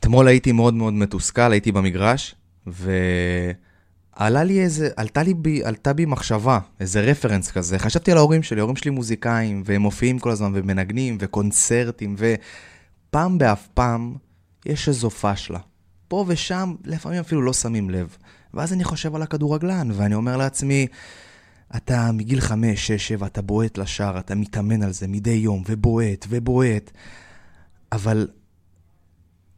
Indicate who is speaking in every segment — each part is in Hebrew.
Speaker 1: אתמול הייתי מאוד מאוד מתוסכל, הייתי במגרש, ועלה לי איזה, עלתה, לי בי, עלתה בי מחשבה, איזה רפרנס כזה. חשבתי על ההורים שלי, ההורים שלי מוזיקאים, והם מופיעים כל הזמן, ומנגנים, וקונצרטים, ופעם באף פעם יש איזו פשלה. פה ושם, לפעמים אפילו לא שמים לב. ואז אני חושב על הכדורגלן, ואני אומר לעצמי, אתה מגיל חמש, שש, שבע, אתה בועט לשער, אתה מתאמן על זה מדי יום, ובועט, ובועט, אבל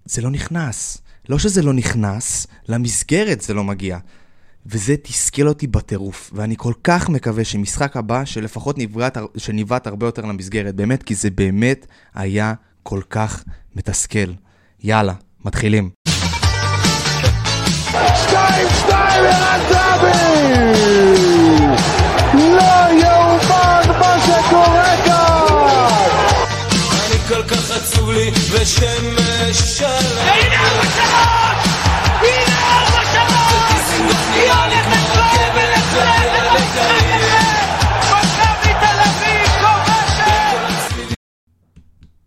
Speaker 1: זה לא נכנס. לא שזה לא נכנס, למסגרת זה לא מגיע. וזה תסכל אותי בטירוף, ואני כל כך מקווה שמשחק הבא, שלפחות נבעט, שנבעט הרבה יותר למסגרת, באמת, כי זה באמת היה כל כך מתסכל. יאללה, מתחילים. 2-2 ערן זהבי! לא יאומן מה שקורה כאן! אני כל כך עצוב לי ושמש שלם. הנה ארבע שעות! הנה ארבע שעות! יוני חצוי ולכלם ובמשחק הזה! מכבי תל אביב כובשת!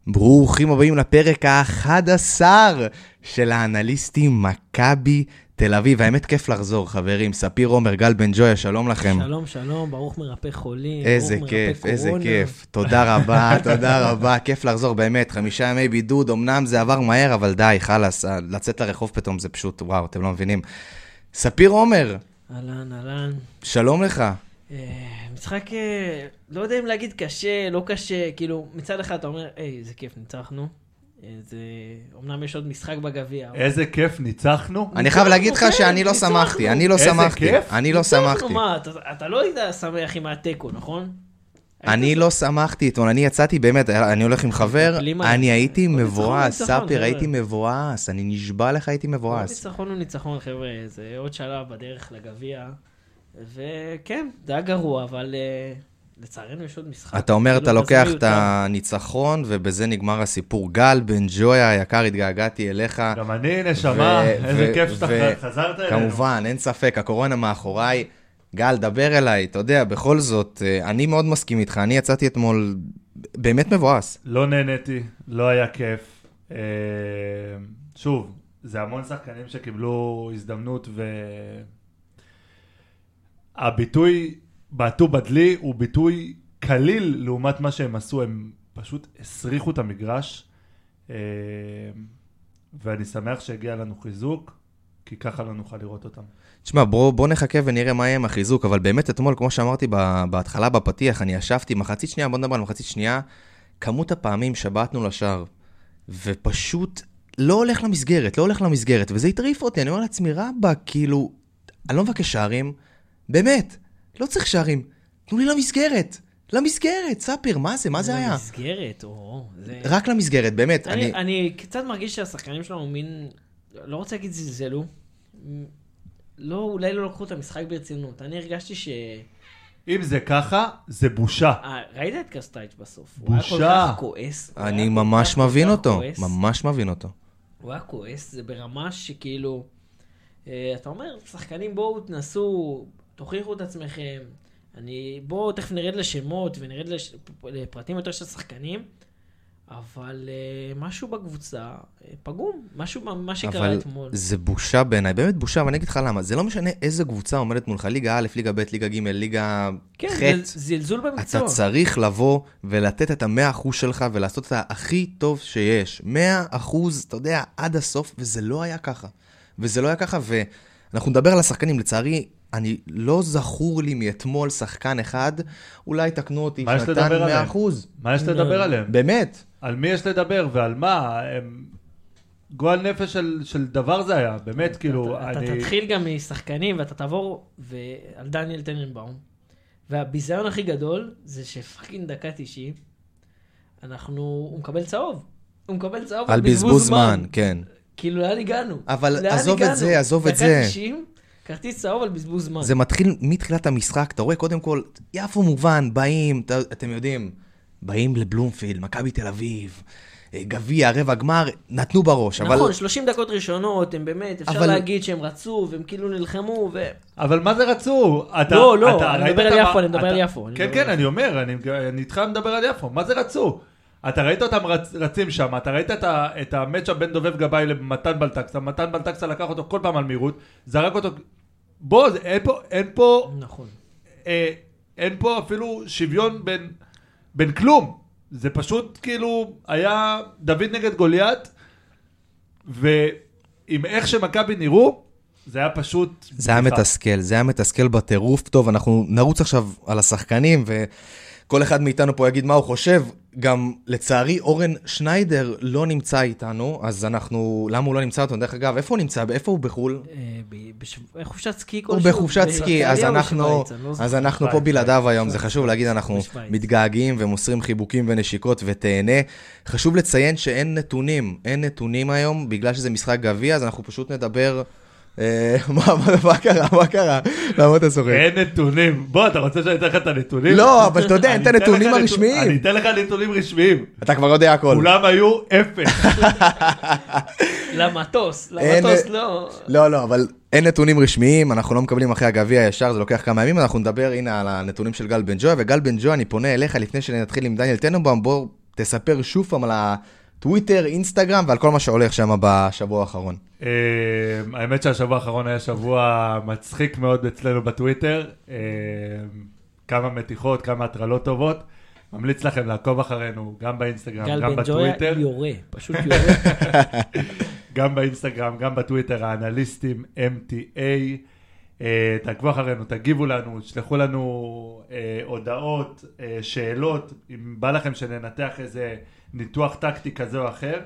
Speaker 1: ברוכים הבאים לפרק האחד עשר של האנליסטים מכבי תל אביב, האמת כיף לחזור, חברים. ספיר עומר, גל בן ג'ויה, שלום לכם.
Speaker 2: שלום, שלום, ברוך מרפא חולים,
Speaker 1: איזה
Speaker 2: ברוך
Speaker 1: כיף,
Speaker 2: מרפא
Speaker 1: איזה
Speaker 2: קורונה.
Speaker 1: כיף. תודה רבה, תודה רבה. כיף לחזור, באמת. חמישה ימי בידוד, אמנם זה עבר מהר, אבל די, חלאס. אה, לצאת לרחוב פתאום זה פשוט, וואו, אתם לא מבינים. ספיר עומר,
Speaker 2: אהלן, אהלן.
Speaker 1: שלום לך.
Speaker 2: אה, משחק, אה, לא יודע אם להגיד קשה, לא קשה, כאילו, מצד אחד אתה אומר, היי, איזה כיף, ניצחנו. אה, זה... אמנם יש עוד משחק בגביע. אבל-
Speaker 3: איזה כיף, ניצחנו.
Speaker 1: אני חייב להגיד לך
Speaker 2: כן,
Speaker 1: שאני לא
Speaker 2: ניצחנו.
Speaker 1: שמחתי, אני לא
Speaker 3: איזה
Speaker 1: שמחתי.
Speaker 3: כיף.
Speaker 1: אני לא
Speaker 2: ניצחנו,
Speaker 1: שמחתי.
Speaker 2: מה, אתה- אתה לא היית שמח עם התיקו, נכון?
Speaker 1: אני לא שמחתי אתמול, אני יצאתי באמת, אני הולך עם חבר,
Speaker 2: מתנפלים עליי.
Speaker 1: אני הייתי
Speaker 2: עוד
Speaker 1: מבואס,
Speaker 2: ניצחון, ניצחון,
Speaker 1: ספיר, הייתי
Speaker 2: חבר'ה.
Speaker 1: מבואס, אני נשבע לך, הייתי
Speaker 2: כל
Speaker 1: מבואס.
Speaker 2: "אה, ניצחון הוא ניצחון, חבר'ה, זה עוד שלב בדרך לגביע. וכן, זה היה גרוע, אבל אה, לצערנו יש עוד משחק.
Speaker 1: אתה אומר,
Speaker 2: כאילו,
Speaker 1: אתה
Speaker 2: זה
Speaker 1: לוקח את
Speaker 2: מיותר.
Speaker 1: הניצחון, ובזה נגמר הסיפור. גל בן ג'ויה היקר, התגעגעתי אליך.
Speaker 3: גם אני, נשמה,
Speaker 1: ו-
Speaker 3: איזה
Speaker 1: ו-
Speaker 3: כיף
Speaker 1: ו-
Speaker 3: שאתה חזרת
Speaker 2: לא
Speaker 3: אלינו.
Speaker 1: כמובן, אין ספק, הקורונה מאחוריי. גל, דבר אליי, אתה יודע, בכל זאת, אה, אני מאוד מסכים איתך, אני יצאתי אתמול באמת מבואס.
Speaker 3: לא נהניתי, לא היה כיף. אה, שוב, זה המון שחקנים שקיבלו הזדמנות, והביטוי בעטו בדלי הוא ביטוי קליל לעומת מה שהם עשו, הם פשוט הסריחו את המגרש. אה, ואני שמח שהגיע לנו חיזוק, כי ככה לא נוכל לראות אותם.
Speaker 1: תשמע, בוא, בוא נחכה ונראה מה יהיה עם החיזוק, אבל באמת אתמול, כמו שאמרתי ב- בהתחלה בפתיח, אני ישבתי מחצית שנייה, בוא נדבר על מחצית שנייה, כמות הפעמים שבעטנו לשער, ופשוט לא הולך למסגרת, לא הולך למסגרת, וזה הטריף אותי, אני אומר לעצמי, רבאק, כאילו, אני לא מבקש שערים, באמת, לא צריך שערים, תנו לי למסגרת, למסגרת, ספיר, מה זה, מה זה היה?
Speaker 2: מסגרת, או... זה-
Speaker 1: רק למסגרת, באמת,
Speaker 2: אני,
Speaker 1: לא אני...
Speaker 2: אני קצת מרגיש שהשחקנים שלנו מין, לא רוצה להגיד זלזלו, לא, אולי לא לקחו את המשחק ברצינות. אני הרגשתי ש...
Speaker 3: אם זה ככה, זה בושה.
Speaker 2: אה, ראית את קסטייץ' בסוף. הוא
Speaker 3: בושה.
Speaker 2: היה כל כך כועס. הוא היה
Speaker 1: אני
Speaker 2: כל
Speaker 1: ממש
Speaker 2: כך, כל
Speaker 1: מבין
Speaker 2: כך
Speaker 1: אותו,
Speaker 2: כועס.
Speaker 1: ממש מבין אותו.
Speaker 2: הוא היה כועס, זה ברמה שכאילו, אה, אתה אומר, שחקנים בואו תנסו, תוכיחו את עצמכם, אני, בואו תכף נרד לשמות ונרד לש, לפרטים יותר של שחקנים, אבל אה, משהו בקבוצה אה, פגום, משהו, מה- מה שקרה
Speaker 1: אבל
Speaker 2: אתמול.
Speaker 1: זה בושה בעיניי, באמת בושה, ואני אגיד לך למה. זה לא משנה איזה קבוצה עומדת מולך, ליגה א', ליגה ב', ליגה ג', ליגה
Speaker 2: כן,
Speaker 1: ח'.
Speaker 2: זה זלזול במקצוע.
Speaker 1: אתה צריך לבוא ולתת את המאה אחוז שלך ולעשות את הכי טוב שיש. מאה אחוז, אתה יודע, עד הסוף, וזה לא היה ככה. וזה לא היה ככה, ואנחנו נדבר על השחקנים. לצערי, אני לא זכור לי מאתמול שחקן אחד, אולי תקנו אותי,
Speaker 3: מה יש
Speaker 1: שנתן
Speaker 3: לדבר
Speaker 1: מאה
Speaker 3: עליהם? כן.
Speaker 1: אחוז.
Speaker 3: מה
Speaker 2: לא
Speaker 3: יש לדבר עליהם?
Speaker 1: באמת.
Speaker 3: על מי יש לדבר ועל מה? הם... גועל נפש של, של דבר זה היה, באמת, כאילו,
Speaker 2: אתה,
Speaker 3: אני...
Speaker 2: אתה תתחיל גם משחקנים ואתה תעבור ו- על דניאל טננבאום. והביזיון הכי גדול זה שפאקינג דקה 90, אנחנו, הוא מקבל צהוב. הוא מקבל צהוב
Speaker 1: על בזבוז זמן, כן.
Speaker 2: כאילו, לאן הגענו?
Speaker 1: אבל
Speaker 2: לאן
Speaker 1: עזוב את
Speaker 2: הגענו?
Speaker 1: זה, עזוב את זה.
Speaker 2: דקה 90, כרטיס צהוב על בזבוז זמן.
Speaker 1: זה מתחיל מתחילת המשחק, אתה רואה קודם כל, יפו מובן, באים, ת, אתם יודעים, באים לבלומפילד, מכבי תל אביב, אה, גביע, רבע גמר, נתנו בראש, אבל...
Speaker 2: נכון, 30 דקות ראשונות, הם באמת, אפשר
Speaker 1: אבל-
Speaker 2: להגיד שהם רצו, והם כאילו נלחמו, ו...
Speaker 3: אבל מה זה רצו? אתה,
Speaker 2: לא, לא,
Speaker 3: אתה
Speaker 2: אני
Speaker 3: ראית
Speaker 2: מדבר
Speaker 3: את
Speaker 2: על
Speaker 3: המ-
Speaker 2: יפו, אני מדבר
Speaker 3: אתה-
Speaker 2: על יפו, אני
Speaker 3: כן,
Speaker 2: מדבר על
Speaker 3: כן, אני אומר, אני, אני איתך מדבר על יפו, מה זה רצו? אתה ראית אותם רצ, רצים שם, אתה ראית את, ה- את המצ'אפ בין דובב גבאי למתן בלטקסה, מתן בלטקסה לקח אותו כל פעם על מהירות, זרק אותו... בוא, זה- אין פה, אין פה,
Speaker 2: נכון.
Speaker 3: אה, אין פה אפילו שוויון בין, בין כלום. זה פשוט כאילו היה דוד נגד גוליית, ועם איך שמכבי נראו, זה היה פשוט...
Speaker 1: זה היה
Speaker 3: בדיחה.
Speaker 1: מתסכל, זה היה מתסכל בטירוף. טוב, אנחנו נרוץ עכשיו על השחקנים, וכל אחד מאיתנו פה יגיד מה הוא חושב. גם, לצערי, אורן שניידר לא נמצא איתנו, אז אנחנו... למה הוא לא נמצא איתנו? דרך אגב, איפה הוא נמצא? איפה הוא בחו"ל?
Speaker 2: אה, ב- בשב- בחופשת סקי
Speaker 1: הוא
Speaker 2: כלשהו.
Speaker 1: בחופשת סקי,
Speaker 2: באיטליה
Speaker 1: אז
Speaker 2: או
Speaker 1: אנחנו,
Speaker 2: בשוויץ? אני לא זוכר.
Speaker 1: אז אנחנו פה
Speaker 3: שווייץ,
Speaker 1: בלעדיו היום, זה חשוב להגיד, אנחנו
Speaker 2: בשוויץ.
Speaker 1: מתגעגעים ומוסרים חיבוקים ונשיקות ותהנה. חשוב לציין שאין נתונים, אין נתונים היום, בגלל שזה משחק גביע, אז אנחנו פשוט נדבר... אה, מה- מה- מה קרה? מה קרה? למה אתה צוחק?
Speaker 3: אין נתונים. בוא, אתה רוצה שאני אתן לך את הנתונים?
Speaker 1: לא, אבל אתה יודע, אין
Speaker 3: אני
Speaker 1: את
Speaker 3: אתן לך
Speaker 1: הנתונים
Speaker 3: נתון- אני
Speaker 1: הרשמיים.
Speaker 3: אתן לך נתונים רשמיים.
Speaker 1: אתה כבר יודע הכל.
Speaker 3: כולם היו אפס.
Speaker 2: למטוס,
Speaker 1: אין-
Speaker 2: למטוס לא.
Speaker 1: לא, לא, אבל אין נתונים רשמיים, אנחנו לא מקבלים אחרי הגביע ישר, זה לוקח כמה ימים, אנחנו נדבר הנה על הנתונים של גל בן ג'ויה, וגל בן ג'ויה, אני פונה אליך לפני שנתחיל עם דניאל טננבאום, בוא תספר שוב פעם על הטוויטר, אינסטגרם ועל כל מה שהולך שם בשבוע האחרון.
Speaker 3: אמ, האמת שהשבוע האחרון היה שבוע מצחיק מאוד אצלנו בטוויטר. אמ, כמה מתיחות, כמה הטרלות טובות. ממליץ לכם לעקוב אחרינו, גם באינסטגרם,
Speaker 2: גל
Speaker 3: גם
Speaker 2: בן ג'ויה
Speaker 3: בטוויטר.
Speaker 2: יורה, פשוט יורה.
Speaker 3: גם באינסטגרם, גם בטוויטר, האנליסטים MTA. אה, תעקבו אחרינו, תגיבו לנו, תשלחו לנו אה, הודעות, אה, שאלות, אם בא לכם שננתח איזה ניתוח טקטי כזה או אחר.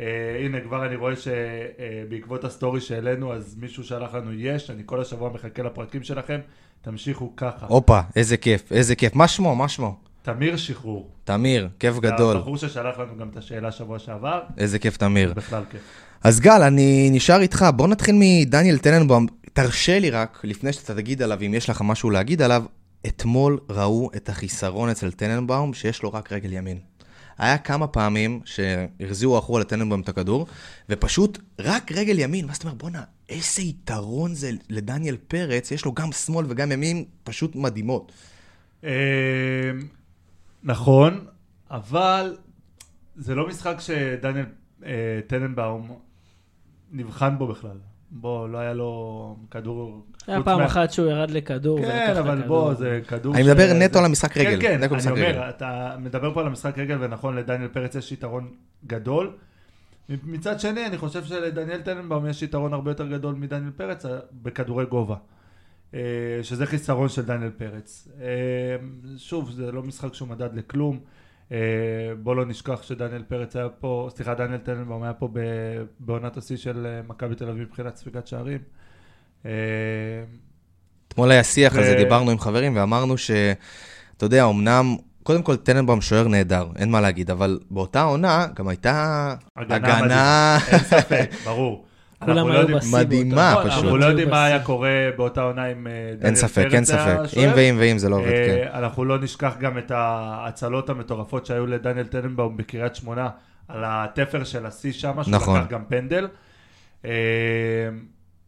Speaker 3: אה, הנה, כבר אני רואה שבעקבות הסטורי שהעלינו, אז מישהו שלח לנו יש, אני כל השבוע מחכה לפרקים שלכם, תמשיכו ככה.
Speaker 1: הופה, איזה כיף, איזה כיף. מה שמו, מה שמו?
Speaker 3: תמיר שחרור.
Speaker 1: תמיר, כיף גדול.
Speaker 3: הבחור ששלח לנו גם את השאלה שבוע שעבר,
Speaker 1: איזה כיף, תמיר.
Speaker 3: בכלל כיף.
Speaker 1: אז גל, אני נשאר איתך, בוא נתחיל מדניאל טננבאום. תרשה לי רק, לפני שאתה תגיד עליו, אם יש לך משהו להגיד עליו, אתמול ראו את החיסרון אצל טננבאום שיש לו רק רגל ימין. היה כמה פעמים שהחזירו אחורה לטננבאום את הכדור, ופשוט רק רגל ימין, ואז אתה אומר, בואנה, איזה יתרון זה לדניאל פרץ, יש לו גם שמאל וגם ימין פשוט מדהימות.
Speaker 3: אמ, נכון, אבל זה לא משחק שדניאל אה, טננבאום נבחן בו בכלל. בוא, לא היה לו כדור...
Speaker 2: לא היה
Speaker 3: חוץ
Speaker 2: פעם
Speaker 3: מה-
Speaker 2: אחת שהוא ירד לכדור. ולקח
Speaker 3: כן,
Speaker 2: את
Speaker 3: אבל
Speaker 2: הכדור.
Speaker 3: בוא, זה כדור...
Speaker 1: אני
Speaker 3: ש-
Speaker 1: מדבר
Speaker 3: זה-
Speaker 1: נטו על המשחק רגל.
Speaker 3: כן,
Speaker 1: נטו
Speaker 3: כן,
Speaker 1: על
Speaker 3: אני
Speaker 1: המשחק רגל.
Speaker 3: אומר, אתה מדבר פה על המשחק רגל, ונכון, לדניאל פרץ יש יתרון גדול. מצד שני, אני חושב שלדניאל טננבאום יש יתרון הרבה יותר גדול מדניאל פרץ אה, בכדורי גובה. אה, שזה חיסרון של דניאל פרץ. אה, שוב, זה לא משחק שהוא מדד לכלום. אה, בוא לא נשכח שדניאל פרץ היה פה, סליחה, דניאל טננבאום היה פה ב- בעונת השיא של אה, מכבי תל אביב מבחינת ספיגת שערים. אה,
Speaker 1: אתמול היה שיח על זה,
Speaker 3: ו-
Speaker 1: דיברנו עם חברים ואמרנו ש... אתה יודע, אמנם, קודם כל טננבאום שוער נהדר, אין מה להגיד, אבל באותה עונה גם הייתה
Speaker 3: הגנה
Speaker 1: הגנה...
Speaker 3: אין ספק, ברור.
Speaker 2: כולם
Speaker 3: אנחנו לא
Speaker 2: היו אה,
Speaker 3: יודעים-
Speaker 2: בשיא באותה-
Speaker 1: מדהימה,
Speaker 3: נכון,
Speaker 1: פשוט.
Speaker 3: אנחנו לא יודעים מה
Speaker 2: בשיא.
Speaker 3: היה קורה באותה עונה עם אה, דניאל פרץ.
Speaker 1: אין ספק, אין
Speaker 3: היה
Speaker 1: ספק.
Speaker 3: השוער.
Speaker 1: אם ואם ואם זה לא עובד,
Speaker 3: אה,
Speaker 1: כן.
Speaker 3: אנחנו לא נשכח גם את ההצלות המטורפות שהיו לדניאל טננבאום בקריית שמונה, על התפר של השיא שם, שהוא
Speaker 1: נכון.
Speaker 3: לקח גם פנדל. אה,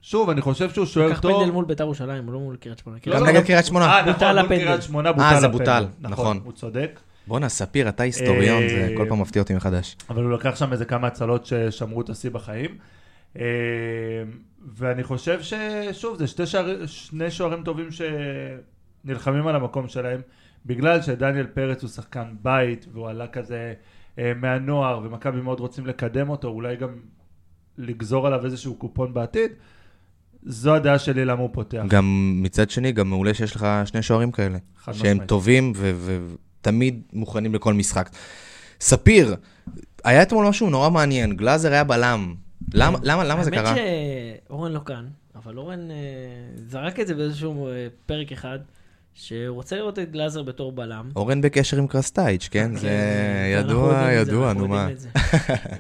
Speaker 3: שוב, אני חושב שהוא שוער
Speaker 2: לקח
Speaker 3: טוב.
Speaker 2: פנדל מול ביתר ירושלים, לא מול קריית שמונה.
Speaker 1: גם
Speaker 3: לא,
Speaker 1: נגד
Speaker 3: לא,
Speaker 1: קריית שמונה.
Speaker 3: אה, נכון,
Speaker 2: בוטל
Speaker 3: מול
Speaker 2: הפנדל.
Speaker 3: קריית שמונה בוטל
Speaker 1: זה
Speaker 3: הפנדל.
Speaker 1: בוטל, נכון.
Speaker 3: הוא צודק.
Speaker 1: בואנה, ספיר, אתה היסטוריון, זה
Speaker 3: אה,
Speaker 1: כל פעם מפתיע אותי מחדש.
Speaker 3: אבל הוא לקח שם איזה כמה הצלות ששמרו את השיא בחיים. אה, ואני חושב ששוב, זה שתי שער, שני שוערים טובים שנלחמים על המקום שלהם, בגלל שדניאל פרץ הוא שחקן בית, והוא עלה כזה אה, מהנוער, ומכבי מאוד רוצים לקדם אותו, אולי גם לגזור עליו איזשהו קופון בעתיד. זו הדעה שלי למה הוא פותח.
Speaker 1: גם מצד שני, גם מעולה שיש לך שני שוערים כאלה.
Speaker 3: חד
Speaker 1: שהם
Speaker 3: משמעית.
Speaker 1: טובים ותמיד מוכנים לכל משחק. ספיר, היה אתמול משהו נורא מעניין, גלאזר היה בלם. למה- למה למה זה קרה?
Speaker 2: האמת שאורן לא כאן, אבל אורן אה, זרק את זה באיזשהו אה, פרק אחד, שהוא רוצה לראות את גלאזר בתור בלם.
Speaker 1: אורן בקשר עם קרסטייץ', כן? זה
Speaker 2: ואנחנו
Speaker 1: ידוע,
Speaker 2: יודעים את זה,
Speaker 1: ידוע,
Speaker 2: אה, אנחנו
Speaker 1: נו מה.
Speaker 2: יודעים את זה.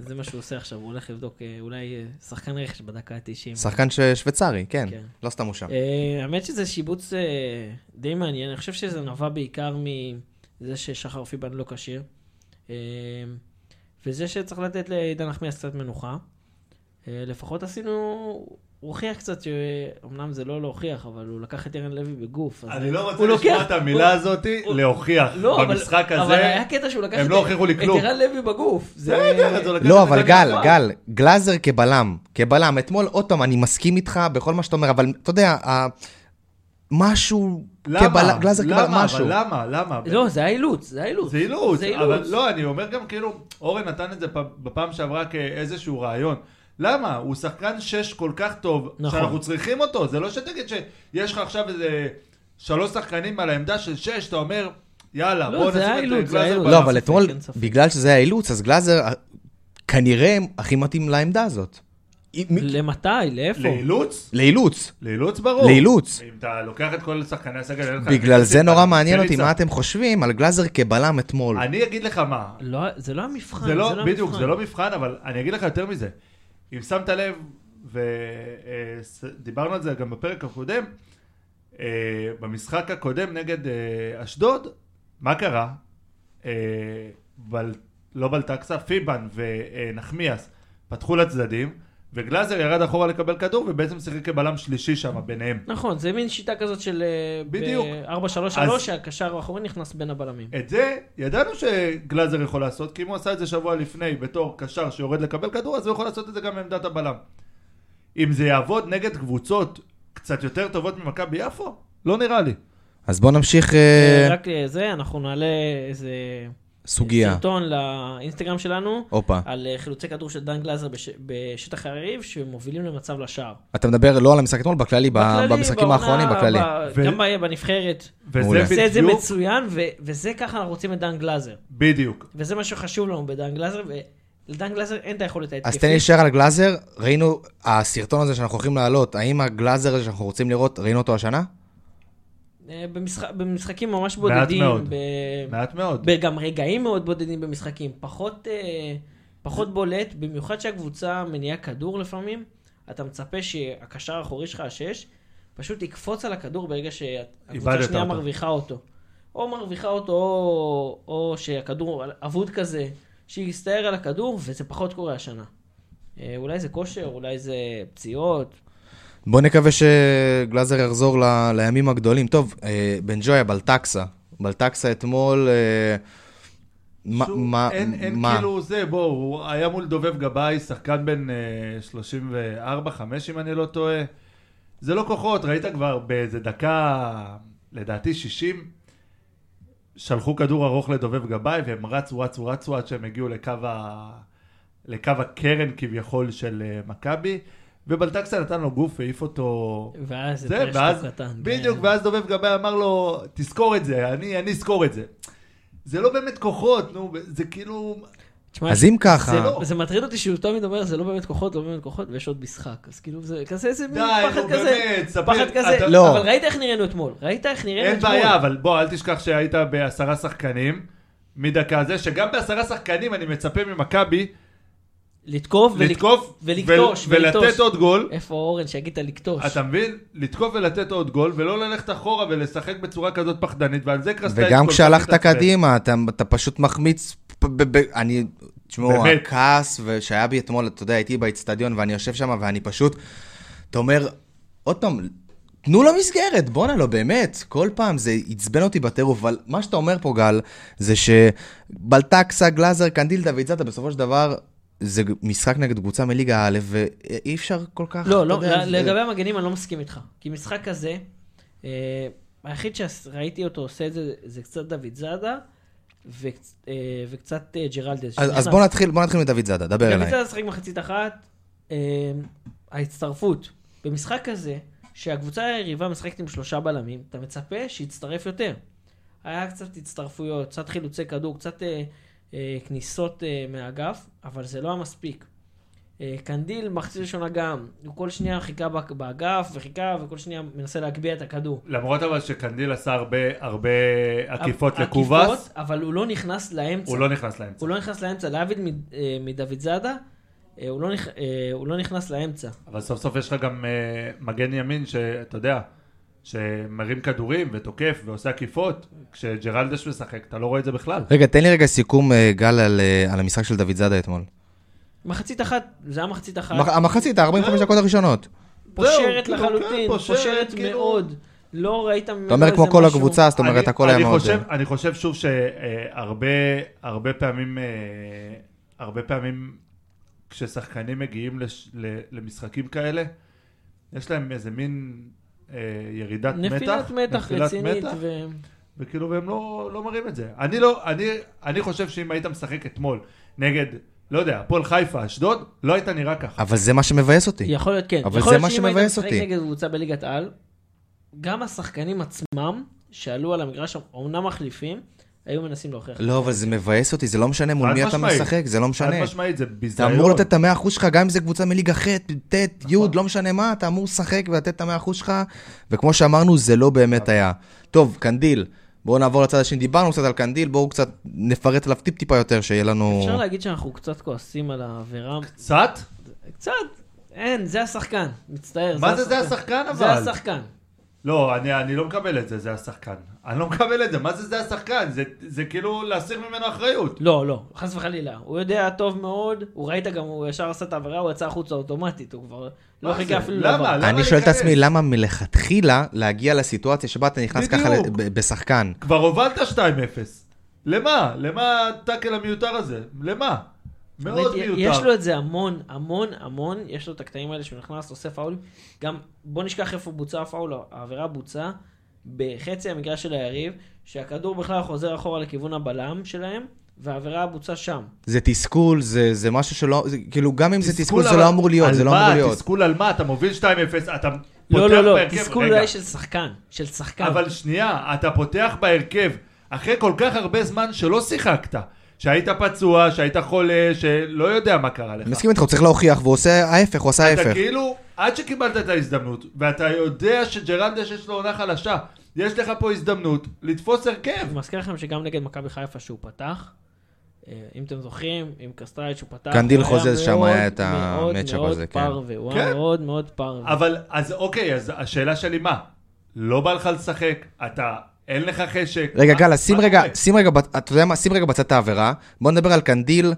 Speaker 2: זה מה שהוא עושה עכשיו, הוא הולך לבדוק אה, אולי אה, שחקן רכש בדקה ה-90.
Speaker 1: שחקן ש- שוויצרי, כן.
Speaker 2: כן.
Speaker 1: לא סתם הוא שם.
Speaker 2: אה, האמת שזה שיבוץ אה, די מעניין, אני חושב שזה נבע בעיקר מזה ששחר פיבן לא כשיר, אה, וזה שצריך לתת לעידן נחמיאס קצת מנוחה. אה, לפחות עשינו, הוא הוכיח קצת, שאומנם זה לא להוכיח, אבל הוא לקח את ערן לוי בגוף. אז
Speaker 3: אני לא רוצה
Speaker 2: הוא
Speaker 3: לשמוע
Speaker 2: לוקח-
Speaker 3: את המילה
Speaker 2: הוא-
Speaker 3: הזאת,
Speaker 2: הוא-
Speaker 3: להוכיח.
Speaker 2: לא, אבל-
Speaker 3: במשחק
Speaker 2: אבל
Speaker 3: הזה,
Speaker 2: היה קטע שהוא לקח
Speaker 3: הם
Speaker 2: את-
Speaker 3: לא הוכיחו לי
Speaker 2: את
Speaker 3: כלום.
Speaker 2: ערן לוי בגוף. זה-
Speaker 3: בסדר, אז הוא לקח
Speaker 1: לא,
Speaker 3: את זה
Speaker 1: אבל
Speaker 3: גם
Speaker 1: גל,
Speaker 3: גבוה.
Speaker 1: גל, גלאזר כבלם, כבלם. אתמול, עוד פעם, אני מסכים איתך בכל מה שאתה אומר, אבל אתה יודע, ה- משהו,
Speaker 3: למה?
Speaker 1: כבלם, גלאזר כבלם,
Speaker 3: למה?
Speaker 1: משהו.
Speaker 3: אבל למה? למה?
Speaker 2: לא, זה היה אילוץ, זה היה אילוץ.
Speaker 3: זה אילוץ,
Speaker 2: זה
Speaker 3: אבל
Speaker 2: אילוץ.
Speaker 3: לא, אני אומר גם כאילו, אורן נתן את זה פ- בפעם שעברה כאיזשהו רעיון. למה? הוא שחקן שש כל כך טוב,
Speaker 2: נכון.
Speaker 3: שאנחנו צריכים אותו. זה לא שתגיד שיש לך עכשיו איזה שלוש שחקנים על העמדה של שש, אתה אומר, יאללה,
Speaker 2: לא,
Speaker 3: בוא
Speaker 2: זה היה
Speaker 3: נשים את
Speaker 2: אילוץ, זה היה
Speaker 3: גלאזר
Speaker 2: אילוץ.
Speaker 3: בלם."
Speaker 1: לא, אבל
Speaker 2: ספק,
Speaker 1: אתמול,
Speaker 2: אין ספק.
Speaker 1: בגלל שזה היה אילוץ, אז גלאזר אה, כנראה הכי מתאים לעמדה הזאת. אי- מי-
Speaker 2: למתי? לאיפה?
Speaker 3: לאילוץ?
Speaker 1: לאילוץ.
Speaker 3: לאילוץ
Speaker 2: לא.
Speaker 3: ברור.
Speaker 1: לאילוץ.
Speaker 3: אם אתה לוקח את כל שחקני הסגל,
Speaker 2: כן.
Speaker 3: אין לך-
Speaker 1: בגלל זה
Speaker 3: אין לך-
Speaker 1: נורא מעניין
Speaker 3: אין
Speaker 1: אותי
Speaker 3: לי
Speaker 1: מה
Speaker 3: צ-
Speaker 1: אתם חושבים על גלאזר כבלם אתמול.
Speaker 3: אני אגיד לך מה,
Speaker 2: לא, זה לא המבחן,
Speaker 3: זה לא,
Speaker 2: המבחן.
Speaker 3: בדיוק, זה לא מבחן, אבל אני אגיד לך יותר מזה. אם שמת לב, ודיברנו על זה גם בפרק הקודם, אה, במשחק הקודם נגד אה, אשדוד, מה קרה? אה, בל- לא בלטקסה, פיבן ונחמיאס פתחו לצדדים, וגלאזר ירד אחורה לקבל כדור, ובעצם שיחק כבלם שלישי שם ביניהם.
Speaker 2: נכון, זה מין שיטה כזאת של... אה, ב-
Speaker 3: בדיוק.
Speaker 2: 4-3-3,
Speaker 3: אז-
Speaker 2: שהקשר האחורי נכנס בין הבלמים.
Speaker 3: את זה ידענו שגלאזר יכול לעשות, כי אם הוא עשה את זה שבוע לפני בתור קשר שיורד לקבל כדור, אז הוא יכול לעשות את זה גם מעמדת הבלם. אם זה יעבוד נגד קבוצות קצת יותר טובות ממכבי יפו, לא נראה לי.
Speaker 1: אז בואו נמשיך אה,
Speaker 2: אה, רק אה, זה, אנחנו נעלה איזה...
Speaker 1: סוגיה.
Speaker 2: סרטון לאינסטגרם שלנו,
Speaker 1: הופה.
Speaker 2: על אה, חילוצי כדור של דן גלאזר בש- בשטח הריב, שמובילים למצב לשער.
Speaker 1: אתה מדבר לא על המשחק אתמול, בכללי, ב-
Speaker 2: בכללי,
Speaker 1: במשחקים
Speaker 2: בעונה,
Speaker 1: האחרונים, בכללי.
Speaker 2: ב-
Speaker 3: ו-
Speaker 2: גם ב- בנבחרת.
Speaker 1: מעולה.
Speaker 3: וזה
Speaker 2: עושה את זה
Speaker 3: בדיוק,
Speaker 2: מצוין, ו- וזה ככה אנחנו רוצים את דן גלאזר.
Speaker 3: בדיוק.
Speaker 2: וזה מה שחשוב לנו בדן גלאזר, ולדן גלאזר אין את היכולת
Speaker 1: אז תן לי
Speaker 2: ההתקפית.
Speaker 1: להישאר על גלאזר, ראינו, הסרטון הזה שאנחנו הולכים להעלות, האם הגלאזר הזה שאנחנו רוצים לראות, ראינו אותו השנה?
Speaker 2: אה, במשחק- במשחקים ממש
Speaker 3: מעט
Speaker 2: בודדים.
Speaker 3: מאוד.
Speaker 2: ב-
Speaker 3: מעט מאוד.
Speaker 2: וגם רגעים מאוד בודדים במשחקים, פחות, אה, פחות בולט, במיוחד שהקבוצה מניעה כדור לפעמים, אתה מצפה שהקשר האחורי שלך, השש, פשוט יקפוץ על הכדור ברגע שהקבוצה
Speaker 3: איבדת
Speaker 2: השנייה
Speaker 3: אותו.
Speaker 2: מרוויחה אותו. או מרוויחה אותו, או, או שהכדור אבוד כזה, שיסתער על הכדור, וזה פחות קורה השנה. אה, אולי זה כושר, אולי זה פציעות.
Speaker 1: בואו נקווה שגלאזר יחזור ל... לימים הגדולים. טוב, אה, בן ג'ויה, בלטקסה. בלטקסה אתמול... אה, מה,
Speaker 3: שוב,
Speaker 1: מה,
Speaker 3: אין, אין
Speaker 1: מה?
Speaker 3: כאילו זה, בואו, הוא היה מול דובב גבאי, שחקן בן אה, 34-5 אם אני לא טועה. זה לא כוחות, ראית כבר באיזה דקה, לדעתי 60, שלחו כדור ארוך לדובב גבאי, והם רצו, רצו, רצו עד שהם הגיעו לקו, ה... לקו הקרן כביכול של אה, מכבי, ובלטקסה נתן לו גוף והעיף אותו...
Speaker 2: ואז זה
Speaker 3: זה,
Speaker 2: פרשטוק
Speaker 3: ואז,
Speaker 2: קטן.
Speaker 3: בדיוק,
Speaker 2: כן.
Speaker 3: ואז דובב גבאי אמר לו, תזכור את זה, אני, אני אזכור את זה. זה לא באמת כוחות, נו, זה כאילו...
Speaker 2: תשמע,
Speaker 1: אז אם ככה,
Speaker 2: זה, לא,
Speaker 3: אה.
Speaker 2: זה מטריד אותי שהוא תמיד אומר, זה לא באמת כוחות, לא באמת כוחות, ויש עוד משחק. אז כאילו, זה כזה איזה מין
Speaker 3: די,
Speaker 2: פחד
Speaker 3: נו,
Speaker 2: כזה.
Speaker 3: באמת, ספר-
Speaker 2: פחד כזה.
Speaker 3: אתה-
Speaker 1: לא.
Speaker 2: אבל ראית איך נראינו אתמול. ראית איך נראינו
Speaker 3: אין
Speaker 2: אתמול.
Speaker 3: בעיה, אבל בוא, אל תשכח שהיית בעשרה שחקנים מדקה זה, שגם בעשרה שחקנים אני מצפה ממכבי
Speaker 2: לתקוף ולק-
Speaker 3: לתקוף
Speaker 2: ולכתוש,
Speaker 3: ול- ולתת
Speaker 2: ולתוש.
Speaker 3: עוד גול.
Speaker 2: איפה אורן שהגית לקטוש?
Speaker 3: אתה מבין? לתקוף ולתת עוד גול, ולא ללכת אחורה ולשחק בצורה כזאת פחדנית, ועל זה קרסטייץ'
Speaker 1: וגם כשהלכת קדימה, אתה, אתה פשוט מחמיץ, פ- ב- ב- אני, תשמעו,
Speaker 3: באמת.
Speaker 1: הכעס ו- שהיה בי אתמול, אתה יודע, הייתי באיצטדיון ואני יושב שם ואני פשוט, אתה אומר, עוד פעם, תנו לו מסגרת, בואנה, לא באמת, כל פעם זה עצבן אותי בטירוף, אבל מה שאתה אומר פה, גל, זה שבלטקסה, גלאזר, קנדילדה והצעת, בסופו של דבר, זה משחק נגד קבוצה מליגה א', ואי אפשר כל כך,
Speaker 2: לא,
Speaker 1: אתה
Speaker 2: לא,
Speaker 1: יודע,
Speaker 2: ל-
Speaker 1: זה-
Speaker 2: לגבי המגנים אני לא מסכים איתך. כי משחק כזה, אה, היחיד שראיתי אותו עושה את זה, זה קצת דוד זאדה, וקצ- אה, וקצת אה, ג'רלדז.
Speaker 1: אז, אז
Speaker 2: שנכנס.
Speaker 1: בוא נתחיל, בוא נתחיל מדוד זאדה, דבר
Speaker 2: דוד
Speaker 1: אליי.
Speaker 2: זאדה שחק מחצית אחת, אה, ההצטרפות. במשחק כזה, שהקבוצה היריבה משחקת עם שלושה בלמים, אתה מצפה שיצטרף יותר. היה קצת הצטרפויות, קצת חילוצי כדור, קצת אה, אה, כניסות אה, מהאגף, אבל זה לא היה מספיק. אה, קנדיל מחצית ראשונה גם, הוא כל שנייה חיכה בק- באגף וחיכה וכל שנייה מנסה להגביה את הכדור.
Speaker 3: למרות אבל שקנדיל עשה הרבה, הרבה עקיפות
Speaker 2: עקיפות,
Speaker 3: לקובס,
Speaker 2: אבל הוא לא נכנס לאמצע.
Speaker 3: הוא לא נכנס לאמצע.
Speaker 2: הוא לא נכנס לאמצע, להבדיל מד- אה, מדוד זאדה, אה, הוא לא נכ- אה, הוא לא נכנס לאמצע.
Speaker 3: אבל סוף סוף יש לך גם אה, מגן ימין שאתה יודע, שמרים כדורים ותוקף ועושה עקיפות, כשג'רלדש משחק, אתה לא רואה את זה בכלל.
Speaker 1: אה, רגע, תן לי רגע סיכום, אה, גל, על, אה, על המשחק של דוד זאדה אתמול.
Speaker 2: מחצית אחת, זה היה מחצית אחת.
Speaker 1: מח- המחצית, ה-45 דקות הראשונות.
Speaker 2: פושרת
Speaker 1: כאילו,
Speaker 3: זהו,
Speaker 2: לחלוטין,
Speaker 3: כן, פושרת,
Speaker 2: פושרת
Speaker 3: כאילו-
Speaker 2: מאוד. לא ראית ממנו
Speaker 1: אתה אומר
Speaker 2: איזה
Speaker 1: כמו כל
Speaker 2: משהו.
Speaker 1: הקבוצה, זאת אומרת,
Speaker 3: אני-
Speaker 1: הכל היה
Speaker 3: אני
Speaker 1: מאוד... אה.
Speaker 3: חושב- אני חושב שוב שהרבה פעמים, אה, הרבה פעמים כששחקנים מגיעים לש- ל- למשחקים כאלה, יש להם איזה מין אה, ירידת מתח.
Speaker 2: נפילת מתח
Speaker 3: נפילת
Speaker 2: רצינית.
Speaker 3: מתח,
Speaker 2: ו-
Speaker 3: וכאילו, והם לא, לא מראים את זה. אני לא, אני, אני חושב שאם היית משחק אתמול נגד, לא יודע, הפועל חיפה, אשדוד, לא היית נראה ככה.
Speaker 1: אבל זה מה שמבאס אותי.
Speaker 2: יכול להיות כן.
Speaker 1: אבל
Speaker 2: יכול
Speaker 1: זה
Speaker 2: להיות
Speaker 1: מה
Speaker 2: שאם היית
Speaker 1: שמבאס
Speaker 2: משחק
Speaker 1: אותי.
Speaker 2: נגד קבוצה בליגת על, גם השחקנים עצמם שעלו על המגרש, אומנם מחליפים, היו מנסים להוכיח.
Speaker 1: לא, אבל זה מבאס אותי, זה לא משנה מול
Speaker 3: חד
Speaker 1: מי אתה
Speaker 3: משמעית.
Speaker 1: משחק, זה לא
Speaker 3: חד
Speaker 1: משנה.
Speaker 3: משמעית, זה ביזיון.
Speaker 1: אתה אמור לתת את המאה אחוז שלך, גם אם זה קבוצה מליגה ח', ט', י',
Speaker 3: נכון.
Speaker 1: לא משנה מה, אתה אמור לשחק ולתת את המאה אחוז שלך, וכמו שאמרנו, זה לא באמת היה. טוב, קנדיל, בואו נעבור לצד השני, דיברנו קצת על קנדיל, בואו קצת נפרט עליו טיפ-טיפה יותר, שיהיה לנו...
Speaker 2: אפשר להגיד שאנחנו קצת כועסים על העבירה.
Speaker 3: קצת?
Speaker 2: קצת. אין, זה השחקן. מצטער.
Speaker 3: מה זה זה השחקן אבל?
Speaker 2: זה השחקן.
Speaker 3: לא, אני, אני לא מקבל את זה, זה השחקן. אני לא מקבל את זה, מה זה זה השחקן? זה, זה כאילו להסיר ממנו אחריות.
Speaker 2: לא, לא, חס וחלילה. הוא יודע טוב מאוד, הוא ראית גם, הוא ישר עשה את העבירה, הוא יצא החוצה אוטומטית, הוא כבר לא
Speaker 3: מה זה?
Speaker 2: חיכה אפילו
Speaker 3: למה?
Speaker 2: לעבר.
Speaker 3: למה
Speaker 1: אני שואל את
Speaker 3: להיכנס?
Speaker 1: עצמי, למה מלכתחילה להגיע לסיטואציה שבה אתה נכנס ככה
Speaker 3: בדיוק.
Speaker 1: ל- ב- בשחקן?
Speaker 3: כבר הובלת 2-0. למה? למה הטאקל המיותר הזה? למה? מאוד
Speaker 2: באמת,
Speaker 3: מיותר.
Speaker 2: יש לו את זה המון, המון, המון, יש לו את הקטעים האלה שהוא נכנס, עושה פאולים. גם, בוא נשכח איפה בוצע הפאול, העבירה בוצעה בחצי המגרש של היריב, שהכדור בכלל חוזר אחורה לכיוון הבלם שלהם, והעבירה בוצעה שם.
Speaker 1: זה תסכול, זה זה משהו שלא... זה- כאילו, גם אם זה תסכול, זה
Speaker 3: על-
Speaker 1: לא אמור להיות,
Speaker 3: על
Speaker 1: זה לא
Speaker 3: מה?
Speaker 1: אמור להיות.
Speaker 3: תסכול על מה? אתה מוביל 2-0, אתה פותח
Speaker 2: לא, לא, לא,
Speaker 3: בהרכב.
Speaker 2: תסכול כן.
Speaker 3: רגע,
Speaker 2: אולי של שחקן, של שחקן.
Speaker 3: אבל שנייה, אתה פותח בהרכב אחרי כל כך הרבה זמן שלא שיחקת. שהיית פצוע, שהיית חולה, שלא יודע מה קרה לך.
Speaker 1: מסכים איתך, הוא צריך להוכיח, והוא עושה ההפך, הוא עשה
Speaker 3: אתה
Speaker 1: ההפך.
Speaker 3: כאילו, עד שקיבלת את ההזדמנות, ואתה יודע שג'רלדש יש לו עונה חלשה, יש לך פה הזדמנות לתפוס הרכב.
Speaker 2: אני מזכיר לכם שגם נגד מכבי חיפה שהוא פתח, אה, אם אתם זוכרים, עם קסטרייץ' שהוא פתח,
Speaker 1: קנדיל
Speaker 2: הוא היה
Speaker 1: חוזז, שם
Speaker 2: מאוד,
Speaker 1: היה את
Speaker 2: מאוד,
Speaker 1: המצ'אפ
Speaker 2: מאוד
Speaker 1: הזה, כן.
Speaker 2: פרווה, הוא
Speaker 3: כן.
Speaker 2: היה מאוד מאוד פרווה.
Speaker 3: אבל, אז אוקיי, אז השאלה שלי מה? לא בא לך לשחק, אתה, אין לך חשק.
Speaker 1: רגע,
Speaker 3: מה-
Speaker 1: גל,
Speaker 3: מה
Speaker 1: אז שים
Speaker 3: אתה
Speaker 1: רגע,
Speaker 3: עושה?
Speaker 1: שים רגע, בצ- אתה יודע מה, שים רגע בצד את העבירה. בוא נדבר על קנדיל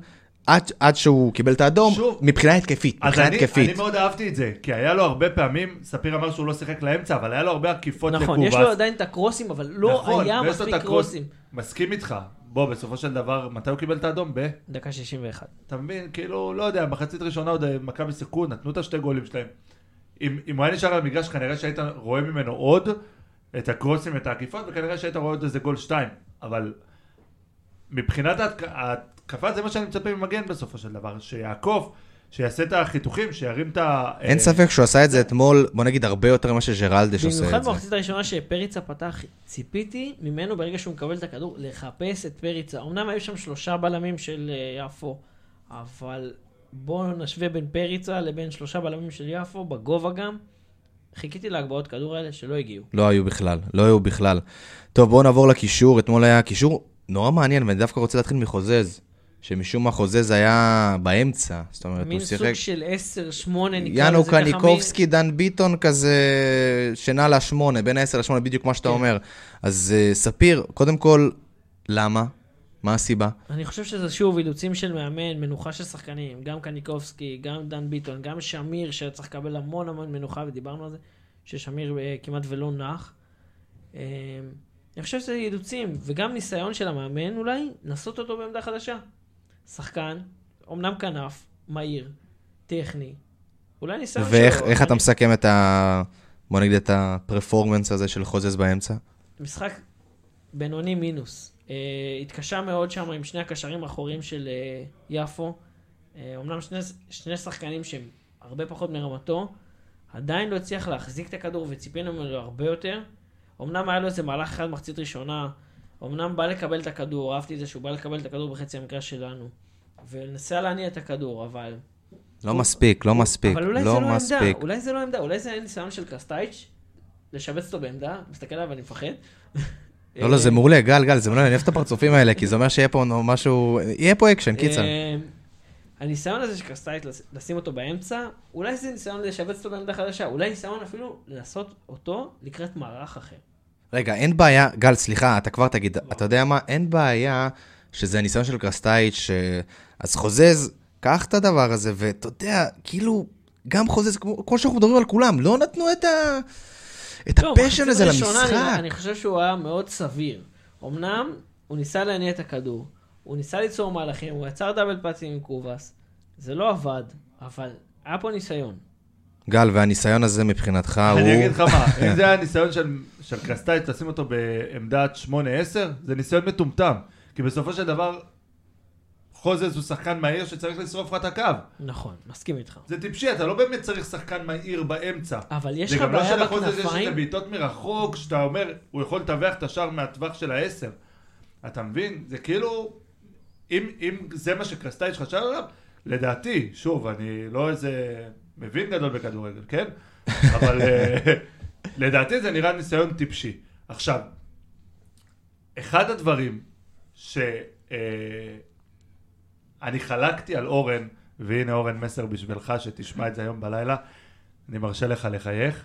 Speaker 1: עד, עד שהוא קיבל את האדום,
Speaker 3: שוב.
Speaker 1: מבחינה התקפית,
Speaker 3: אז
Speaker 1: מבחינה
Speaker 3: אני, אני
Speaker 1: התקפית.
Speaker 3: מאוד אהבתי את זה, כי היה לו הרבה פעמים, ספיר אמר שהוא לא שיחק לאמצע, אבל היה לו הרבה עקיפות
Speaker 2: נכון, יש
Speaker 3: לקובס.
Speaker 2: לו עדיין את הקרוסים, אבל לא
Speaker 3: נכון,
Speaker 2: היה
Speaker 3: ויש לו את
Speaker 2: מספיק
Speaker 3: הקרוס-
Speaker 2: קרוסים.
Speaker 3: מסכים איתך. בוא, בסופו של דבר, מתי הוא קיבל את האדום? ב...
Speaker 2: דקה 61.
Speaker 3: אתה מבין? כאילו, לא יודע, מחצית ראשונה עוד אה, מכבי סיכו, נתנו את השתי גולים שלהם. אם, אם הוא היה נשאר על המגרש, כנראה שהיית רואה ממנו עוד את הקרוסים, את העקיפות, וכנראה שהיית רואה עוד איזה גול שתיים. אבל מבחינת ההתק... ההתקפה, זה מה שאני מצפה ממגן בסופו של דבר, שיעקוף, שיעשה את החיתוכים, שירים את ה...
Speaker 1: אין
Speaker 3: אה,
Speaker 1: ספק שהוא עשה את זה אתמול, בוא נגיד, הרבה יותר ממה שג'רלדש עושה
Speaker 2: במיוחד
Speaker 1: את זה.
Speaker 2: במחצית הראשונה שפריצה פתח, ציפיתי ממנו ברגע שהוא מקבל את הכדור לחפש את פריצה. אמנם היו שם שלושה בלמים של אה, יפו, אבל בואו נשווה בין פריצה לבין שלושה בלמים של יפו, בגובה גם. חיכיתי להגבהות כדור האלה שלא הגיעו.
Speaker 1: לא היו בכלל, לא היו בכלל. טוב, בואו נעבור לקישור, אתמול היה קישור נורא מעניין, ואני דווקא רוצה להתחיל מחוזז, שמשום מה חוזז היה באמצע, זאת אומרת, הוא
Speaker 2: מין
Speaker 1: שיחק...
Speaker 2: סוג של 10-8 נקרא
Speaker 1: יאנו
Speaker 2: לזה ככה. מין-
Speaker 1: קניקובסקי, דן ביטון כזה, שנע לשמונה, בין העשר לשמונה, בדיוק מה שאתה
Speaker 2: כן.
Speaker 1: אומר. אז אה, ספיר, קודם כל, למה? מה הסיבה?
Speaker 2: אני חושב שזה שוב אילוצים של מאמן, מנוחה של שחקנים, גם קניקובסקי, גם דן ביטון, גם שמיר, שהיה צריך לקבל המון המון מנוחה, ודיברנו על זה, ששמיר אה, כמעט ולא נח. אה, אני חושב שזה אילוצים, וגם ניסיון של המאמן אולי, לנסות אותו בעמדה חדשה. שחקן, אמנם כנף, מהיר, טכני, אולי ניסיון
Speaker 1: ואיך איך אתה
Speaker 2: אני-
Speaker 1: מסכם את ה... בוא נגיד את הפרפורמנס הזה של חוזז באמצע?
Speaker 2: משחק בינוני מינוס. Uh, התקשה מאוד שם עם שני הקשרים האחוריים של uh, יפו. Uh, אמנם שני, שני שחקנים שהם הרבה פחות מרמתו, עדיין לא הצליח להחזיק את הכדור וציפינו ממנו הרבה יותר. אמנם היה לו איזה מהלך אחד מחצית ראשונה, אמנם בא לקבל את הכדור, אהבתי את זה שהוא בא לקבל את הכדור בחצי המקרש שלנו. וניסה להניע את הכדור, אבל...
Speaker 1: לא מספיק, לא מספיק,
Speaker 2: אבל אולי
Speaker 1: לא
Speaker 2: זה לא
Speaker 1: מספיק.
Speaker 2: עמדה, אולי זה לא עמדה, אולי זה היה ניסיון של קסטייץ', לשבץ אותו בעמדה, מסתכל עליו ואני מפחד.
Speaker 1: לא, לא,
Speaker 2: אה,
Speaker 1: זה מעולה, גל, גל, זה מעולה, אני אוהב את הפרצופים האלה, כי זה אומר שיהיה פה נו- משהו... יהיה פה אקשן, קיצר.
Speaker 2: אה, הניסיון הזה שקסטייט, לשים אותו באמצע, אולי זה ניסיון לשבץ אותו בעמדה חדשה, אולי ניסיון אפילו לעשות אותו לקראת מערך אחר.
Speaker 1: רגע, אין בעיה, גל, סליחה, אתה כבר תגיד, אתה יודע מה, אין בעיה שזה הניסיון של קרסטייץ', ש... אז חוזז קח את הדבר הזה, ואתה יודע, כאילו, גם חוזה, זה כמו, כמו שאנחנו מדברים על כולם, לא נתנו את, ה... את
Speaker 2: לא,
Speaker 1: הפשן
Speaker 2: מחצית
Speaker 1: הזה
Speaker 2: ראשונה
Speaker 1: למשחק.
Speaker 2: אני, אני חושב שהוא היה מאוד סביר. אמנם, הוא ניסה להניע את הכדור, הוא ניסה ליצור מהלכים, הוא יצר דאבל פאצים עם קובאס, זה לא עבד, אבל היה פה ניסיון.
Speaker 1: גל, והניסיון הזה מבחינתך הוא...
Speaker 3: אני אגיד לך מה, אם זה היה ניסיון של- של קרסטייץ', תשים אותו בעמדת 8-10, זה ניסיון מטומטם. כי בסופו של דבר, חוזז הוא שחקן מהיר שצריך לשרוף לך את הקו.
Speaker 2: נכון, מסכים איתך.
Speaker 3: זה טיפשי, אתה לא באמת צריך שחקן מהיר באמצע.
Speaker 2: אבל יש
Speaker 3: זה
Speaker 2: לך
Speaker 3: גם לא
Speaker 2: בעיה
Speaker 3: שלחוזז יש את
Speaker 2: בכנפיים?
Speaker 3: הבעיטות מרחוק, שאתה אומר, הוא יכול לטווח את השער מהטווח של העשר. אתה מבין? זה כאילו, אם, אם זה מה שקרסטייץ' חשב עליו, לדעתי, שוב, אני לא איזה מבין גדול בכדורגל, כן? אבל אה, לדעתי זה נראה ניסיון טיפשי. עכשיו, אחד הדברים ש... אה, אני חלקתי על אורן, והנה אורן מסר בשבילך, שתשמע את זה היום בלילה. אני מרשה לך לחייך.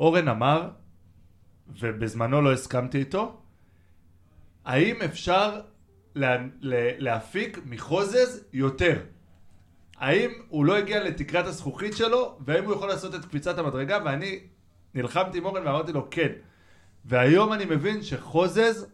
Speaker 3: אורן אמר, ובזמנו לא הסכמתי איתו, האם אפשר לה, לה, להפיק מחוזז יותר? האם הוא לא הגיע לתקרת הזכוכית שלו, והאם הוא יכול לעשות את קפיצת המדרגה? ואני נלחמתי עם אורן ואמרתי לו כן. והיום אני מבין שחוזז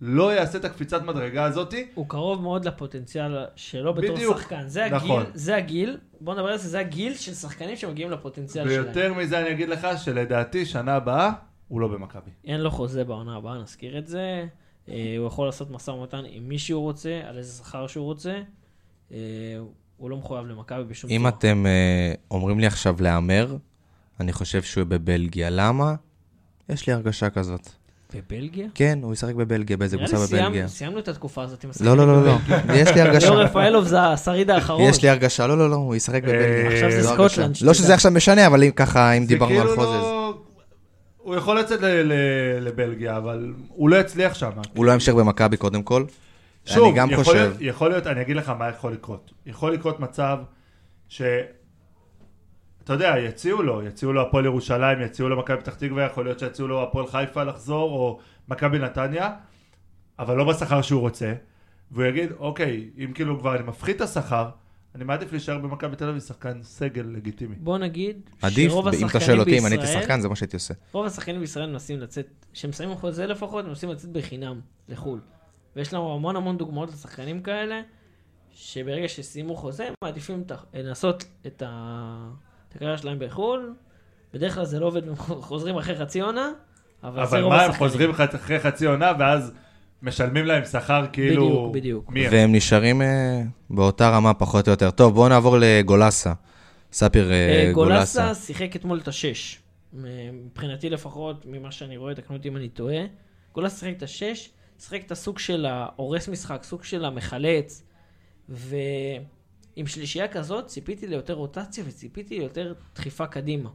Speaker 3: לא יעשה את הקפיצת מדרגה הזאתי,
Speaker 2: הוא קרוב מאוד לפוטנציאל שלו בתור
Speaker 3: בדיוק,
Speaker 2: שחקן. זה הגיל,
Speaker 3: נכון.
Speaker 2: זה הגיל, בוא נדבר על זה, זה הגיל של שחקנים שמגיעים לפוטנציאל שלהם.
Speaker 3: ויותר מזה אני אגיד לך שלדעתי שנה הבאה הוא לא במכבי.
Speaker 2: אין לו חוזה בעונה הבאה, נזכיר את זה. אה, הוא יכול לעשות משא ומתן עם מי שהוא רוצה, על איזה שכר שהוא רוצה. אה, הוא לא מחויב למכבי בשום
Speaker 1: אם
Speaker 2: צורה.
Speaker 1: אתם אה, אומרים לי עכשיו להמר, אני חושב שהוא בבלגיה. למה? יש לי הרגשה כזאת.
Speaker 2: בבלגיה?
Speaker 1: כן, הוא ישחק בבלגיה, באיזה
Speaker 2: נראה
Speaker 1: קבוצה
Speaker 2: לי
Speaker 1: בבלגיה.
Speaker 2: סיימנו- סיימנו את התקופה הזאת עם
Speaker 1: לא, לא, לא, לא. יש לי הרגשה.
Speaker 2: ליאור רפאלוב זה השריד האחרון.
Speaker 1: יש לי הרגשה, לא, לא, לא, הוא ישחק בבלגיה.
Speaker 3: עכשיו זה
Speaker 1: זו
Speaker 2: סקוטלנד,
Speaker 1: הרגשה.
Speaker 2: שתדע.
Speaker 1: לא שזה עכשיו משנה, אבל אם ככה, אם דיברנו על
Speaker 3: אה, זה כאילו
Speaker 1: חוזז.
Speaker 3: לא- הוא יכול לצאת ל- ל- לבלגיה, אבל הוא לא יצליח שם.
Speaker 1: הוא לא ימשיך במכבי קודם כל.
Speaker 3: שוב,
Speaker 1: אני גם
Speaker 3: יכול
Speaker 1: חושב.
Speaker 3: להיות, יכול להיות, אני אגיד לך מה יכול לקרות. יכול לקרות מצב ש... אתה יודע, יציעו לו, יציעו לו הפועל ירושלים, יציעו לו מכבי פתח תקווה, יכול להיות שיציעו לו הפועל חיפה לחזור, או מכבי נתניה, אבל לא בשכר שהוא רוצה. והוא יגיד, אוקיי, אם כאילו כבר אני מפחית את השכר, אני מעדיף להישאר במכבי תל אביב שחקן סגל לגיטימי.
Speaker 2: בוא נגיד,
Speaker 1: עדיף,
Speaker 2: שרוב
Speaker 1: אם אתה
Speaker 2: השחקנים
Speaker 1: שואל אותי אם אני הייתי
Speaker 2: בישראל-
Speaker 1: שחקן, זה מה שהייתי עושה.
Speaker 2: רוב השחקנים בישראל מנסים לצאת, כשהם שמים חוזה לפחות, הם מנסים לצאת בחינם לחו"ל. ויש לנו המון המון דוגמאות לשחקנים כאלה, שברגע שסיימו חוזה, הם מעדיפים את ה- לנסות את ה- את הקריירה שלהם בחו"ל. בדרך כלל זה לא עובד, הם חוזרים אחרי חצי עונה, אבל זה
Speaker 3: אבל
Speaker 2: רוב
Speaker 3: מה,
Speaker 2: השחקנים.
Speaker 3: הם חוזרים ח- אחרי חצי עונה, ואז משלמים להם שכר כאילו...
Speaker 2: בדיוק, בדיוק.
Speaker 3: מי הם?
Speaker 1: והם נשארים אה, באותה רמה, פחות או יותר. טוב, בואו נעבור לגולסה. ספיר אה,
Speaker 2: אה,
Speaker 1: גולסה.
Speaker 2: גולסה שיחק אתמול את השש. מבחינתי לפחות, ממה שאני רואה, תקנו אותי אם אני טועה. גולסה שיחק את השש, שיחק את הסוג של ההורס משחק, סוג של המחלץ. ועם שלישייה כזאת ציפיתי ליותר רוטציה וציפיתי ליותר דחיפה קדימה.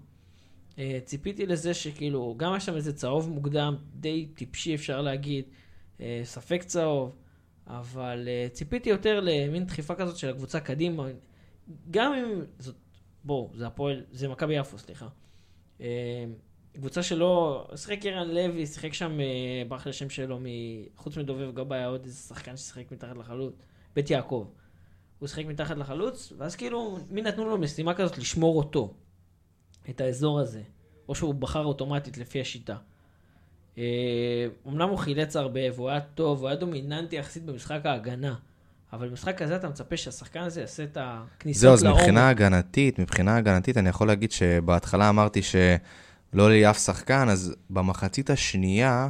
Speaker 2: אה, ציפיתי לזה שכאילו, גם היה שם איזה צהוב מוקדם, די טיפשי אפשר להגיד, אה, ספק צהוב, אבל אה, ציפיתי יותר למין דחיפה כזאת של הקבוצה קדימה. גם אם זאת, בואו, זה הפועל, זה מכבי יפו, סליחה. אה, קבוצה שלא, שיחק ערן לוי, שיחק שם, אה, ברח לי השם שלו, מ... חוץ מדובב גבאי, היה עוד איזה שחקן ששיחק מתחת לחלוץ, בית יעקב. הוא שיחק מתחת לחלוץ, ואז כאילו, מי נתנו לו משימה כזאת לשמור אותו, את האזור הזה, או שהוא בחר אוטומטית לפי השיטה. אה, אומנם הוא חילץ הרבה, והוא היה טוב, הוא היה דומיננטי יחסית במשחק ההגנה, אבל במשחק הזה אתה מצפה שהשחקן הזה יעשה את הכניסות
Speaker 1: זהו,
Speaker 2: לעומק.
Speaker 1: אז מבחינה הגנתית, מבחינה הגנתית, אני יכול להגיד שבהתחלה אמרתי שלא היה לי אף שחקן, אז במחצית השנייה,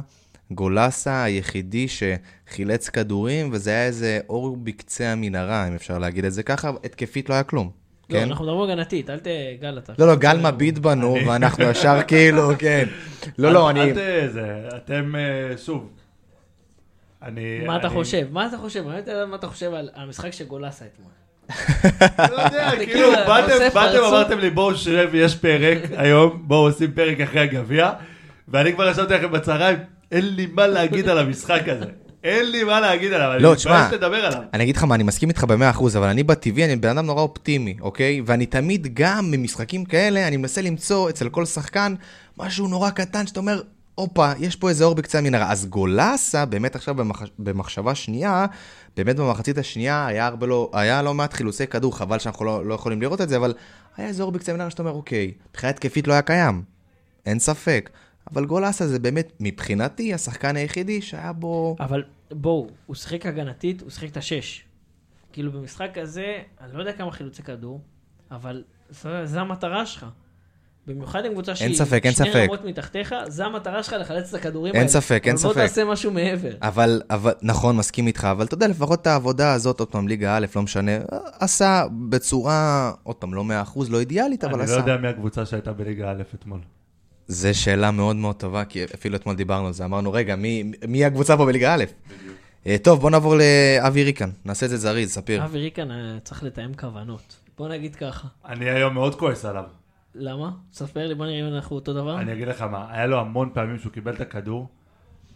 Speaker 1: גולסה היחידי שחילץ כדורים, וזה היה איזה אור בקצה המנהרה, אם אפשר להגיד את זה ככה, התקפית לא היה כלום.
Speaker 2: לא,
Speaker 1: כן?
Speaker 3: נכון.
Speaker 2: אנחנו מדברים הגנתית, אל ת... גל, אתה...
Speaker 1: לא, לא, גל מביט בנו, ואנחנו ישר כאילו, כן. לא, לא,
Speaker 3: אל-
Speaker 1: אני...
Speaker 3: אל ת- זה, אתם, אה, שוב. אני...
Speaker 2: מה אתה
Speaker 3: אני-
Speaker 2: חושב? מה אתה חושב? באמת אני לא יודע מה אתה חושב על על המשחק שגולסה אתמול?
Speaker 3: לא יודע,
Speaker 2: זה
Speaker 3: כאילו,
Speaker 2: כאילו, אתה
Speaker 3: באתם-
Speaker 2: עושה
Speaker 3: באתם,
Speaker 2: פרצוף.
Speaker 3: אמרתם לי, בואו שרב, יש פרק היום, בואו עושים פרק אחרי הגביע, ואני כבר ישבתי לכם בצהריים, אין לי מה להגיד על המשחק הזה. אין לי מה להגיד עליו, אני
Speaker 1: לא, תשמע.
Speaker 3: מתבייש לדבר עליו.
Speaker 1: אני אגיד לך מה, אני מסכים איתך ב-100%, אבל אני בטבעי, אני בן אדם נורא אופטימי, אוקיי? ואני תמיד, גם ממשחקים כאלה, אני מנסה למצוא אצל כל שחקן משהו נורא קטן, שאתה אומר, הופה, יש פה איזה אור בקצה המנהרה. אז גולסה, באמת עכשיו במח... במחשבה שנייה, באמת במחצית השנייה היה, הרבה לא... היה לא מעט חילוצי כדור, חבל שאנחנו לא, לא יכולים לראות את זה, אבל היה איזה אור בקצה המנהרה שאתה אומר, אוקיי, מבחינה התקפית לא היה קיים, אין ספק. אבל גולסה זה באמת, מבחינתי, השחקן היחידי שהיה בו...
Speaker 2: אבל בואו, הוא שיחק הגנתית, הוא שיחק את השש. כאילו במשחק הזה, אני לא יודע כמה חילוצי כדור, אבל זו, זו המטרה שלך. במיוחד עם קבוצה שהיא
Speaker 1: ספק, אין
Speaker 2: שני
Speaker 1: ספק.
Speaker 2: רמות מתחתיך, זו המטרה שלך לחלץ את הכדורים
Speaker 1: אין
Speaker 2: האלה.
Speaker 1: ספק, אין
Speaker 2: אבל
Speaker 1: ספק.
Speaker 2: בוא תעשה משהו מעבר.
Speaker 1: אבל, אבל, נכון, מסכים איתך, אבל אתה יודע, לפחות את העבודה הזאת, עוד פעם, ליגה א', לא משנה, עשה בצורה, עוד פעם, לא 100%, לא אידיאלית, אבל
Speaker 3: אני
Speaker 1: עשה.
Speaker 3: לא יודע מי הקבוצה שהייתה בליגה א' אתמול.
Speaker 1: זו שאלה מאוד מאוד טובה, כי אפילו אתמול דיברנו על זה, אמרנו, רגע, מי, מי הקבוצה פה בליגה א'? אה, טוב, בוא נעבור לאבי ריקן, נעשה את זה זריז, ספיר.
Speaker 2: אבי ריקן אה, צריך לתאם כוונות. בוא נגיד ככה.
Speaker 3: אני היום מאוד כועס עליו.
Speaker 2: למה? ספר לי, בוא נראה אם אנחנו אותו דבר.
Speaker 3: אני אגיד לך מה, היה לו המון פעמים שהוא קיבל את הכדור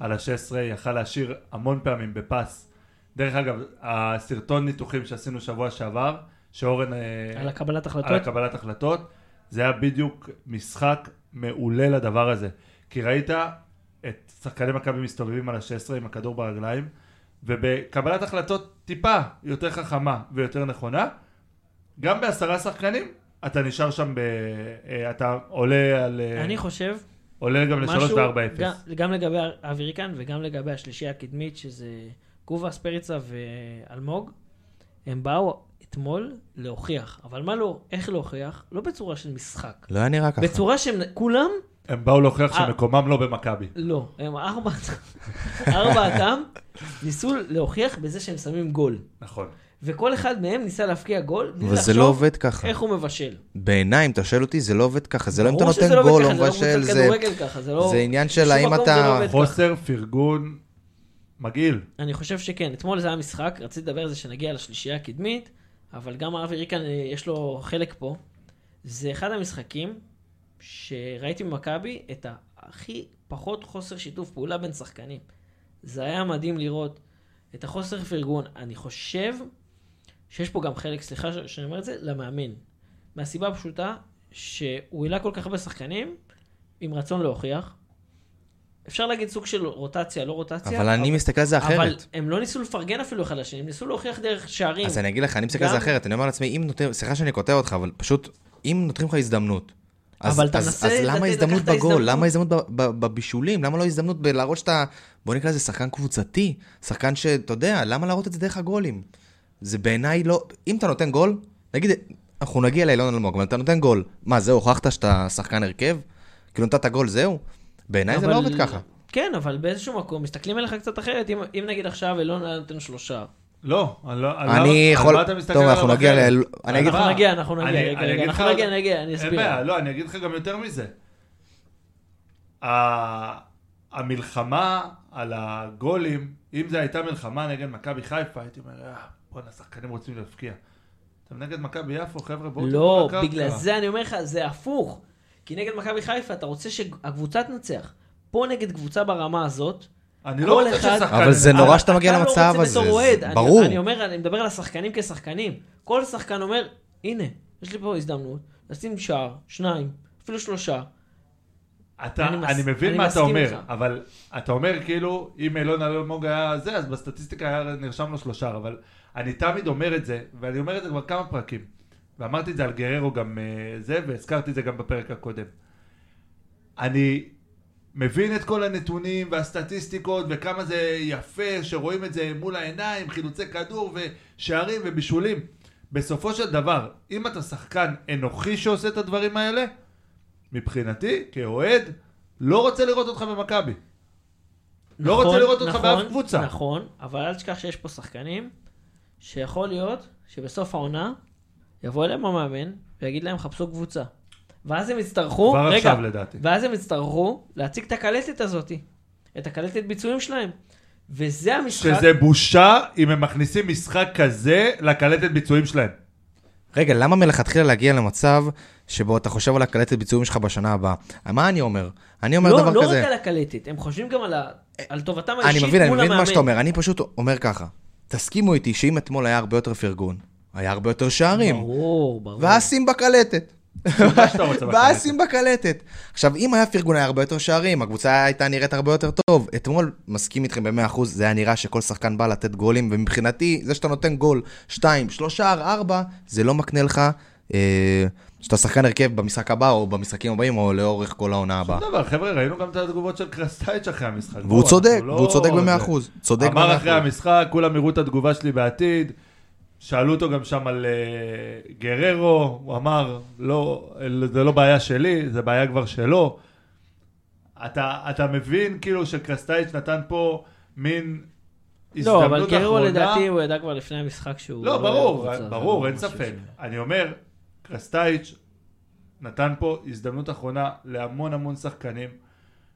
Speaker 3: על ה-16, יכל להשאיר המון פעמים בפס. דרך אגב, הסרטון ניתוחים שעשינו שבוע שעבר, שאורן... אה,
Speaker 2: על הקבלת החלטות.
Speaker 3: על הקבלת החלטות, זה היה בדיוק משחק מעולה לדבר הזה. כי ראית את שחקני מכבי מסתובבים על ה-16 עם הכדור ברגליים, ובקבלת החלטות טיפה יותר חכמה ויותר נכונה, גם בעשרה שחקנים, אתה נשאר שם, ב... אה, אתה עולה על... אה,
Speaker 2: אני חושב
Speaker 3: עולה גם לשלוש
Speaker 2: משהו,
Speaker 3: וארבע אפס.
Speaker 2: גם- גם לגבי אבי ריקן וגם לגבי השלישייה הקדמית, שזה גובה, ספריצה ואלמוג, הם באו אתמול להוכיח. אבל מה לא, איך להוכיח? לא בצורה של משחק.
Speaker 1: לא היה נראה ככה.
Speaker 2: בצורה שהם, כולם,
Speaker 3: הם באו להוכיח
Speaker 2: אה.
Speaker 3: שמקומם לא במכבי.
Speaker 2: לא. הם ארבעת- ארבעתם ניסו להוכיח בזה שהם שמים גול.
Speaker 3: נכון.
Speaker 2: וכל אחד מהם ניסה להפקיע גול, בלי
Speaker 1: אבל זה לא
Speaker 2: לחשוב
Speaker 1: עובד ככה.
Speaker 2: איך הוא מבשל.
Speaker 1: בעיניי, אם אתה שואל אותי, זה לא עובד ככה. זה לא אם אתה
Speaker 2: ברור
Speaker 1: נותן
Speaker 2: שזה לא עובד
Speaker 1: גול או
Speaker 2: ככה,
Speaker 1: מבשל,
Speaker 2: זה...
Speaker 1: זה...
Speaker 2: לא קבוצת כדורגל ככה, זה לא...
Speaker 1: זה עניין של
Speaker 2: בשום
Speaker 1: האם
Speaker 2: מקום
Speaker 1: אתה-
Speaker 2: זה לא עובד ככה.
Speaker 3: חוסר פרגון מגעיל.
Speaker 2: אני חושב שכן, אתמול זה היה משחק, רציתי לדבר על זה שנגיע לשלישייה הקדמית, אבל גם אבי ריקן אה, יש לו חלק פה. זה אחד המשחקים שראיתי במכבי את הכי פחות חוסר שיתוף פעולה בין שחקנים. זה היה מדהים לראות את החוסר פרגון. אני חושב שיש פה גם חלק, סליחה ש- שאני אומר את זה, למאמן. מהסיבה הפשוטה שהוא העלה כל כך הרבה שחקנים עם רצון להוכיח. אפשר להגיד סוג של רוטציה, לא רוטציה.
Speaker 1: אבל אני מסתכל על זה
Speaker 2: אבל
Speaker 1: אחרת.
Speaker 2: הם לא ניסו לפרגן אפילו אחד לשני, הם ניסו להוכיח דרך שערים.
Speaker 1: אז אני אגיד לך, אני מסתכל על זה
Speaker 2: גם-
Speaker 1: אחרת, אני אומר לעצמי, אם נותן, סליחה שאני קוטע אותך, אבל פשוט, אם נותנים לך הזדמנות, אז,
Speaker 2: אבל אתה
Speaker 1: אז,
Speaker 2: מנסה
Speaker 1: אז
Speaker 2: לתת-
Speaker 1: למה הזדמנות
Speaker 2: לקחת
Speaker 1: בגול?
Speaker 2: הזדמנות.
Speaker 1: למה הזדמנות ב- ב- בבישולים? למה לא הזדמנות בלהראות שאתה, בוא נקרא לזה שחקן קבוצתי, שחקן שאתה יודע, למה להראות את זה דרך הגולים? זה בעיניי לא, אם אתה נותן גול, נגיד, אנחנו נגיע לאילון אלמוג, אבל אתה נותן גול, מה, זהו, הוכחת שאתה שחקן הרכב? כאילו נתת גול, זהו? בעיניי זה לא
Speaker 2: אבל-
Speaker 1: עובד ככה.
Speaker 2: כן, אבל באיזשהו מקום מסתכלים עליך קצת אחרת. אם, אם נגיד עכשיו אילון היה נותן שלושה,
Speaker 3: לא, אני לא... על
Speaker 1: אני
Speaker 3: למה- על
Speaker 1: יכול-
Speaker 3: מה אתה מסתכל
Speaker 1: טוב,
Speaker 3: עליו
Speaker 1: אנחנו נגיע
Speaker 3: אחרת?
Speaker 1: לאל-
Speaker 3: על
Speaker 1: אני אגיד
Speaker 3: מה?
Speaker 2: אנחנו נגיע, אנחנו נגיע,
Speaker 3: אני-
Speaker 2: רגע,
Speaker 3: אני
Speaker 2: רגע,
Speaker 3: אגיד
Speaker 2: אנחנו
Speaker 3: לך-
Speaker 2: נגיע, נגיע, אני אסביר.
Speaker 3: אין בעיה, לא, אני אגיד לך גם יותר מזה. ה- המלחמה על הגולים, אם זו הייתה מלחמה נגד מכבי חיפה, הייתי אומר, "אה, בואנה, השחקנים רוצים להפקיע. אתם נגד מכבי יפו, חבר'ה, בואו...
Speaker 2: לא,
Speaker 3: תרדו לקרקע."
Speaker 2: בגלל זה אני אומר לך, זה הפוך. כי נגד מכבי חיפה אתה רוצה שהקבוצה תנצח. פה נגד קבוצה ברמה הזאת,
Speaker 3: אני לא
Speaker 2: כל
Speaker 3: רוצה
Speaker 2: אחד-
Speaker 3: ששחקן...
Speaker 1: אבל זה
Speaker 3: ינצח.
Speaker 1: נורא שאתה מגיע
Speaker 2: אתה לא
Speaker 1: למצב
Speaker 2: רוצה
Speaker 1: הזה,
Speaker 2: בתור
Speaker 1: זה-
Speaker 2: אוהד. אני-
Speaker 1: ברור.
Speaker 2: אני אומר, אני מדבר על השחקנים כשחקנים. כל שחקן אומר, הנה, יש לי פה הזדמנות, לשים שער, שניים, אפילו שלושה.
Speaker 3: אתה,
Speaker 2: אני מס-
Speaker 3: אני, אני מבין
Speaker 2: אני
Speaker 3: מה אתה
Speaker 2: מסכים
Speaker 3: אומר,
Speaker 2: איתך.
Speaker 3: אבל אתה אומר כאילו, אם אילון אלמוג היה זה, אז בסטטיסטיקה היה נרשם לו שלושה, אבל אני תמיד אומר את זה, ואני אומר את זה כבר כמה פרקים, ואמרתי את זה על גררו גם אה, זה, והזכרתי את זה גם בפרק הקודם. אני מבין את כל הנתונים והסטטיסטיקות, וכמה זה יפה שרואים את זה מול העיניים, חילוצי כדור ושערים ובישולים. בסופו של דבר, אם אתה שחקן אנוכי שעושה את הדברים האלה, מבחינתי, כאוהד, לא רוצה לראות אותך במכבי. לא
Speaker 2: נכון,
Speaker 3: רוצה לראות אותך
Speaker 2: נכון,
Speaker 3: באף קבוצה.
Speaker 2: נכון, אבל אל תשכח שיש פה שחקנים שיכול להיות שבסוף העונה יבוא אליהם המאמן ויגיד להם חפשו קבוצה. ואז הם יצטרכו,
Speaker 3: כבר
Speaker 2: רגע,
Speaker 3: עכשיו לדעתי.
Speaker 2: ואז הם יצטרכו להציג את הקלטת הזאת, את הקלטת ביצועים שלהם. וזה המשחק,
Speaker 3: שזה בושה אם הם מכניסים משחק כזה לקלטת ביצועים שלהם.
Speaker 1: רגע, למה מלכתחילה להגיע למצב שבו אתה חושב על הקלטת ביצועים שלך בשנה הבאה? מה אני אומר? אני אומר
Speaker 2: לא,
Speaker 1: דבר
Speaker 2: לא
Speaker 1: כזה.
Speaker 2: רק על הקלטת, הם חושבים גם על, ה... על טובתם
Speaker 1: אני
Speaker 2: האישית מול
Speaker 1: מבין,
Speaker 2: המאמן.
Speaker 1: אני מבין מה שאתה אומר. אני פשוט אומר ככה, תסכימו איתי שאם אתמול היה הרבה יותר פרגון, היה הרבה יותר שערים,
Speaker 2: ברור, ברור.
Speaker 1: ואז שים בקלטת.
Speaker 3: שים מה שאתה רוצה
Speaker 1: ואז
Speaker 3: בקלטת.
Speaker 1: שים בקלטת. עכשיו, אם היה פרגון היה הרבה יותר שערים, הקבוצה הייתה נראית הרבה יותר טוב. אתמול, מסכים איתכם ב-100%, זה היה נראה שכל שחקן בא לתת גולים, ומבחינתי, זה שאתה נותן גול 2, 3, 4, זה לא מקנה לך אה, שאתה שחקן הרכב במשחק הבא, או במשחקים הבאים, או לאורך כל העונה הבאה.
Speaker 3: שום דבר, חבר'ה, ראינו גם את התגובות של קרסטייץ' אחרי המשחק. בואו,
Speaker 1: והוא
Speaker 3: אנחנו
Speaker 1: צודק,
Speaker 3: לא-
Speaker 1: והוא צודק ב-100%. צודק
Speaker 3: אמר אחרי
Speaker 1: ב-100%.
Speaker 3: המשחק, כולם יראו את התגובה שלי בעתיד. שאלו אותו גם שם על אה, גררו, הוא אמר, לא, אל- זה לא בעיה שלי, זה בעיה כבר שלו. אתה, אתה מבין כאילו שקרסטייץ' נתן פה מין הזדמנות
Speaker 2: לא,
Speaker 3: אחרונה.
Speaker 2: אבל גרו לדעתי הוא ידע כבר לפני המשחק שהוא...
Speaker 3: לא,
Speaker 2: יהיה
Speaker 3: ברור,
Speaker 2: בקבוצה,
Speaker 3: ברור,
Speaker 2: זה לא
Speaker 3: אין
Speaker 2: משהו
Speaker 3: ספק.
Speaker 2: ש-
Speaker 3: אני אומר, קרסטייץ' נתן פה הזדמנות אחרונה להמון המון שחקנים,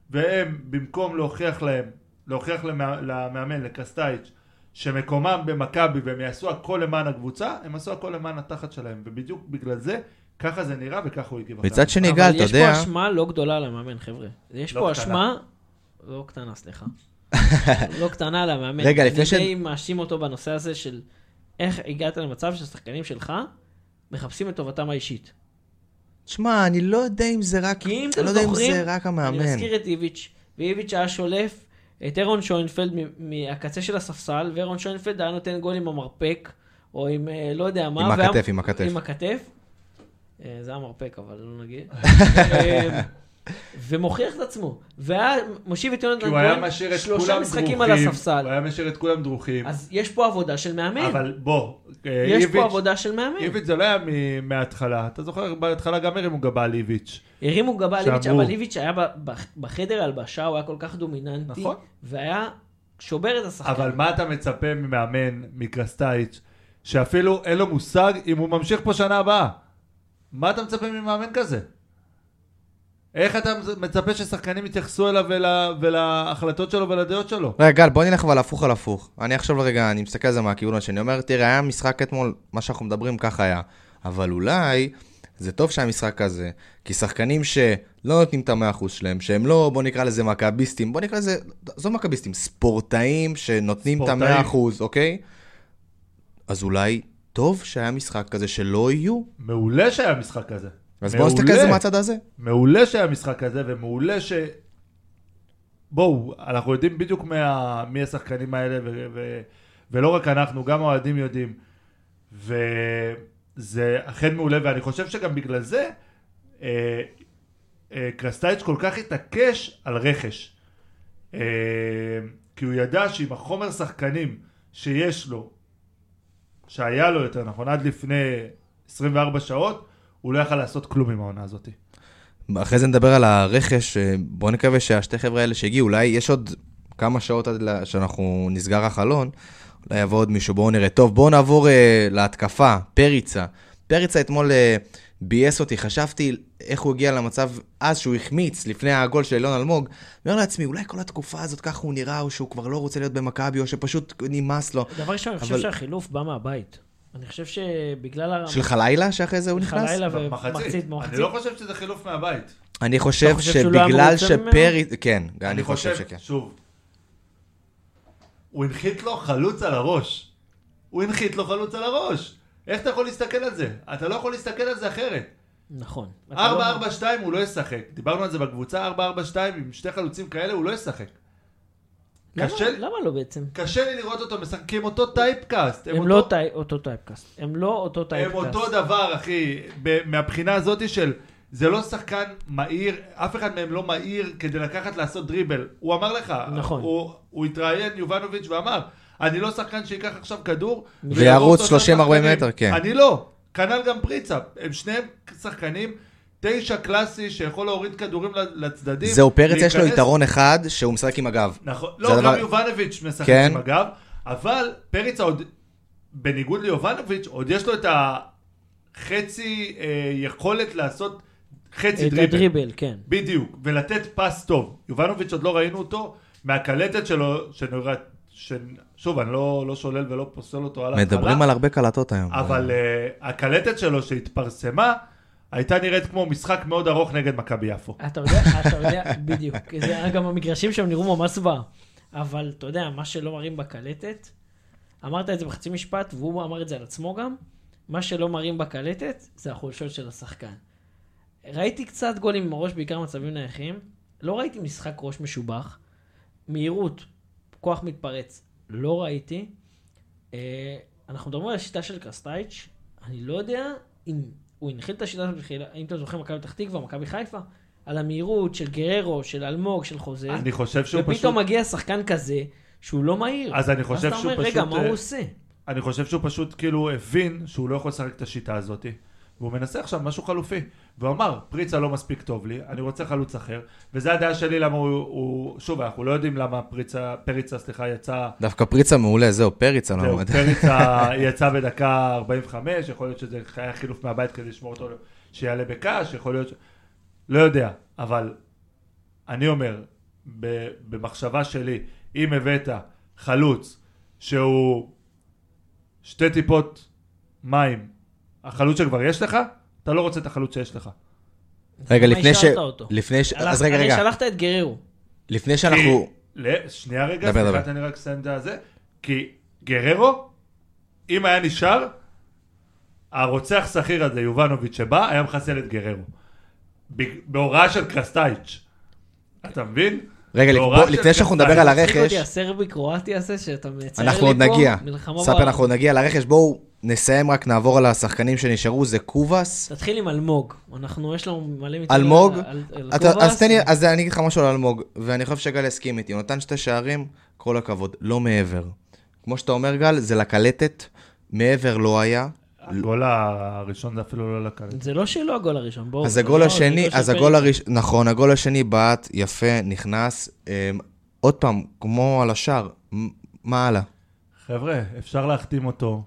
Speaker 3: והם, במקום להוכיח להם, להוכיח למא- למאמן, לקרסטייץ', שמקומם במכבי והם יעשו הכל למען הקבוצה, הם עשו הכל למען התחת שלהם, ובדיוק בגלל זה, ככה זה נראה וככה הוא הגיב. אחרי
Speaker 1: מצד
Speaker 3: המשחק.
Speaker 1: שני, גל,
Speaker 2: אבל
Speaker 1: אתה
Speaker 2: יש פה
Speaker 1: יודע...
Speaker 2: אשמה לא גדולה על המאמן, חבר'ה. יש
Speaker 3: לא
Speaker 2: פה
Speaker 3: קטנה.
Speaker 2: אשמה... לא קטנה, סליחה. לא קטנה על המאמן.
Speaker 1: רגע, לפני ש-
Speaker 2: אני די מאשים אותו בנושא הזה של איך הגעת למצב שהשחקנים שלך מחפשים את טובתם האישית.
Speaker 1: שמע, אני לא יודע אם זה רק...
Speaker 2: כי אם
Speaker 1: אני
Speaker 2: אתם
Speaker 1: לא יודע אם
Speaker 2: זוכרים,
Speaker 1: זה רק המאמן.
Speaker 2: אני מזכיר את איביץ', ואיביץ' היה שולף את אירון שוינפלד מ- מהקצה של הספסל, ואירון שוינפלד היה נותן גול עם המרפק, או עם אה, לא יודע מה.
Speaker 1: עם
Speaker 2: והיה-
Speaker 1: הכתף, עם הכתף.
Speaker 2: עם הכתף. אה, זה היה מרפק, אבל לא נגיד. אה, ומוכיח את עצמו. והיה מושיב את
Speaker 3: כי
Speaker 2: יונתן
Speaker 3: הוא היה
Speaker 2: כהן
Speaker 3: משאיר את
Speaker 2: שלושה
Speaker 3: כולם
Speaker 2: משחקים
Speaker 3: דרוכים,
Speaker 2: על
Speaker 3: הוא
Speaker 2: הספסל.
Speaker 3: היה משאיר את כולם דרוכים,
Speaker 2: אז יש פה עבודה של מאמן.
Speaker 3: אבל בוא, אה,
Speaker 2: יש
Speaker 3: איביץ'-
Speaker 2: פה עבודה של מאמן.
Speaker 3: איביץ' זה לא היה מ- מההתחלה, אתה זוכר, בהתחלה גם הרימו גבה על איביץ'.
Speaker 2: הרימו גבה על איביץ',
Speaker 3: שאמרו.
Speaker 2: אבל איביץ' היה ב- ב- בחדר הלבשה, הוא היה כל כך דומיננטי,
Speaker 3: נכון.
Speaker 2: והיה שובר את השחקן.
Speaker 3: אבל מה אתה מצפה ממאמן, מקרסטייץ', שאפילו אין לו מושג אם הוא ממשיך פה שנה הבאה? מה אתה מצפה ממאמן כזה? איך אתה מצפה ששחקנים יתייחסו אליו ול, ולהחלטות שלו ולדעות שלו?
Speaker 1: רגע, גל, בוא נלך אבל הפוך על הפוך. אני עכשיו רגע, אני מסתכל על זה מהכיוון השני. אומר, תראה, היה משחק אתמול, מה שאנחנו מדברים, ככה היה. אבל אולי זה טוב שהיה משחק כזה, כי שחקנים שלא נותנים את המאה אחוז שלהם, שהם לא, בוא נקרא לזה מכביסטים, בוא נקרא לזה, עזוב מכביסטים, ספורטאים שנותנים את
Speaker 3: ספורטאים.
Speaker 1: המאה אחוז, אוקיי? אז אולי טוב שהיה משחק כזה שלא יהיו.
Speaker 3: מעולה שהיה משחק כזה.
Speaker 1: אז בוא
Speaker 3: מעולה.
Speaker 1: נסתכל על זה מהצד הזה.
Speaker 3: מעולה שהיה משחק כזה, ומעולה ש... בואו, אנחנו יודעים בדיוק מה... מי השחקנים האלה, ו... ו... ולא רק אנחנו, גם האוהדים יודעים. וזה אכן מעולה, ואני חושב שגם בגלל זה אה, אה, קרסטייץ' כל כך התעקש על רכש. אה, כי הוא ידע שעם החומר שחקנים שיש לו, שהיה לו יותר נכון, עד לפני 24 שעות, הוא לא יכל לעשות כלום עם העונה הזאת.
Speaker 1: אחרי זה נדבר על הרכש, אה, בוא נקווה שהשתי חבר'ה האלה שהגיעו, אולי יש עוד כמה שעות עד לה- שאנחנו נסגר החלון, אולי יבוא עוד מישהו, בואו נראה. טוב, בואו נעבור אה, להתקפה, פריצה. פריצה אתמול אה, ביאס אותי, חשבתי איך הוא הגיע למצב אז שהוא החמיץ לפני הגול של אילון אלמוג. אני אומר לעצמי, אולי כל התקופה הזאת ככה הוא נראה, או שהוא כבר לא רוצה להיות במכבי, או שפשוט נמאס לו.
Speaker 2: דבר ראשון, אני חושב
Speaker 1: אבל-
Speaker 2: שהחילוף בא מהבית. אני חושב שבגלל הרמה...
Speaker 1: של חלילה שאחרי זה הוא
Speaker 2: שלך
Speaker 1: נכנס?
Speaker 2: לילה
Speaker 3: מחצית,
Speaker 2: ומחצית,
Speaker 3: אני
Speaker 2: מחצית.
Speaker 3: לא חושב שזה חילוף מהבית.
Speaker 1: אני חושב
Speaker 2: חושב שהוא לא היה
Speaker 1: שבגלל
Speaker 2: מרוצה ממנו?
Speaker 1: שפריצה... כן, אני חושב שכן.
Speaker 3: שוב, הוא הנחית לו חלוץ על הראש. הוא הנחית לו חלוץ על הראש. איך אתה יכול להסתכל על זה? אתה לא יכול להסתכל על זה אחרת.
Speaker 2: נכון. אתה
Speaker 3: 4-4-2
Speaker 2: לא-
Speaker 3: הוא לא ישחק. דיברנו על זה בקבוצה, 4-4-2 עם שתי חלוצים כאלה, הוא לא ישחק.
Speaker 2: למה-
Speaker 3: קשה לי-
Speaker 2: למה לא בעצם?
Speaker 3: קשה לי לראות אותו משחקים אותו טייפקאסט.
Speaker 2: הם לא טי- אותו טייפקאסט. הם לא אותו
Speaker 3: הם
Speaker 2: טייפקאסט.
Speaker 3: אותו דבר, אחי, ב- מהבחינה הזאת של זה לא שחקן מהיר, אף אחד מהם לא מהיר כדי לקחת לעשות דריבל. הוא אמר לך,
Speaker 2: נכון.
Speaker 3: הוא, הוא התראיין, יובנוביץ', ואמר, אני לא שחקן שייקח עכשיו כדור.
Speaker 1: וירוץ
Speaker 3: ויעבור אותו
Speaker 1: 30-40
Speaker 3: שחקנים."
Speaker 1: מטר, כן.
Speaker 3: אני לא, כנ"ל גם פריצה, הם שניהם שחקנים. תשע קלאסי שיכול להוריד כדורים לצדדים.
Speaker 1: זהו, פרץ יש לו
Speaker 3: להיכנס
Speaker 1: יתרון אחד, שהוא משחק עם הגב.
Speaker 3: נכון,
Speaker 1: זה
Speaker 3: לא,
Speaker 1: הדבר-
Speaker 3: גם יובנוביץ' משחק
Speaker 1: כן.
Speaker 3: עם הגב, אבל פריצה עוד, בניגוד ליובנוביץ', עוד יש לו את החצי אה, יכולת לעשות חצי
Speaker 2: את
Speaker 3: דריבל.
Speaker 2: הדריבל, כן.
Speaker 3: בדיוק, ולתת פס טוב. יובנוביץ' עוד לא ראינו אותו, מהקלטת שלו, שנראית, ש... שוב, אני לא, לא שולל ולא פוסל אותו על ההתחלה.
Speaker 1: מדברים על הרבה קלטות היום. אה,
Speaker 3: אבל uh, הקלטת שלו שהתפרסמה, הייתה נראית כמו משחק מאוד ארוך נגד מכבי יפו.
Speaker 2: אתה יודע, אתה יודע, בדיוק. זה היה גם המגרשים שם נראו ממש זוועה. אבל אתה יודע, מה שלא מראים בקלטת, אמרת את זה בחצי משפט, והוא אמר את זה על עצמו גם, מה שלא מראים בקלטת, זה החולשות של השחקן. ראיתי קצת גולים עם הראש, בעיקר מצבים נייחים. לא ראיתי משחק ראש משובח. מהירות, כוח מתפרץ, לא ראיתי. אה, אנחנו מדברים על השיטה של קרסטייץ', אני לא יודע אם הוא הנחיל את השיטה הזאת, בתחילה- אם אתם זוכרים, מכבי פתח תקווה, מכבי חיפה, על המהירות של גררו, של אלמוג, של חוזה.
Speaker 3: אני חושב שהוא פשוט...
Speaker 2: אה, ופתאום מגיע שחקן כזה, שהוא לא מהיר.
Speaker 3: אז אני
Speaker 2: ואז
Speaker 3: חושב
Speaker 2: אתה
Speaker 3: שהוא
Speaker 2: אומר, רגע,
Speaker 3: פשוט,
Speaker 2: מה הוא
Speaker 3: אה,
Speaker 2: עושה?
Speaker 3: אני חושב שהוא פשוט כאילו הבין שהוא לא יכול לשחק את השיטה הזאת, והוא מנסה עכשיו משהו חלופי. והוא אמר, פריצה לא מספיק טוב לי, אני רוצה חלוץ אחר, וזו הדעה שלי למה הוא, הוא... שוב, אנחנו לא יודעים למה פריצה, פריצה, סליחה, יצא...
Speaker 1: דווקא פריצה מעולה, זהו, פריצה לא
Speaker 3: זהו,
Speaker 1: עמד.
Speaker 3: פריצה יצא בדקה 45, יכול להיות שזה היה חילוף מהבית כדי לשמור אותו שיעלה בקש, יכול להיות... ש- לא יודע, אבל אני אומר, ב- במחשבה שלי, אם הבאת חלוץ שהוא שתי טיפות מים, החלוץ שכבר יש לך, אתה לא רוצה את החלוץ שיש לך.
Speaker 1: רגע,
Speaker 2: למה
Speaker 1: לפני ש...
Speaker 2: השארת אותו?
Speaker 1: לפני ש... אז
Speaker 2: הלכת-
Speaker 1: רגע,
Speaker 2: הרי
Speaker 1: רגע,
Speaker 2: שלחת את גררו.
Speaker 1: לפני שאנחנו...
Speaker 3: ל- שנייה
Speaker 1: דבר,
Speaker 3: רגע, סליחה,
Speaker 1: דבר.
Speaker 3: תן לי רק לסיים את הזה. כי גררו, אם היה נשאר, הרוצח שכיר הזה, יובנוביץ' שבא, היה מחסל את גררו. ב- בהוראה של קרסטייץ'. אתה מבין?
Speaker 1: רגע, לפ-
Speaker 3: בהוראה
Speaker 1: בוא,
Speaker 3: של
Speaker 1: לפני שאנחנו נדבר
Speaker 3: קרסטייץ'.
Speaker 1: על
Speaker 2: מצחיק
Speaker 1: הרכש,
Speaker 2: אותי הסרבי-קרואטי הזה, שאתה מצייר לי פה,
Speaker 1: אנחנו עוד נגיע.
Speaker 2: מלחמה
Speaker 1: ספי,
Speaker 2: בעולם.
Speaker 1: אנחנו עוד נגיע לרכש. בואו נסיים, רק נעבור על השחקנים שנשארו, זה קובאס.
Speaker 2: תתחיל עם אלמוג. אנחנו, יש לנו מלא מיטות.
Speaker 1: אלמוג,
Speaker 2: על- על
Speaker 1: אתה-
Speaker 2: קובאס.
Speaker 1: אז תן לי, אז אני אגיד לך משהו על אלמוג, ואני חושב שגל יסכים איתי, הוא נתן שתי שערים, כל הכבוד, לא מעבר. כמו שאתה אומר, גל, זה לקלטת, מעבר לא היה.
Speaker 3: הגול הראשון זה אפילו לא לקלט.
Speaker 2: זה לא שלו הגול הראשון, בואו.
Speaker 1: אז
Speaker 2: זה
Speaker 1: הגול
Speaker 2: לא-
Speaker 1: השני,
Speaker 2: זה לא של
Speaker 1: אז
Speaker 2: פרץ.
Speaker 1: הגול הראשון, נכון, הגול השני בעט, יפה, נכנס. אמ, עוד פעם, כמו על השאר, מ- מה הלאה?
Speaker 3: חבר'ה, אפשר להחתים אותו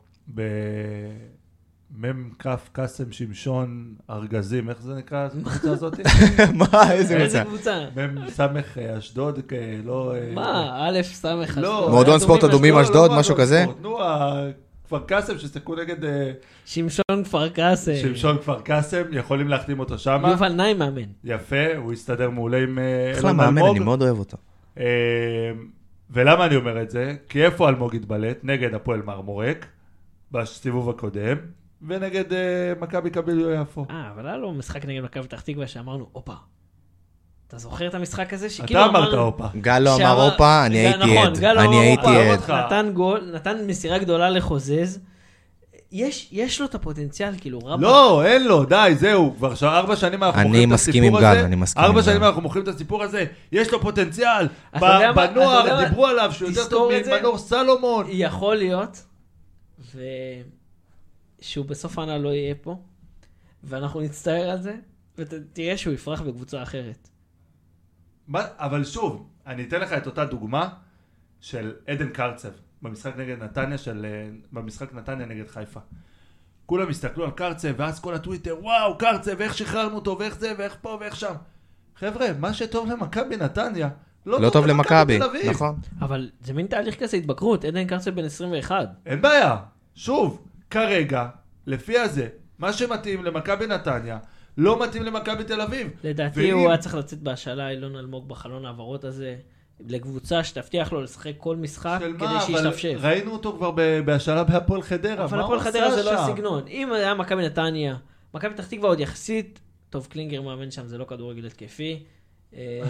Speaker 3: במ"כ קאסם שמשון ארגזים, איך זה נקרא הקבוצה הזאת?
Speaker 1: מה, איזה
Speaker 2: איזה
Speaker 1: מצב?
Speaker 2: קבוצה?
Speaker 3: מ"ס אה, אשדוד, אה, לא... אה,
Speaker 2: מה, א', ס', אשדוד.
Speaker 3: לא.
Speaker 1: מועדון ספורט אדומים
Speaker 3: לא, לא
Speaker 1: אשדוד,
Speaker 3: מועדון
Speaker 1: משהו כזה?
Speaker 3: ספורט, נו, ה- כפר קאסם ששיחקו נגד אה,
Speaker 2: שמשון כפר קאסם.
Speaker 3: שמשון כפר קאסם, יכולים להחתים אותו שמה.
Speaker 2: יובל נעים מאמן.
Speaker 3: יפה, הוא הסתדר מעולה עם אה,
Speaker 1: אחלה
Speaker 3: אלון
Speaker 1: מאמן,
Speaker 3: אלמוג.
Speaker 1: אני מאוד אוהב אותו.
Speaker 3: אה, ולמה אני אומר את זה? כי איפה אלמוג התבלט? נגד הפועל מרמורק, בסיבוב הקודם, ונגד אה, מכבי קביל יפו.
Speaker 2: אה, אבל היה לו משחק נגד מכבי פתח תקווה שאמרנו, הופה. אתה זוכר את המשחק הזה? שכאילו
Speaker 3: אתה אמרת
Speaker 2: אמרנו-
Speaker 3: הופה.
Speaker 1: גל לא
Speaker 2: שאמר-
Speaker 1: אמר הופה, אני
Speaker 2: זה
Speaker 1: הייתי
Speaker 2: נכון,
Speaker 1: עד.
Speaker 2: גל לא
Speaker 1: אני
Speaker 2: אמר
Speaker 1: הייתי
Speaker 2: הופה,
Speaker 1: עד.
Speaker 3: אותך.
Speaker 2: נתן גול, נתן מסירה גדולה לחוזז. יש, יש לו את הפוטנציאל, כאילו, רבאק.
Speaker 3: לא, אין לו, די, זהו, כבר ש- ארבע שנים אנחנו
Speaker 1: אני
Speaker 3: מוכרים את
Speaker 1: מסכים
Speaker 3: הסיפור הזה.
Speaker 1: עם גל, אני מסכים
Speaker 3: ארבע
Speaker 1: עם
Speaker 3: שנים
Speaker 1: גל.
Speaker 3: אנחנו מוכרים את הסיפור הזה, יש לו פוטנציאל.
Speaker 2: אתה
Speaker 3: ב-
Speaker 2: יודע מה- אתה יודע
Speaker 3: בנוער
Speaker 2: מה?
Speaker 3: דיברו עליו שהוא יותר טוב
Speaker 2: תזכור את זה.
Speaker 3: ממנור סלומון.
Speaker 2: יכול להיות, ושהוא בסוף העונה לא יהיה פה, ואנחנו נצטער על זה, ותראה שהוא יפרח בקבוצה אחרת.
Speaker 3: מה- אבל שוב, אני אתן לך את אותה דוגמה של עדן קרצב, במשחק נגד נתניה, של, אה, במשחק נתניה נגד חיפה. כולם הסתכלו על קרצב, ואז כל הטוויטר, וואו, קרצב, איך שחררנו אותו, ואיך זה, ואיך פה, ואיך שם. חבר'ה, מה שטוב למכבי נתניה, לא,
Speaker 1: לא טוב למכבי,
Speaker 3: תל אביב.
Speaker 1: נכון.
Speaker 2: אבל זה מין תהליך כזה התבגרות, עדן קרצל בן 21.
Speaker 3: אין בעיה. שוב, כרגע, לפי הזה, מה שמתאים למכבי נתניה, לא מתאים למכבי תל אביב.
Speaker 2: לדעתי
Speaker 3: ואם-
Speaker 2: הוא היה צריך לצאת בהשאלה אילון אלמוג בחלון ההעברות הזה, לקבוצה שתבטיח לו לשחק כל משחק
Speaker 3: של
Speaker 2: כדי
Speaker 3: מה, אבל
Speaker 2: שישתפשף.
Speaker 3: ראינו אותו כבר ב- בהשאלה בהפועל חדרה,
Speaker 2: אבל
Speaker 3: מה הוא
Speaker 2: הפועל
Speaker 3: עשה
Speaker 2: חדרה זה לא
Speaker 3: שם?
Speaker 2: הסגנון. אם היה מכבי נתניה, מכבי פתח תקווה עוד יחסית, טוב, קלינגר מאמן שם, זה לא כדורגל התקפי. אה,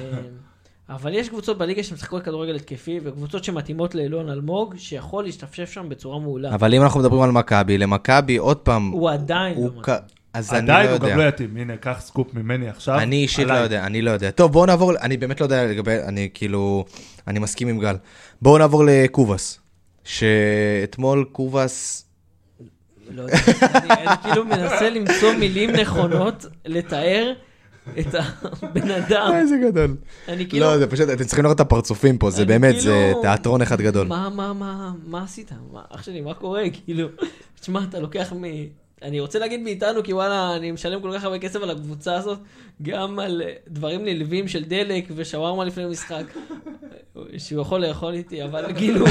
Speaker 2: אבל יש קבוצות בליגה שמשחקות כדורגל התקפי, וקבוצות שמתאימות לאילון אלמוג, שיכול להשתפשף שם בצורה מעולה.
Speaker 1: אבל אם אנחנו מדברים על מכבי, למכבי, עוד פעם,
Speaker 2: הוא עדיין לא
Speaker 1: הוא
Speaker 2: מתאים.
Speaker 1: כ- אז אני לא
Speaker 3: עדיין הוא גם לא
Speaker 1: יודע.
Speaker 3: יתאים, הנה, קח סקופ ממני עכשיו.
Speaker 1: אני אישית לא
Speaker 3: עליי.
Speaker 1: יודע, אני לא יודע. טוב, בואו נעבור, אני באמת לא יודע לגבי, אני כאילו, אני מסכים עם גל. בואו נעבור לקובאס, שאתמול קובאס,
Speaker 2: לא יודע, אני- אני כאילו מנסה למצוא מילים נכונות לתאר את הבן אדם.
Speaker 1: איזה גדול.
Speaker 2: אני כאילו...
Speaker 1: לא, זה פשוט, אתם צריכים לראות את הפרצופים פה, זה
Speaker 2: אני
Speaker 1: באמת, זה
Speaker 2: כאילו-
Speaker 1: תיאטרון אחד גדול.
Speaker 2: מה, מה, מה, מה עשית? מה, אח שלי, מה קורה? כאילו, תשמע, אתה לוקח מ... אני רוצה להגיד מאיתנו, כי וואלה, אני משלם כל כך הרבה כסף על הקבוצה הזאת, גם על אה, דברים נלווים של דלק ושווארמה לפני משחק, אה, שהוא יכול לאכול איתי, אבל כאילו,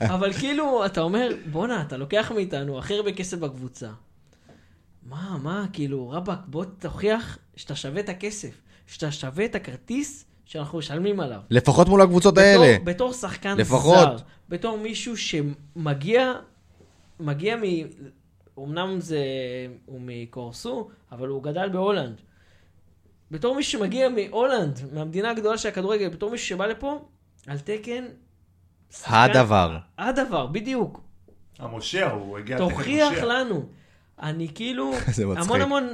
Speaker 2: אבל כאילו, אתה אומר, בואנה, אתה לוקח מאיתנו הכי הרבה כסף בקבוצה. מה, מה, כאילו, רבאק, בוא תוכיח שאתה שווה את הכסף, שאתה שווה את הכרטיס שאנחנו משלמים עליו.
Speaker 1: לפחות מול הקבוצות
Speaker 2: בתור-
Speaker 1: האלה.
Speaker 2: בתור שחקן
Speaker 1: לפחות.
Speaker 2: זר, בתור מישהו שמגיע, מגיע מ... אמנם זה... הוא מקורסו, אבל הוא גדל בהולנד. בתור מישהו שמגיע מהולנד, מהמדינה הגדולה של הכדורגל, בתור מישהו שבא לפה, על תקן... שחקן-
Speaker 1: הדבר.
Speaker 2: הדבר, בדיוק.
Speaker 3: המושיע, הוא הגיע... לתקן
Speaker 2: תוכיח
Speaker 3: מושיע.
Speaker 2: לנו. אני כאילו,
Speaker 1: זה מצחיק.
Speaker 2: המון המון,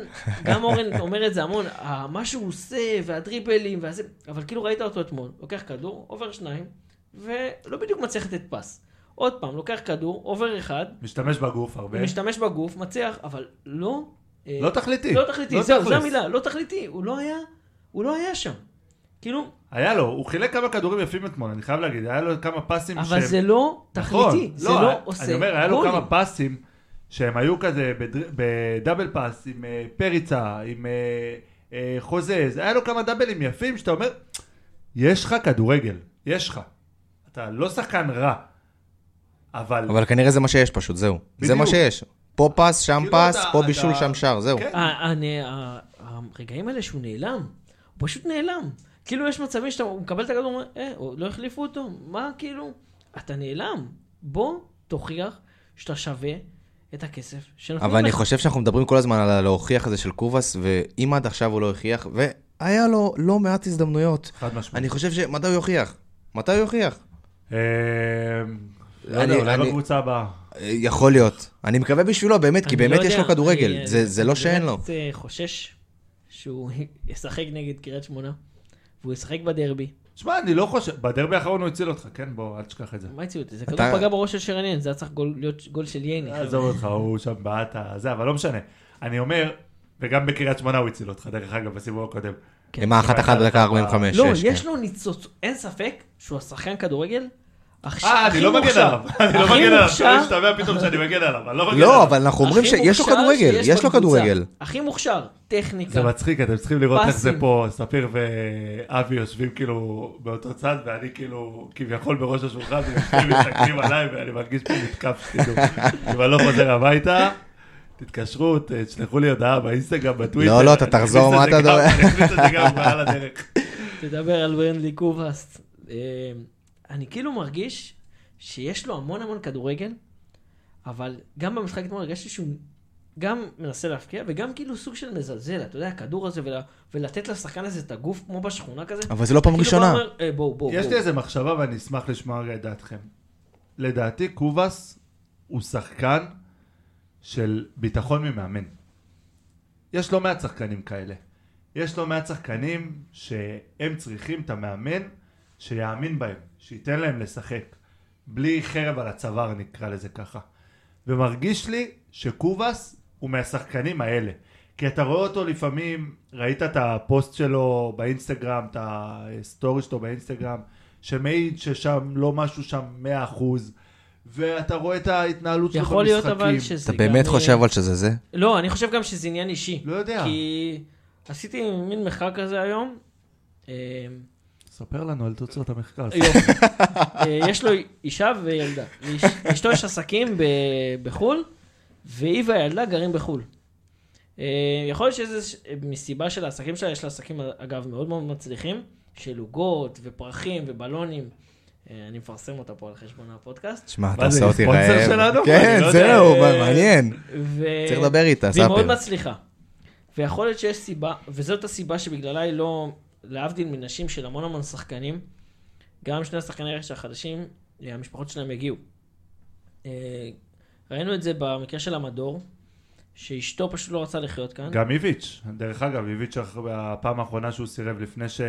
Speaker 2: גם אורן אומר את זה המון, ה- מה שהוא עושה, והדריבלים, והזה, אבל כאילו ראית אותו אתמול, לוקח כדור, עובר שניים, ולא בדיוק מצליח לתת פס. עוד פעם, לוקח כדור, עובר אחד,
Speaker 3: משתמש בגוף הרבה.
Speaker 2: משתמש בגוף, מצליח, אבל לא... אה,
Speaker 3: לא תכליתי.
Speaker 2: לא תכליתי, זהו,
Speaker 3: תכלס.
Speaker 2: זו המילה, לא תכליתי, הוא לא היה, הוא לא היה שם. כאילו,
Speaker 3: היה לו, הוא חילק כמה כדורים יפים אתמול, אני חייב להגיד, היה לו כמה פסים
Speaker 2: אבל זה לא תכליתי, זה לא עושה
Speaker 3: נכון. אני אומר, היה לו
Speaker 2: גולים.
Speaker 3: כמה פסים שהם היו כזה בדר- בדאבל פס עם אה, פריצה, עם אה, אה, חוזז, היה לו כמה דאבלים יפים שאתה אומר, יש לך כדורגל, יש לך. אתה לא שחקן רע, אבל...
Speaker 1: אבל כנראה זה מה שיש פשוט, זהו. זה
Speaker 3: בדיוק.
Speaker 1: מה שיש. פה פס, שם
Speaker 3: כאילו
Speaker 1: פס,
Speaker 3: אתה-
Speaker 1: פה
Speaker 3: אתה-
Speaker 1: בישול, שם שער, זהו.
Speaker 3: כן.
Speaker 2: ה- הנ- ה- אה, הרגעים האלה שהוא נעלם, הוא פשוט נעלם. כאילו יש מצבים שאתה הוא מקבל את הכדור, הוא אומר, אה, עוד לא החליפו אותו, מה כאילו? אתה נעלם. בוא תוכיח שאתה שווה את הכסף שנתנו
Speaker 1: אבל אני
Speaker 2: לך.
Speaker 1: חושב שאנחנו מדברים כל הזמן על הלהוכיח הזה של קובאס, ואם עד עכשיו הוא לא הוכיח, והיה לו לא מעט הזדמנויות.
Speaker 3: חד משמעית.
Speaker 1: אני חושב ש... מתי הוא יוכיח? מתי הוא יוכיח?
Speaker 3: אה, לא
Speaker 1: אני-
Speaker 3: יודע, אולי
Speaker 1: אני-
Speaker 3: בקבוצה הבאה.
Speaker 1: אה, יכול להיות. אני מקווה בשבילו, באמת, כי
Speaker 2: אני לא
Speaker 1: באמת יש
Speaker 2: יודע,
Speaker 1: לו כדורגל.
Speaker 2: אני-
Speaker 1: זה- זה לא
Speaker 2: אני
Speaker 1: שאין לו.
Speaker 2: באמת, אה, חושש שהוא ישחק נגד קריית שמונה, והוא ישחק בדרבי.
Speaker 3: שמע, אני לא חושב, בדרבי האחרון הוא הציל אותך, כן? בוא, אל תשכח את זה.
Speaker 2: מה הציעו אותי? זה כדור
Speaker 1: אתה-
Speaker 2: פגע בראש של שרן ין, זה היה צריך גול- להיות גול של ייני.
Speaker 3: עזוב אותך, הוא שם בעט ה- זה, אבל לא משנה. אני אומר, וגם בקריית שמונה הוא הציל אותך, דרך אגב, בסיבוב הקודם.
Speaker 2: כן.
Speaker 1: עם האחת אחת בדקה 45.
Speaker 2: לא,
Speaker 1: שש, כן.
Speaker 2: יש לו ניצוץ, אין ספק שהוא השחקן כדורגל. הכי-
Speaker 3: אה,
Speaker 2: הכי
Speaker 3: אני לא מגן
Speaker 2: מוכשר.
Speaker 3: עליו, אני לא
Speaker 2: הכי
Speaker 3: מגן עליו,
Speaker 2: מוכשר-
Speaker 3: שלא ישתמע פתאום שאני מגן עליו, אני לא מגן
Speaker 1: לא,
Speaker 3: עליו.
Speaker 1: אבל אנחנו אומרים
Speaker 2: הכי
Speaker 1: שיש לו
Speaker 2: מוכשר
Speaker 1: כדורגל,
Speaker 2: שיש
Speaker 1: יש לו
Speaker 2: בקבוצה.
Speaker 1: כדורגל.
Speaker 2: הכי מוכשר,
Speaker 3: זה
Speaker 2: טכניקה.
Speaker 3: מצחיק, אתם צריכים לראות איך זה
Speaker 2: אה? פסים.
Speaker 3: פה, ספיר ואבי יושבים כאילו באותו צד, ואני כאילו כביכול בראש השולחן, והם יושבים, מסתכלים עליי, ואני מרגיש פה מותקף, כאילו, אם אני לא חוזר הביתה, תתקשרו, ת- תשלחו לי הודעה באינסטגרם, בטוויטר.
Speaker 1: לא, לא, אתה
Speaker 3: אני אכניס
Speaker 1: תחזור,
Speaker 3: את
Speaker 1: מה
Speaker 3: זה
Speaker 1: אתה
Speaker 3: גם-
Speaker 1: דואג?
Speaker 3: אני אכניס את זה גם על הדרך.
Speaker 2: תדבר על ברנדלי קובאסט. אה, אני כאילו מרגיש שיש לו המון המון כדורגל, אבל גם במשחק אתמול הרגשתי שהוא גם מנסה להפקיע, וגם כאילו סוג של מזלזל, אתה יודע, הכדור הזה, ול- ולתת לשחקן הזה את הגוף כמו בשכונה כזה.
Speaker 1: אבל זה לא פעם
Speaker 2: כאילו
Speaker 1: ראשונה.
Speaker 2: בא ואומר, "אה, בואו, בואו,
Speaker 3: יש
Speaker 2: בואו.
Speaker 3: לי איזה מחשבה ואני אשמח לשמוע רגע את דעתכם. לדעתי קובאס הוא שחקן של ביטחון ממאמן. יש לא מעט שחקנים כאלה. יש לא מעט שחקנים שהם צריכים את המאמן שיאמין בהם, שייתן להם לשחק. בלי חרב על הצוואר נקרא לזה ככה. ומרגיש לי שקובאס הוא מהשחקנים האלה. כי אתה רואה אותו לפעמים, ראית את הפוסט שלו באינסטגרם, את הסטורי שלו באינסטגרם, שמעיד ששם לא משהו שם 100%, ואתה רואה את ההתנהלות שלו
Speaker 2: יכול להיות
Speaker 3: במשחקים.
Speaker 2: אבל שזה
Speaker 1: אתה
Speaker 2: גם...
Speaker 1: באמת
Speaker 2: אה,
Speaker 1: חושב אבל שזה זה?
Speaker 2: לא, אני חושב גם שזה עניין אישי.
Speaker 3: לא יודע.
Speaker 2: כי עשיתי מין מחקר כזה היום. אה,
Speaker 3: ספר לנו על תוצאות המחקר.
Speaker 2: יופי. אה, יש לו אישה וילדה. לאיש- לאשתו יש עסקים ב- בחו"ל, והיא והילדה גרים בחו"ל. אה, יכול להיות שזה ש- מסיבה של העסקים שלה, יש לה עסקים אגב מאוד מאוד מצליחים, של עוגות ופרחים ובלונים. אה, אני מפרסם אותה פה על חשבון הפודקאסט.
Speaker 1: שמע, אתה
Speaker 3: מה זה,
Speaker 1: עושה אותי
Speaker 3: ספונסר
Speaker 1: רעב.
Speaker 3: שלנו?
Speaker 1: כן,
Speaker 3: אני לא יודע.
Speaker 1: זהו,
Speaker 2: אה,
Speaker 1: מעניין.
Speaker 2: ו-
Speaker 1: צריך לדבר איתה,
Speaker 2: והיא מאוד
Speaker 1: ספר.
Speaker 2: מצליחה. ויכול להיות שיש סיבה, וזאת הסיבה שבגללה היא לא, להבדיל מנשים של המון המון שחקנים, גם שני השחקני רכש החדשים, אה, המשפחות שלהם הגיעו. אה, ראינו את זה במקרה של המדור, שאשתו פשוט לא רצה לחיות כאן.
Speaker 3: גם איביץ', דרך אגב, איביץ', הפעם האחרונה שהוא סירב לפני ש...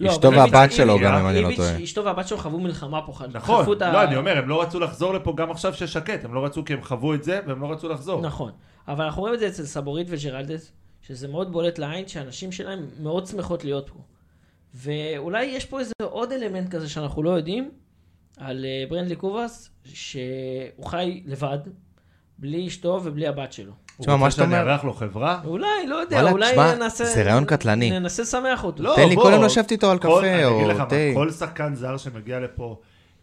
Speaker 2: לא,
Speaker 1: אשתו
Speaker 2: אבל איביץ'-
Speaker 1: והבת שלו
Speaker 2: איביץ'-
Speaker 1: גם, אם אני לא
Speaker 2: איביץ'-
Speaker 1: טועה.
Speaker 2: אשתו והבת שלו חוו מלחמה פה, חטפו
Speaker 3: נכון,
Speaker 2: את ה-
Speaker 3: לא, אני אומר, הם לא רצו לחזור לפה גם עכשיו ששקט, הם לא רצו כי הם חוו את זה והם לא רצו לחזור.
Speaker 2: נכון, אבל אנחנו רואים את זה אצל סבורית וג'רלדס, שזה מאוד בולט לעין שהנשים שלהם מאוד שמחות להיות פה. ואולי יש פה איזה עוד אלמנט כזה שאנחנו לא יודעים, על אה, ברנדלי קובאס, שהוא חי לבד, בלי אשתו ובלי הבת שלו.
Speaker 3: הוא
Speaker 1: תשמע, מה
Speaker 3: רוצה
Speaker 1: שאתה
Speaker 3: שאני
Speaker 1: אומר-
Speaker 3: אארח לו חברה?
Speaker 2: אולי, לא יודע,
Speaker 1: וואלה,
Speaker 2: אולי
Speaker 1: תשמע,
Speaker 2: ננסה...
Speaker 1: זה רעיון קטלני.
Speaker 2: ננסה לשמח אותו.
Speaker 3: לא,
Speaker 1: תן לי
Speaker 3: בוא.
Speaker 1: קודם לשבת איתו על
Speaker 3: כל-
Speaker 1: קפה
Speaker 3: אני
Speaker 1: או
Speaker 3: אגיד לך מה,
Speaker 1: תה.
Speaker 3: כל שחקן זר שמגיע לפה,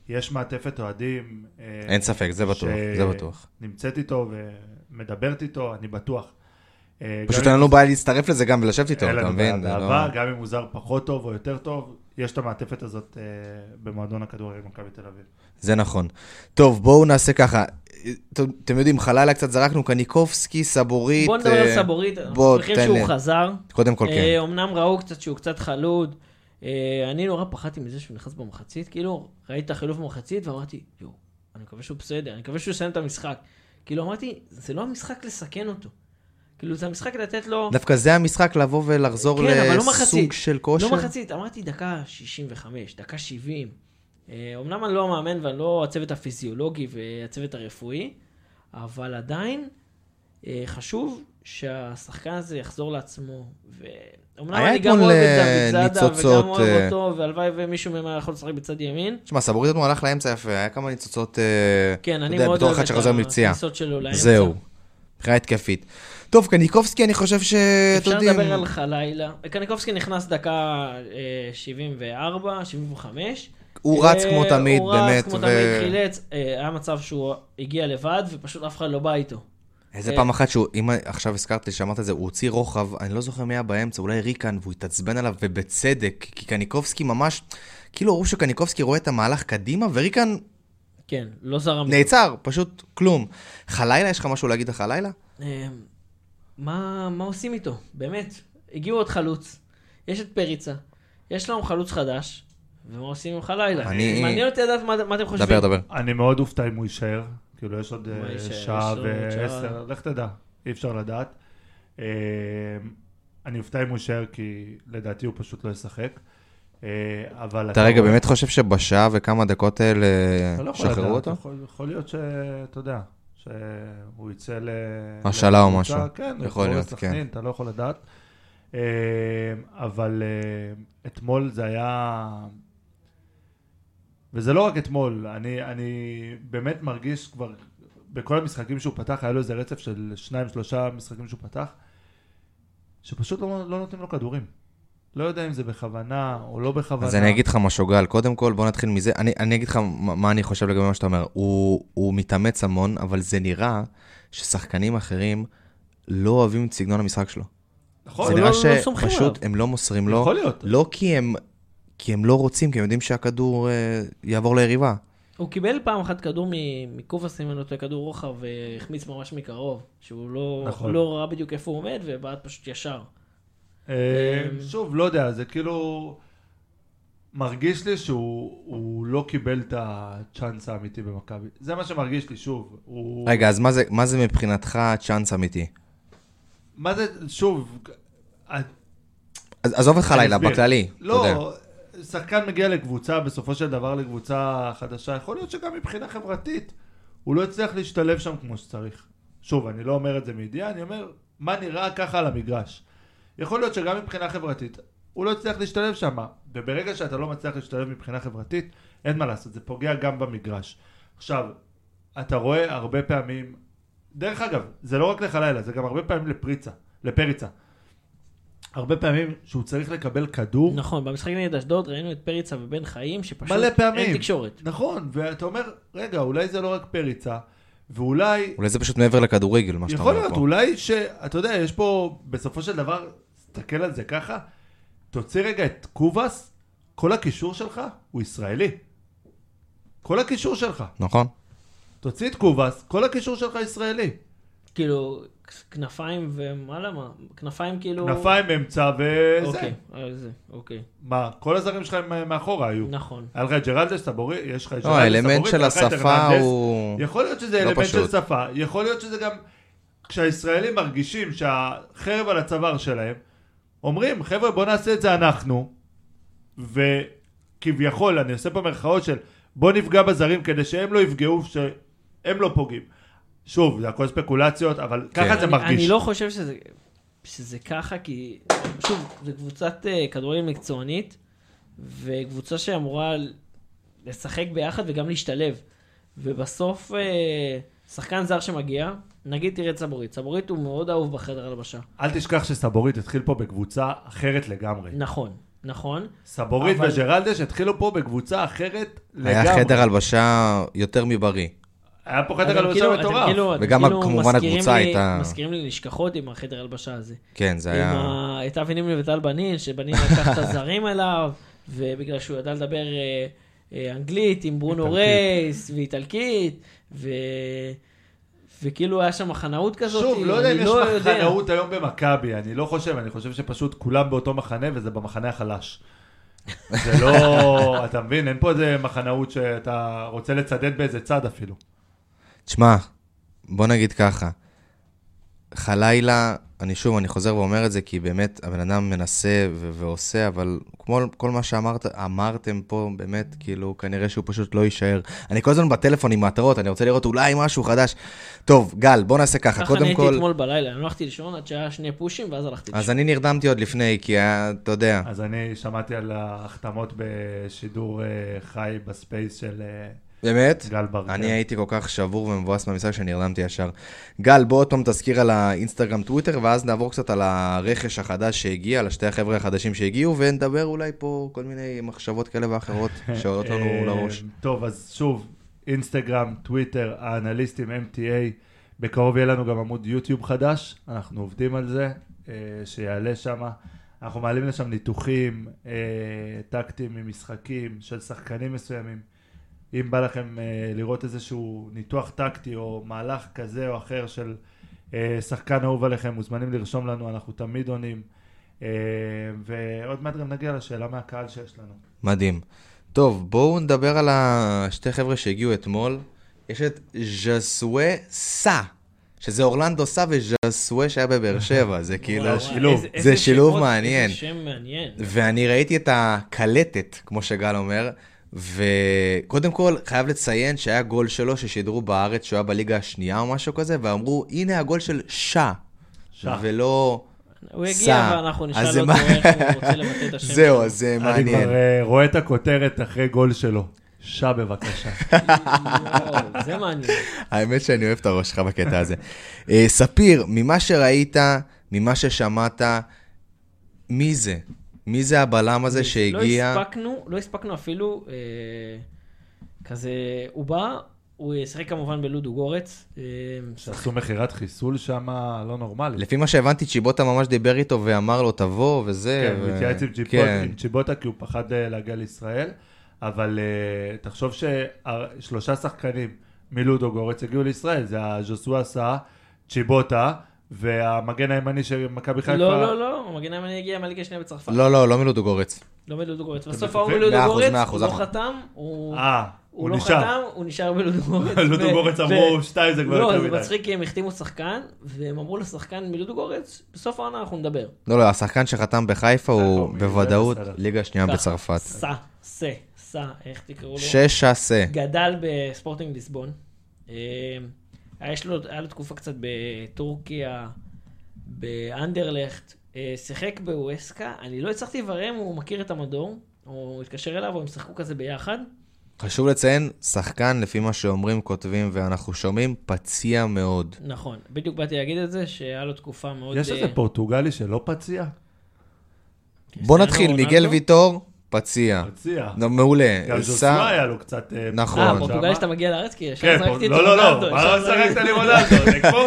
Speaker 3: יש מעטפת אוהדים. אה,
Speaker 1: אין ספק, זה בטוח,
Speaker 3: ש-
Speaker 1: זה בטוח.
Speaker 3: נמצאת איתו ומדברת איתו, אני בטוח. אה,
Speaker 1: פשוט
Speaker 3: גם
Speaker 1: אין
Speaker 3: אם-
Speaker 1: לנו בעיה להצטרף לזה גם ולשבת איתו,
Speaker 3: אין
Speaker 1: אתה
Speaker 3: לנו
Speaker 1: מבין?
Speaker 3: בעיה
Speaker 1: זה לא-
Speaker 3: באהבה, גם אם הוא זר פחות טוב או יותר טוב, יש את המעטפת הזאת אה, במועדון הכדורגל במכבי תל אביב.
Speaker 1: זה נכון. טוב, בואו נעשה ככה. ת- אתם יודעים, חללה קצת זרקנו, קניקובסקי, סבורית.
Speaker 2: בוא נדבר על
Speaker 1: אה,
Speaker 2: סבורית, אנחנו
Speaker 1: בוא,
Speaker 2: שמחים
Speaker 1: תן לי.
Speaker 2: שהוא חזר.
Speaker 1: קודם כל,
Speaker 2: אה,
Speaker 1: כן.
Speaker 2: אומנם ראו קצת שהוא קצת חלוד. אה, אני נורא פחדתי מזה שהוא נכנס במחצית, כאילו, ראיתי את החילוף במחצית ואמרתי, יואו, אני מקווה שהוא בסדר, אני מקווה שהוא יסיים את המשחק. כאילו, אמרתי, זה לא המשחק לסכן אותו. כאילו, זה המשחק לתת לו...
Speaker 1: דווקא זה המשחק לבוא ולחזור
Speaker 2: כן, אבל לא
Speaker 1: לסוג
Speaker 2: מחצית.
Speaker 1: של כושר.
Speaker 2: לא מחצית, אמרתי דקה 65, דקה 70. אה, אומנם אני לא המאמן ואני לא הצוות הפיזיולוגי והצוות הרפואי, אבל עדיין אה, חשוב שהשחקן הזה יחזור לעצמו. ואומנם
Speaker 1: היה
Speaker 2: אני גם
Speaker 1: אתמול,
Speaker 2: אוהב
Speaker 1: אה,
Speaker 2: את דוד זאדה,
Speaker 1: ניצוצות,
Speaker 2: וגם אוהב
Speaker 1: אה,
Speaker 2: אותו, והלוואי ומישהו מהם יכול לשחק בצד ימין.
Speaker 1: תשמע, סבורית אתמול הלך לאמצע יפה, היה כמה ניצוצות, אה,
Speaker 2: כן,
Speaker 1: אתה
Speaker 2: אני
Speaker 1: יודע,
Speaker 2: מאוד
Speaker 1: בתור
Speaker 2: אוהב
Speaker 1: אחד
Speaker 2: את
Speaker 1: שחזר מפציעה.
Speaker 2: הכניסות שלו לאמצע.
Speaker 1: זהו, מבחינה התקפית. טוב, קניקובסקי, אני חושב ש... אתה
Speaker 2: אפשר
Speaker 1: יודעים-
Speaker 2: לדבר על חלילה. קניקובסקי נכנס דקה אה, 74, 75.
Speaker 1: הוא רץ
Speaker 2: אה,
Speaker 1: כמו תמיד, באמת.
Speaker 2: הוא רץ כמו
Speaker 1: ו-
Speaker 2: תמיד, חילץ. אה, היה מצב שהוא הגיע לבד, ופשוט אף אחד לא בא איתו.
Speaker 1: איזה
Speaker 2: אה.
Speaker 1: פעם אחת שהוא, אם עכשיו הזכרת לי שאמרת את זה, הוא הוציא רוחב, אני לא זוכר מי היה באמצע, אולי ריקן, והוא התעצבן עליו, ובצדק, כי קניקובסקי ממש, כאילו, ראו שקניקובסקי רואה את המהלך קדימה, וריקן
Speaker 2: כן, לא זרם.
Speaker 1: נעצר, פשוט כלום. חלילה, יש לך משהו להגיד לך חלילה?
Speaker 2: אה, מה מה עושים איתו? באמת. הגיעו עוד חלוץ, יש את פריצה, יש לנו חלוץ חדש, ומה עושים עם חלילה? אה,
Speaker 1: אני-
Speaker 2: מעניין אותי לדעת מה מה אתם חושבים.
Speaker 1: דבר, דבר.
Speaker 3: אני מאוד אופתע אם הוא יישאר, כאילו יש עוד
Speaker 2: הוא
Speaker 3: אה,
Speaker 2: יישאר,
Speaker 3: שעה
Speaker 2: יש לו עוד
Speaker 3: ועשר,
Speaker 2: שעה.
Speaker 3: לך תדע, אי אפשר לדעת. אה, אני אופתע אם הוא יישאר כי לדעתי הוא פשוט לא ישחק. אה, אבל...
Speaker 1: אתה
Speaker 2: לא.
Speaker 1: רגע באמת חושב שבשעה וכמה דקות האלה
Speaker 3: אתה לא יכול
Speaker 1: שחררו
Speaker 3: לדעת,
Speaker 1: אותו?
Speaker 3: יכול- יכול להיות שאתה יודע, שהוא יצא ל...
Speaker 1: השאלה או
Speaker 3: לקבוצה,
Speaker 1: משהו.
Speaker 3: כן,
Speaker 1: יכול
Speaker 3: יכול
Speaker 1: להיות,
Speaker 3: להיות, כן. אתה לא יכול לדעת. אה, אבל אה, אתמול זה היה... וזה לא רק אתמול, אני, אני באמת מרגיש כבר, בכל המשחקים שהוא פתח, היה לו איזה רצף של שניים, שלושה משחקים שהוא פתח, שפשוט לא, לא נותנים לו כדורים. לא יודע אם זה בכוונה או לא בכוונה.
Speaker 1: אז אני אגיד לך משהו, גל. קודם כל, בוא נתחיל מזה. אני, אני אגיד לך מה, מה אני חושב לגבי מה שאתה אומר. הוא, הוא מתאמץ המון, אבל זה נראה ששחקנים אחרים לא אוהבים את סגנון המשחק שלו.
Speaker 3: נכון,
Speaker 1: זה
Speaker 2: לא-
Speaker 1: נראה
Speaker 2: לא סומכים עליו.
Speaker 1: שפשוט הם לא מוסרים לו.
Speaker 3: יכול להיות.
Speaker 1: לא כי הם, כי הם לא רוצים, כי הם יודעים שהכדור אה, יעבור ליריבה.
Speaker 2: הוא קיבל פעם אחת כדור מ- מקובס, אם אני לא טועה, כדור רוחב, והחמיץ ממש מקרוב, שהוא לא-
Speaker 3: נכון.
Speaker 2: לא ראה בדיוק איפה הוא עומד, ובעט פשוט ישר.
Speaker 3: אה,
Speaker 2: אמ,
Speaker 3: שוב, לא יודע, זה כאילו... מרגיש לי שהוא הוא לא קיבל את הצ'אנס האמיתי במכבי. זה מה שמרגיש לי, שוב. הוא...
Speaker 1: רגע, אז מה זה, מה זה מבחינתך צ'אנס אמיתי?
Speaker 3: מה זה, שוב... את-
Speaker 1: אז עזוב אותך לילה,
Speaker 3: אסביר.
Speaker 1: בכללי. אתה יודע.
Speaker 3: לא, שחקן מגיע לקבוצה, בסופו של דבר לקבוצה חדשה, יכול להיות שגם מבחינה חברתית, הוא לא הצליח להשתלב שם כמו שצריך. שוב, אני לא אומר את זה מידיעה, אני אומר, מה נראה ככה על המגרש. יכול להיות שגם מבחינה חברתית, הוא לא הצליח להשתלב שם, וברגע שאתה לא מצליח להשתלב מבחינה חברתית, אין מה לעשות, זה פוגע גם במגרש. עכשיו, אתה רואה הרבה פעמים, דרך אגב, זה לא רק לחלילה, זה גם הרבה פעמים לפריצה, לפריצה. הרבה פעמים שהוא צריך לקבל כדור,
Speaker 2: נכון, במשחק נגד אשדוד ראינו את פריצה ובן חיים, שפשוט
Speaker 3: מלא פעמים.
Speaker 2: אין תקשורת.
Speaker 3: נכון, ואתה אומר, רגע, אולי זה לא רק פריצה, ואולי,
Speaker 1: אולי זה פשוט מעבר לכדורגל, מה שאתה
Speaker 3: יכול
Speaker 1: אומר פה.
Speaker 3: להיות, אולי ש... אתה יודע, יש פה, בסופו של דבר, תסתכל על זה ככה, תוציא רגע את קובאס, כל הקישור שלך הוא ישראלי. כל הקישור שלך.
Speaker 1: נכון?
Speaker 3: תוציא את קובאס, כל הקישור שלך ישראלי.
Speaker 2: כאילו, כנפיים ומעלה מה? כנפיים כאילו...
Speaker 3: כנפיים, אמצע וזה.
Speaker 2: אוקיי, אה, זה, אוקיי.
Speaker 3: מה, כל הזרים שלך הם אה, מאחורה היו.
Speaker 2: נכון.
Speaker 3: היה לך את ג'רלדש סבורי, יש לך את
Speaker 1: לא, האלמנט של
Speaker 3: היה לך את
Speaker 1: השפה
Speaker 3: הרננדז.
Speaker 1: הוא...
Speaker 3: יכול להיות שזה
Speaker 1: לא
Speaker 3: אלמנט של
Speaker 1: פשוט.
Speaker 3: שפה, יכול להיות שזה גם כשהישראלים מרגישים שהחרב על הצוואר שלהם, אומרים, חבר'ה בוא נעשה את זה אנחנו, וכביכול, אני עושה פה מירכאות של בוא נפגע בזרים כדי שהם לא יפגעו, שהם לא פוגעים. שוב, זה הכל ספקולציות, אבל
Speaker 1: כן.
Speaker 3: ככה זה
Speaker 2: אני-
Speaker 3: מרגיש.
Speaker 2: אני לא חושב שזה, שזה ככה, כי שוב, זו קבוצת אה, כדורגל מקצוענית, וקבוצה שאמורה ל- לשחק ביחד וגם להשתלב. ובסוף, אה, שחקן זר שמגיע, נגיד תראה את סבורית. סבורית הוא מאוד אהוב בחדר הלבשה.
Speaker 3: אל תשכח שסבורית התחיל פה בקבוצה אחרת לגמרי.
Speaker 2: נכון, נכון.
Speaker 3: סבורית
Speaker 2: אבל-
Speaker 3: וג'רלדש התחילו פה בקבוצה אחרת לגמרי.
Speaker 1: היה חדר הלבשה יותר מבריא.
Speaker 3: היה פה
Speaker 2: אתם
Speaker 3: חדר הלבשה
Speaker 2: כאילו- אתם
Speaker 3: מטורף.
Speaker 2: כאילו- אתם
Speaker 1: וגם
Speaker 2: כאילו
Speaker 1: כמובן
Speaker 2: מזכירים
Speaker 1: הקבוצה
Speaker 2: לי-
Speaker 1: הייתה-
Speaker 2: מזכירים לי נשכחות עם החדר הלבשה הזה.
Speaker 1: כן, זה
Speaker 2: עם
Speaker 1: היה...
Speaker 2: ה... את אבי נימני וטל בנין, שבנין לקח את הזרים אליו, ובגלל שהוא ידע לדבר אה, אה, אנגלית עם ברונו
Speaker 3: איטלקית.
Speaker 2: רייס ואיטלקית, ו... וכאילו היה שם חנאות כזאת,
Speaker 3: שוב, לא יודע אם
Speaker 2: אני
Speaker 3: יש
Speaker 2: יודע.
Speaker 3: מחנאות היום במכבי, אני לא חושב, אני חושב שפשוט כולם באותו מחנה וזה במחנה החלש. זה לא, אתה מבין, אין פה איזה מחנאות שאתה רוצה לצדד באיזה צד אפילו.
Speaker 1: תשמע, בוא נגיד ככה. חלילה, אני שוב, אני חוזר ואומר את זה, כי באמת הבן אדם מנסה ו- ועושה, אבל כמו כל מה שאמרת, אמרתם פה, באמת, כאילו, כנראה שהוא פשוט לא יישאר. אני כל הזמן בטלפון עם מטרות, אני רוצה לראות אולי משהו חדש. טוב, גל, בוא נעשה ככה,
Speaker 2: ככה אני
Speaker 1: אה, קודם
Speaker 2: הייתי
Speaker 1: כל...
Speaker 2: אתמול בלילה, אני לא הלכתי לישון עד שהיה שני פושים ואז הלכתי לישון.
Speaker 1: אז אני נרדמתי עוד לפני, כי היה, אתה יודע,
Speaker 3: אז אני שמעתי על ההחתמות בשידור אה, חי בספייס של אה,
Speaker 1: באמת?
Speaker 3: גל ברקר.
Speaker 1: אני הייתי כל כך שבור ומבואס מהמשחק שנרדמתי ישר. גל, בוא עוד פעם תזכיר על האינסטגרם טוויטר, ואז נעבור קצת על הרכש החדש שהגיע, על שתי החבר'ה החדשים שהגיעו, ונדבר אולי פה כל מיני מחשבות כאלה ואחרות שעולות לנו
Speaker 3: אה,
Speaker 1: לראש.
Speaker 3: טוב, אז שוב, אינסטגרם, טוויטר, האנליסטים, MTA, בקרוב יהיה לנו גם עמוד יוטיוב חדש, אנחנו עובדים על זה, אה, שיעלה שם. אנחנו מעלים לשם ניתוחים, אה, טקטים ממשחקים של שחקנים מסוימים. אם בא לכם אה, לראות איזשהו ניתוח טקטי או מהלך כזה או אחר של אה, שחקן אהוב עליכם, מוזמנים לרשום לנו, אנחנו תמיד עונים. אה, ועוד מעט גם נגיע לשאלה מהקהל שיש לנו.
Speaker 1: מדהים. טוב, בואו נדבר על השתי חבר'ה שהגיעו אתמול. יש את ז'סווה סא, שזה אורלנדו סא וז'סווה שהיה בבאר שבע, זה כאילו...
Speaker 2: וואו,
Speaker 3: שילוב.
Speaker 2: איזה-
Speaker 1: זה
Speaker 2: איזה
Speaker 1: שילוב
Speaker 2: שמות,
Speaker 1: מעניין.
Speaker 2: איזה שם מעניין.
Speaker 1: ואני ראיתי את הקלטת, כמו שגל אומר, וקודם כל, חייב לציין שהיה גול שלו ששידרו בארץ, שהוא היה בליגה השנייה או משהו כזה, ואמרו, הנה הגול של שעה.
Speaker 3: שעה.
Speaker 1: ולא...
Speaker 2: הוא יגיע
Speaker 1: סע.
Speaker 2: ואנחנו
Speaker 1: אז
Speaker 2: נשאל
Speaker 1: זה
Speaker 2: אותו
Speaker 1: מה-
Speaker 2: איך הוא רוצה לבטא את השם.
Speaker 1: זהו,
Speaker 2: שלו.
Speaker 1: אז זה
Speaker 3: אני
Speaker 1: מעניין.
Speaker 3: כבר אה, רואה את הכותרת אחרי גול שלו. שע בבקשה.
Speaker 2: יואו, זה מעניין.
Speaker 1: האמת שאני אוהב את הראש שלך בקטע הזה. אה, ספיר, ממה שראית, ממה ששמעת, מי זה? מי זה הבלם הזה שהגיע?
Speaker 2: לא הספקנו, לא הספקנו אפילו, אה, כזה, הוא בא, הוא ישחק כמובן בלודו גורץ. אה,
Speaker 3: שעשו מכירת חיסול שם לא נורמלי.
Speaker 1: לפי מה שהבנתי, צ'יבוטה ממש דיבר איתו ואמר לו, תבוא, וזה.
Speaker 3: כן,
Speaker 1: ו-
Speaker 3: הוא התייעץ עם צ'יפוט-
Speaker 1: כן.
Speaker 3: עם צ'יבוטה כי הוא פחד אה, להגיע לישראל, אבל אה, תחשוב ששלושה שחקנים מלודו גורץ הגיעו לישראל, זה הז'וסואה סאה, צ'יבוטה והמגן הימני של מכבי חיפה.
Speaker 2: לא, לא, לא, המגן הימני הגיע מהליגה השנייה בצרפת.
Speaker 1: לא, לא, לא מלודוגורץ.
Speaker 2: לא מלודו גורץ.
Speaker 3: אתם
Speaker 2: בסוף
Speaker 3: בטוחים?
Speaker 2: ההוא מלודו
Speaker 1: מאה אחוז,
Speaker 2: גורץ,
Speaker 1: מאה
Speaker 2: הוא
Speaker 1: אחוז,
Speaker 2: לא
Speaker 1: אנחנו-
Speaker 2: חתם, הוא...
Speaker 3: אה,
Speaker 2: הוא
Speaker 3: הוא
Speaker 2: לא
Speaker 3: נשאר.
Speaker 2: חתם, הוא נשאר בלודו גורץ.
Speaker 3: לודו
Speaker 2: ו-
Speaker 3: גורץ
Speaker 2: ו-
Speaker 3: אמרו שתיים זה כבר
Speaker 2: לא,
Speaker 3: יותר
Speaker 2: זה
Speaker 3: מדי.
Speaker 2: מצחיק, כי הם החתימו שחקן, והם אמרו לשחקן מלודו גורץ, בסוף העונה אנחנו נדבר.
Speaker 1: לא, לא, השחקן שחתם בחיפה הוא
Speaker 3: הוא
Speaker 1: בוודאות
Speaker 3: מזה, בסדר.
Speaker 1: ליגה שנייה
Speaker 2: ככה,
Speaker 1: בצרפת.
Speaker 2: סע, סע, סע, איך תקראו לו?
Speaker 1: שש עשה.
Speaker 2: גדל בספורטינג ליסבון. אה, היה יש לו, היה לו תקופה קצת בטורקיה, באנדרלכט. אה, שיחק בווסקה, אני לא הצלחתי לברר אם הוא מכיר את המדור, או התקשר אליו, או הם שיחקו כזה ביחד.
Speaker 1: חשוב לציין, שחקן, לפי מה שאומרים, כותבים ואנחנו שומעים, פציע מאוד.
Speaker 2: נכון, בדיוק באתי להגיד את זה, שהיה לו תקופה מאוד...
Speaker 3: יש
Speaker 2: אה,
Speaker 3: איזה פורטוגלי שלא פציע?
Speaker 1: בוא
Speaker 2: קריסטיאנו
Speaker 1: נתחיל,
Speaker 2: אוקיי. רונלדו?
Speaker 1: מיגל ויטור, פציע.
Speaker 3: פציע.
Speaker 1: נו, מעולה.
Speaker 3: גם ז'וסואה
Speaker 1: סע-
Speaker 3: היה לו קצת... אה,
Speaker 1: נכון.
Speaker 2: אה,
Speaker 1: שמה.
Speaker 2: פורטוגלי שאתה מגיע לארץ? כי ישר
Speaker 3: כן, פה-
Speaker 2: זרקתי את
Speaker 3: לא, לא,
Speaker 2: רונלדו,
Speaker 3: לא, מה
Speaker 2: ישר זרקתי-
Speaker 3: שחקת לי רונלדו? זה כמו,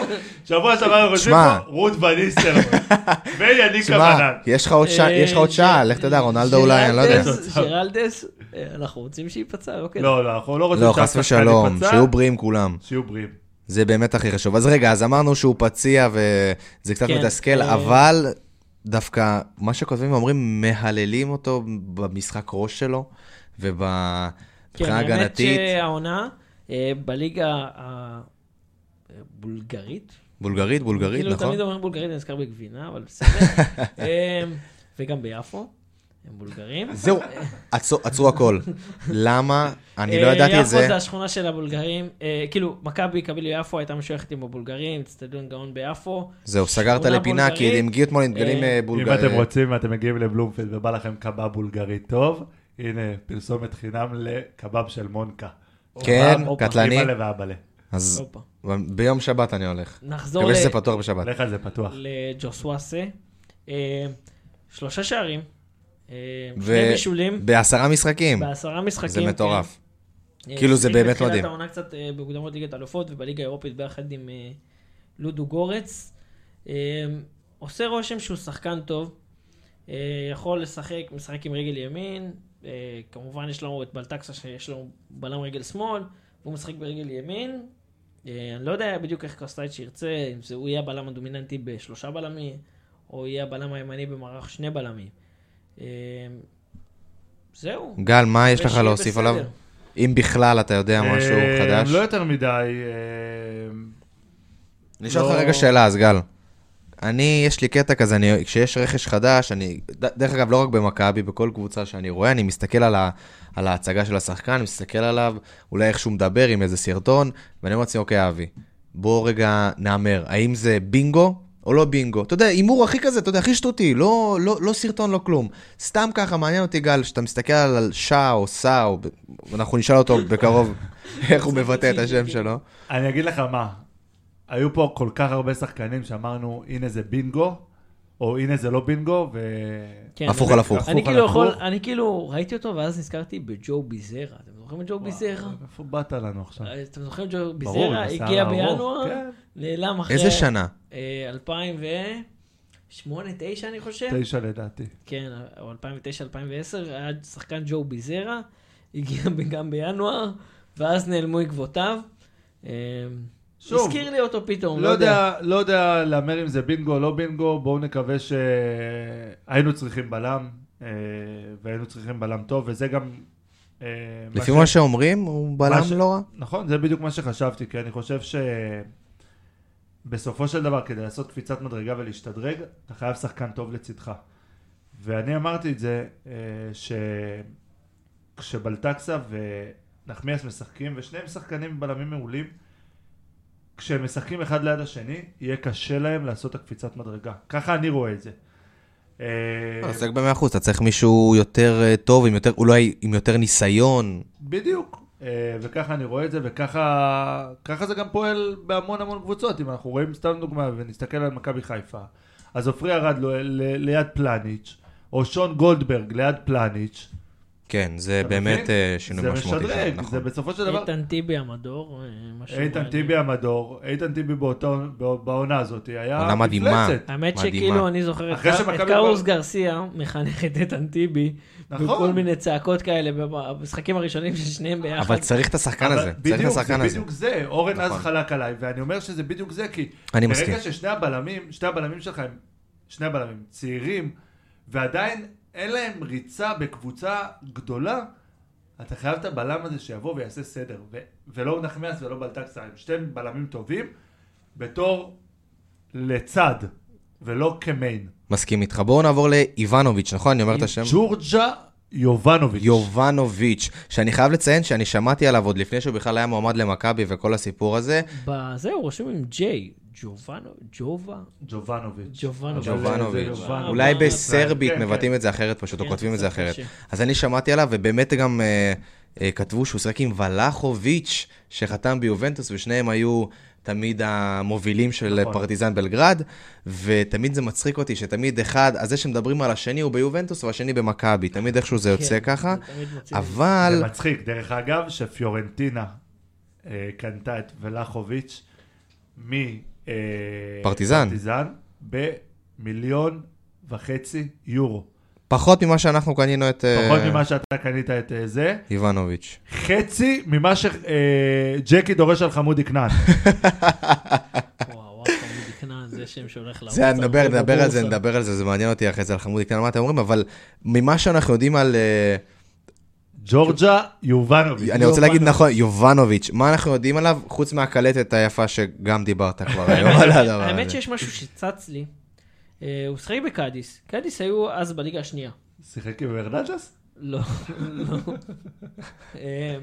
Speaker 3: שבוע שעבר אנחנו יושבים
Speaker 1: שמע.
Speaker 3: פה, רות וניסטר ויניק
Speaker 1: שמע,
Speaker 3: קבנן.
Speaker 1: יש לך עוד
Speaker 2: אה,
Speaker 1: שעה, יש לך עוד שעה, לך תדע, רונלדו אולי, אני לא יודע.
Speaker 2: ג'רלדס- ג'רלדס, אה, אנחנו רוצים שייפצע, לא כן.
Speaker 3: לא, לא, אנחנו לא רוצים
Speaker 1: לא, חס
Speaker 3: שהשחקן
Speaker 1: ושלום,
Speaker 3: ייפצע,
Speaker 1: שיהיו בריאים כולם.
Speaker 3: שיהיו בריאים.
Speaker 1: זה באמת הכי חשוב. אז רגע, אז אמרנו שהוא פציע וזה קצת
Speaker 2: כן,
Speaker 1: מתסכל,
Speaker 2: אה,
Speaker 1: אבל דווקא מה שכותבים אומרים, מהללים אותו במשחק ראש שלו ובבחינה הגנתית.
Speaker 2: כן, האמת שהעונה אה, בליגה הבולגרית.
Speaker 1: בולגרית, בולגרית,
Speaker 2: כאילו
Speaker 1: נכון?
Speaker 2: תמיד אומרים בולגרית, אני נזכר בגבינה, אבל בסדר. אה, וגם ביפו, הם בולגרים.
Speaker 1: זהו, עצו- עצרו הכל. למה? אני לא
Speaker 2: אה,
Speaker 1: ידעתי את
Speaker 2: יפו
Speaker 1: זה.
Speaker 2: זה השכונה של הבולגרים. אה, כאילו, מכבי קבילי יפו הייתה משויכת עם הבולגרים, אצטדיון גאון ביפו.
Speaker 1: זהו, סגרת
Speaker 2: שכונה
Speaker 1: לפינה, כי
Speaker 2: בולגרית.
Speaker 1: הם הגיעו אתמול עם דגלים
Speaker 2: אה,
Speaker 1: אה,
Speaker 3: אם אתם
Speaker 1: בולגרים.
Speaker 3: רוצים, אתם מגיעים לבלומפילד ובא לכם קבב בולגרי טוב, הנה, פרסומת חינם לקבב של מונקה.
Speaker 1: כן,
Speaker 3: קבב, הופה,
Speaker 1: קטלני.
Speaker 3: אימא'לה ואבאלה.
Speaker 1: אז
Speaker 2: הופה.
Speaker 1: ביום שבת אני הולך.
Speaker 2: נחזור
Speaker 1: מקווה שזה
Speaker 2: ל-
Speaker 1: פתוח בשבת.
Speaker 3: לך על זה פתוח.
Speaker 2: לג'וסואסה. אה, שלושה שערים. אה,
Speaker 1: ו-
Speaker 2: שני בישולים.
Speaker 1: בעשרה משחקים.
Speaker 2: בעשרה משחקים.
Speaker 1: זה
Speaker 2: כן.
Speaker 1: מטורף.
Speaker 2: אה,
Speaker 1: כאילו, זה
Speaker 2: שיחק
Speaker 1: באמת מדהים.
Speaker 2: בתחילת העונה קצת אה, במוקדמות ליגת אלופות ובליגה האירופית ביחד עם אה, לודו גורץ. אה, עושה רושם שהוא שחקן טוב, אה, יכול לשחק משחק עם רגל ימין, אה, כמובן יש לנו את בלטקסה שיש לו בלם רגל שמאל, והוא משחק ברגל ימין. אה, אני לא יודע בדיוק איך קרסטייץ' ירצה, אם זה הוא יהיה הבלם הדומיננטי בשלושה בלמים, או יהיה הבלם הימני במערך שני בלמים. אה, זהו.
Speaker 1: גל, מה יש לך
Speaker 2: ושיהיה
Speaker 1: להוסיף
Speaker 2: בסדר.
Speaker 1: עליו? אם בכלל אתה יודע משהו
Speaker 3: אה,
Speaker 1: חדש.
Speaker 3: לא יותר מדי. אה,
Speaker 1: אני אשאל אותך
Speaker 3: לא-
Speaker 1: רגע שאלה, אז גל. אני, יש לי קטע כזה, אני, כשיש רכש חדש, אני, ד- דרך אגב, לא רק במכבי, בכל קבוצה שאני רואה, אני מסתכל על, ה, על ההצגה של השחקן, אני מסתכל עליו, אולי איך שהוא מדבר עם איזה סרטון, ואני אומר לעצמי, אוקיי, אבי, בוא רגע נאמר, האם זה בינגו או לא בינגו? אתה יודע, הימור הכי כזה, אתה יודע, הכי שטותי, לא, לא, לא סרטון, לא כלום. סתם ככה, מעניין אותי, גל, שאתה מסתכל על שאה או סאה, או ב- אנחנו נשאל אותו בקרוב איך הוא מבטא את השם שלו.
Speaker 3: אני אגיד לך מה, היו פה כל כך הרבה שחקנים שאמרנו, הנה זה בינגו, או הנה זה לא בינגו, ו...
Speaker 2: כן,
Speaker 1: הפוך
Speaker 2: אני-
Speaker 1: על הפוך.
Speaker 2: אני
Speaker 3: הפוך על
Speaker 2: כאילו יכול,
Speaker 3: הפוך.
Speaker 2: אני כאילו ראיתי אותו ואז נזכרתי בג'ו ביזרה. אתם זוכרים את ג'ו ביזרה?
Speaker 3: איפה באת לנו עכשיו?
Speaker 2: אתם זוכרים ג'ו
Speaker 3: כן. ברור,
Speaker 2: ביזרה?
Speaker 3: עם השיער
Speaker 2: הגיע
Speaker 3: הארוך,
Speaker 2: בינואר,
Speaker 3: כן.
Speaker 2: נעלם אחרי... אה,
Speaker 1: איזה שנה?
Speaker 2: 2008, 2009 אני חושב.
Speaker 3: תשע לדעתי.
Speaker 2: כן, או 2009, 2010, היה שחקן ג'ו ביזרה, הגיע ב- גם בינואר, ואז נעלמו עקבותיו. אה,
Speaker 3: שוב,
Speaker 2: הזכיר לי אותו פתאום,
Speaker 3: לא יודע, לא יודע להמר אם זה בינגו או לא בינגו, בואו נקווה שהיינו צריכים בלם, אה, והיינו צריכים בלם טוב, וזה גם... אה, מה
Speaker 1: לפי
Speaker 3: ש-
Speaker 1: מה שאומרים, הוא בלם
Speaker 3: ש-
Speaker 1: לא רע.
Speaker 3: נכון, זה בדיוק מה שחשבתי, כי אני חושב שבסופו של דבר, כדי לעשות קפיצת מדרגה ולהשתדרג, אתה חייב שחקן טוב לצדך. ואני אמרתי את זה, אה, שכשבלטקסה ונחמיאס משחקים, ושניהם שחקנים בלמים מעולים, כשהם משחקים אחד ליד השני, יהיה קשה להם לעשות את הקפיצת מדרגה. ככה אני רואה את זה. אה,
Speaker 1: אתה צודק במאה אחוז, אתה צריך מישהו יותר אה, טוב, עם יותר, אולי עם יותר ניסיון.
Speaker 3: בדיוק. אה, וככה אני רואה את זה, וככה ככה זה גם פועל בהמון המון קבוצות. אם אנחנו רואים סתם דוגמה ונסתכל על מכבי חיפה, אז עופרי ארד לא- ל- ליד פלניץ', או שון גולדברג ליד פלניץ'.
Speaker 1: כן, זה
Speaker 3: אתה
Speaker 1: באמת
Speaker 3: מבין?
Speaker 1: אה, שינוי משמעותי.
Speaker 3: זה
Speaker 1: שם,
Speaker 3: משדרג, זה
Speaker 1: נכון.
Speaker 3: בסופו של דבר...
Speaker 2: איתן טיבי המדור. אה, משהו
Speaker 3: איתן
Speaker 2: מעניין.
Speaker 3: טיבי המדור, איתן טיבי באותו- בא- בעונה הזאת היה
Speaker 1: עונה מדהימה.
Speaker 3: מפלצת.
Speaker 2: האמת
Speaker 1: מדהימה.
Speaker 2: שכאילו אני זוכר את
Speaker 3: אחרי
Speaker 2: קא-
Speaker 3: שמכבי
Speaker 2: את
Speaker 3: כבר-
Speaker 2: קארוס גרסיה מחנך את איתן טיבי,
Speaker 3: נכון.
Speaker 2: בכל מיני צעקות כאלה במשחקים הראשונים של שניהם ביחד.
Speaker 1: אבל צריך את השחקן
Speaker 3: אבל
Speaker 1: הזה, צריך את
Speaker 3: בדיוק, זה
Speaker 1: השחקן הזה.
Speaker 3: בדיוק זה, אורן אז
Speaker 1: נכון.
Speaker 3: חלק עליי, ואני אומר שזה בדיוק זה, כי
Speaker 1: אני מסכים.
Speaker 3: ברגע ששני הבלמים, שני הבלמים שלך הם, שני הבלמים צעירים, ועדיין אין להם ריצה בקבוצה גדולה, אתה חייב את הבלם הזה שיבוא ויעשה סדר, ו- ולא נחמיאס ולא בלטקסה, הם שתי בלמים טובים, בתור לצד, ולא כמיין.
Speaker 1: מסכים איתך. בואו נעבור לאיבנוביץ', נכון? אני אומר את השם?
Speaker 3: ג'ורג'ה יובנוביץ'.
Speaker 1: יובנוביץ', שאני חייב לציין שאני שמעתי עליו עוד לפני שהוא בכלל היה מועמד למכבי וכל הסיפור הזה.
Speaker 2: זהו, רושם עם ג'יי, ג'ובאנו, ג'ובה,
Speaker 3: ג'ובנוביץ'.
Speaker 2: ג'ובאנו.
Speaker 1: ג'ובנוביץ'.
Speaker 2: יובנוביץ'.
Speaker 1: אולי
Speaker 2: אבל-
Speaker 1: בסרבית
Speaker 3: כן,
Speaker 1: מבטאים
Speaker 3: כן.
Speaker 1: את זה אחרת פשוט, או
Speaker 2: כן,
Speaker 1: כותבים
Speaker 2: זה
Speaker 1: את זה
Speaker 2: קצת
Speaker 1: אחרת.
Speaker 2: קשה.
Speaker 1: אז אני שמעתי עליו, ובאמת גם אה, אה, כתבו שהוא שיחק עם ולחוביץ', שחתם ביובנטוס, ושניהם היו תמיד המובילים של
Speaker 3: נכון.
Speaker 1: פרטיזן בלגרד, ותמיד זה מצחיק אותי שתמיד אחד, אז זה שמדברים על השני הוא ביובנטוס והשני במכבי, תמיד איכשהו זה יוצא
Speaker 2: כן,
Speaker 1: ככה,
Speaker 2: זה תמיד מוצאים את זה.
Speaker 1: אבל...
Speaker 3: זה מצחיק, דרך אגב, שפיורנטינה אה, קנתה את ולחוביץ'
Speaker 1: פרטיזן.
Speaker 3: מפרטיזן במיליון וחצי יורו.
Speaker 1: פחות ממה שאנחנו קנינו את אה,
Speaker 3: פחות ממה שאתה קנית את אה, זה,
Speaker 1: איבנוביץ'.
Speaker 3: חצי ממה שג'קי דורש על חמודי כנען.
Speaker 2: וואו, וואו, חמודי כנען, זה שם שהולך לערוץ.
Speaker 1: זה, נדבר,
Speaker 2: הרבה
Speaker 1: נדבר על זה,
Speaker 2: בבורסה.
Speaker 1: נדבר על זה, זה מעניין אותי אחרי זה על חמודי קטן, מה אתם אומרים, אבל ממה שאנחנו יודעים על... אה,
Speaker 3: ג'ורג'ה יובנוביץ'.
Speaker 1: אני רוצה להגיד נכון, יובנוביץ', מה אנחנו יודעים עליו, חוץ מהקלטת היפה שגם דיברת כבר היום על הדבר הזה.
Speaker 2: האמת שיש משהו שצץ לי. אה, הוא שחק בקאדיס. קאדיס היו אז בליגה השנייה.
Speaker 3: שיחק עם ארננדס?
Speaker 2: לא, לא. אה,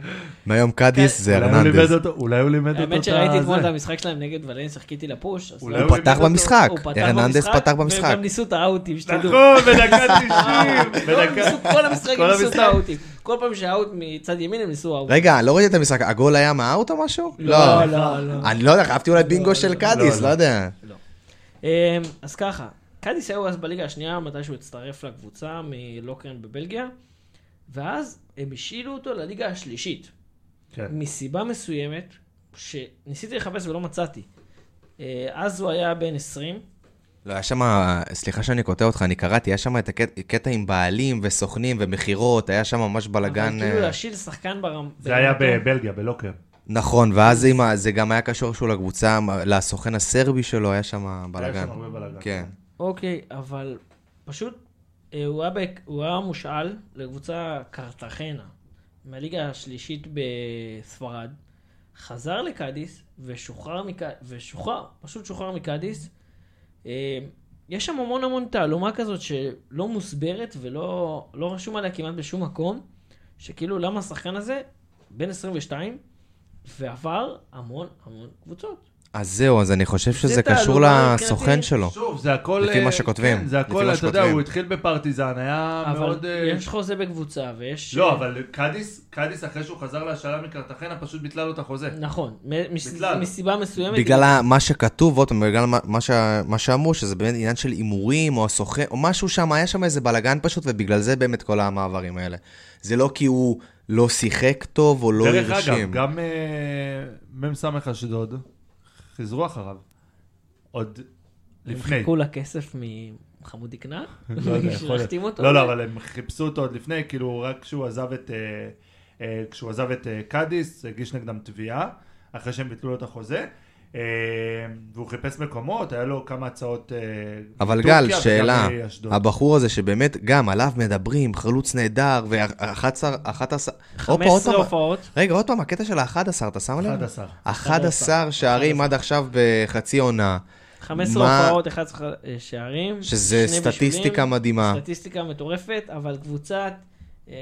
Speaker 1: מהיום קאדיס
Speaker 2: כן.
Speaker 1: זה
Speaker 3: אולי הוא לימד
Speaker 1: ארננדס.
Speaker 3: אותו- אולי הוא לימד אותו את
Speaker 2: האמת שראיתי אתמול את
Speaker 3: הזה.
Speaker 2: המשחק שלהם נגד ולנסיה, חיכיתי לפוש. אז
Speaker 3: אולי
Speaker 2: לא-
Speaker 1: הוא פתח
Speaker 3: לימד אותו-
Speaker 1: במשחק,
Speaker 2: הוא פתח
Speaker 1: ארננדס
Speaker 2: במשחק,
Speaker 1: פתח
Speaker 2: והם
Speaker 1: במשחק.
Speaker 2: גם ניסו את האאוטים, שתדעו.
Speaker 3: נכון, בדקה 90.
Speaker 2: כל
Speaker 3: בדקה-
Speaker 2: המשחק- לא, כל המשחק
Speaker 3: כל
Speaker 2: הם ניסו את
Speaker 3: המשחק.
Speaker 2: האאוטים. כל פעם שהאאוט מצד ימין הם ניסו האאוט.
Speaker 1: רגע, לא ראיתי את המשחק, הגול היה מהאוט או משהו?
Speaker 2: לא, לא, לא.
Speaker 1: אני לא יודע, חייבתי אולי בינגו
Speaker 2: לא,
Speaker 1: של
Speaker 2: לא,
Speaker 1: קאדיס,
Speaker 3: לא.
Speaker 1: לא יודע.
Speaker 2: לא. אמ, אז ככה, קאדיס היו אז בליגה השנייה, מתי שהוא הצטרף לקבוצה מלוקרן בבלגיה, ואז הם השאילו אותו לליגה השלישית.
Speaker 3: כן.
Speaker 2: מסיבה מסוימת, שניסיתי לחפש ולא מצאתי. אה, אז הוא היה בן 20,
Speaker 1: לא, היה שם, סליחה שאני קוטע אותך, אני קראתי, היה שם את הקטע עם בעלים וסוכנים ומכירות, היה שם ממש בלאגן. אה,
Speaker 2: אבל כאילו להשאיל שחקן ברמ...
Speaker 3: זה היה
Speaker 2: ברמתו.
Speaker 3: בבלגיה, בלוקר.
Speaker 1: נכון, ואז עם ה- זה גם היה קשור שהוא לקבוצה, לסוכן הסרבי שלו, היה שם בלאגן.
Speaker 3: היה שם הרבה בלאגן.
Speaker 1: כן.
Speaker 2: אוקיי, אבל פשוט אה, הוא היה, בק... הוא היה מושאל לקבוצה קרטחנה, מהליגה השלישית בספרד, חזר לקאדיס ושוחרר, מק... ושוחרר, פשוט שוחרר מקאדיס. אה, יש שם המון המון תעלומה כזאת שלא מוסברת ולא לא רשום עליה כמעט בשום מקום, שכאילו למה השחקן הזה בן 22 ועבר המון המון קבוצות.
Speaker 1: אז זהו, אז אני חושב שזה קשור
Speaker 2: תעלומה
Speaker 1: לסוכן
Speaker 2: מבחינתי.
Speaker 1: שלו.
Speaker 3: שוב, זה הכל...
Speaker 1: לא. לפי
Speaker 3: אה,
Speaker 1: מה שכותבים,
Speaker 3: כן, זה
Speaker 1: לפי
Speaker 3: הכל,
Speaker 1: מה
Speaker 3: אתה יודע,
Speaker 1: שכותבים.
Speaker 3: הוא התחיל בפרטיזן, היה
Speaker 2: אבל
Speaker 3: מאוד... אה,
Speaker 2: יש חוזה בקבוצה ויש... אה,
Speaker 3: לא, אבל קאדיס, קאדיס אחרי שהוא חזר להשאלה מקרטחנה, פשוט ביטלה לו את החוזה.
Speaker 2: נכון, מ- מס-
Speaker 3: בכלל.
Speaker 2: מסיבה מסוימת.
Speaker 1: בגלל ה- מה שכתוב, עוד פעם, בגלל מה- מה שה- מה שאמרו, שזה באמת עניין של הימורים, או הסוכן, או משהו שם, היה שם איזה בלאגן פשוט, ובגלל זה באמת כל המעברים האלה. זה לא כי הוא לא שיחק טוב, או לא
Speaker 3: דרך
Speaker 1: הרשים.
Speaker 3: אגב, גם אה, מ"ס אשדוד, חזרו אחריו. עוד
Speaker 2: הם
Speaker 3: לפני.
Speaker 2: חיכו לכסף מחמודי קנן?
Speaker 3: לא יודע, יכול להיות.
Speaker 2: שהחתימו אותו?
Speaker 3: לא, לא, אבל הם חיפשו אותו עוד לפני, כאילו, רק כשהוא עזב את... אה, אה, כשהוא עזב את אה, קאדיס, הגיש נגדם תביעה, אחרי שהם ביטלו לו את החוזה. אה, והוא חיפש מקומות, היה לו כמה הצעות... אה,
Speaker 1: אבל
Speaker 3: מטורקיה
Speaker 1: גל,
Speaker 3: וגם אה,
Speaker 1: שאלה,
Speaker 3: מאשדוד.
Speaker 1: הבחור הזה שבאמת, גם עליו מדברים, חלוץ נהדר, ו-11,
Speaker 2: 15 הופעות.
Speaker 1: רגע, עוד פעם, הקטע של ה-11, אתה שם לב?
Speaker 3: 11.
Speaker 1: 11 שערים עד עכשיו בחצי עונה,
Speaker 2: 15
Speaker 1: מה-
Speaker 2: הופעות, 11 שערים.
Speaker 1: שזה
Speaker 2: שני
Speaker 1: סטטיסטיקה
Speaker 2: בישולים,
Speaker 1: מדהימה.
Speaker 2: סטטיסטיקה מטורפת, אבל קבוצת... אה,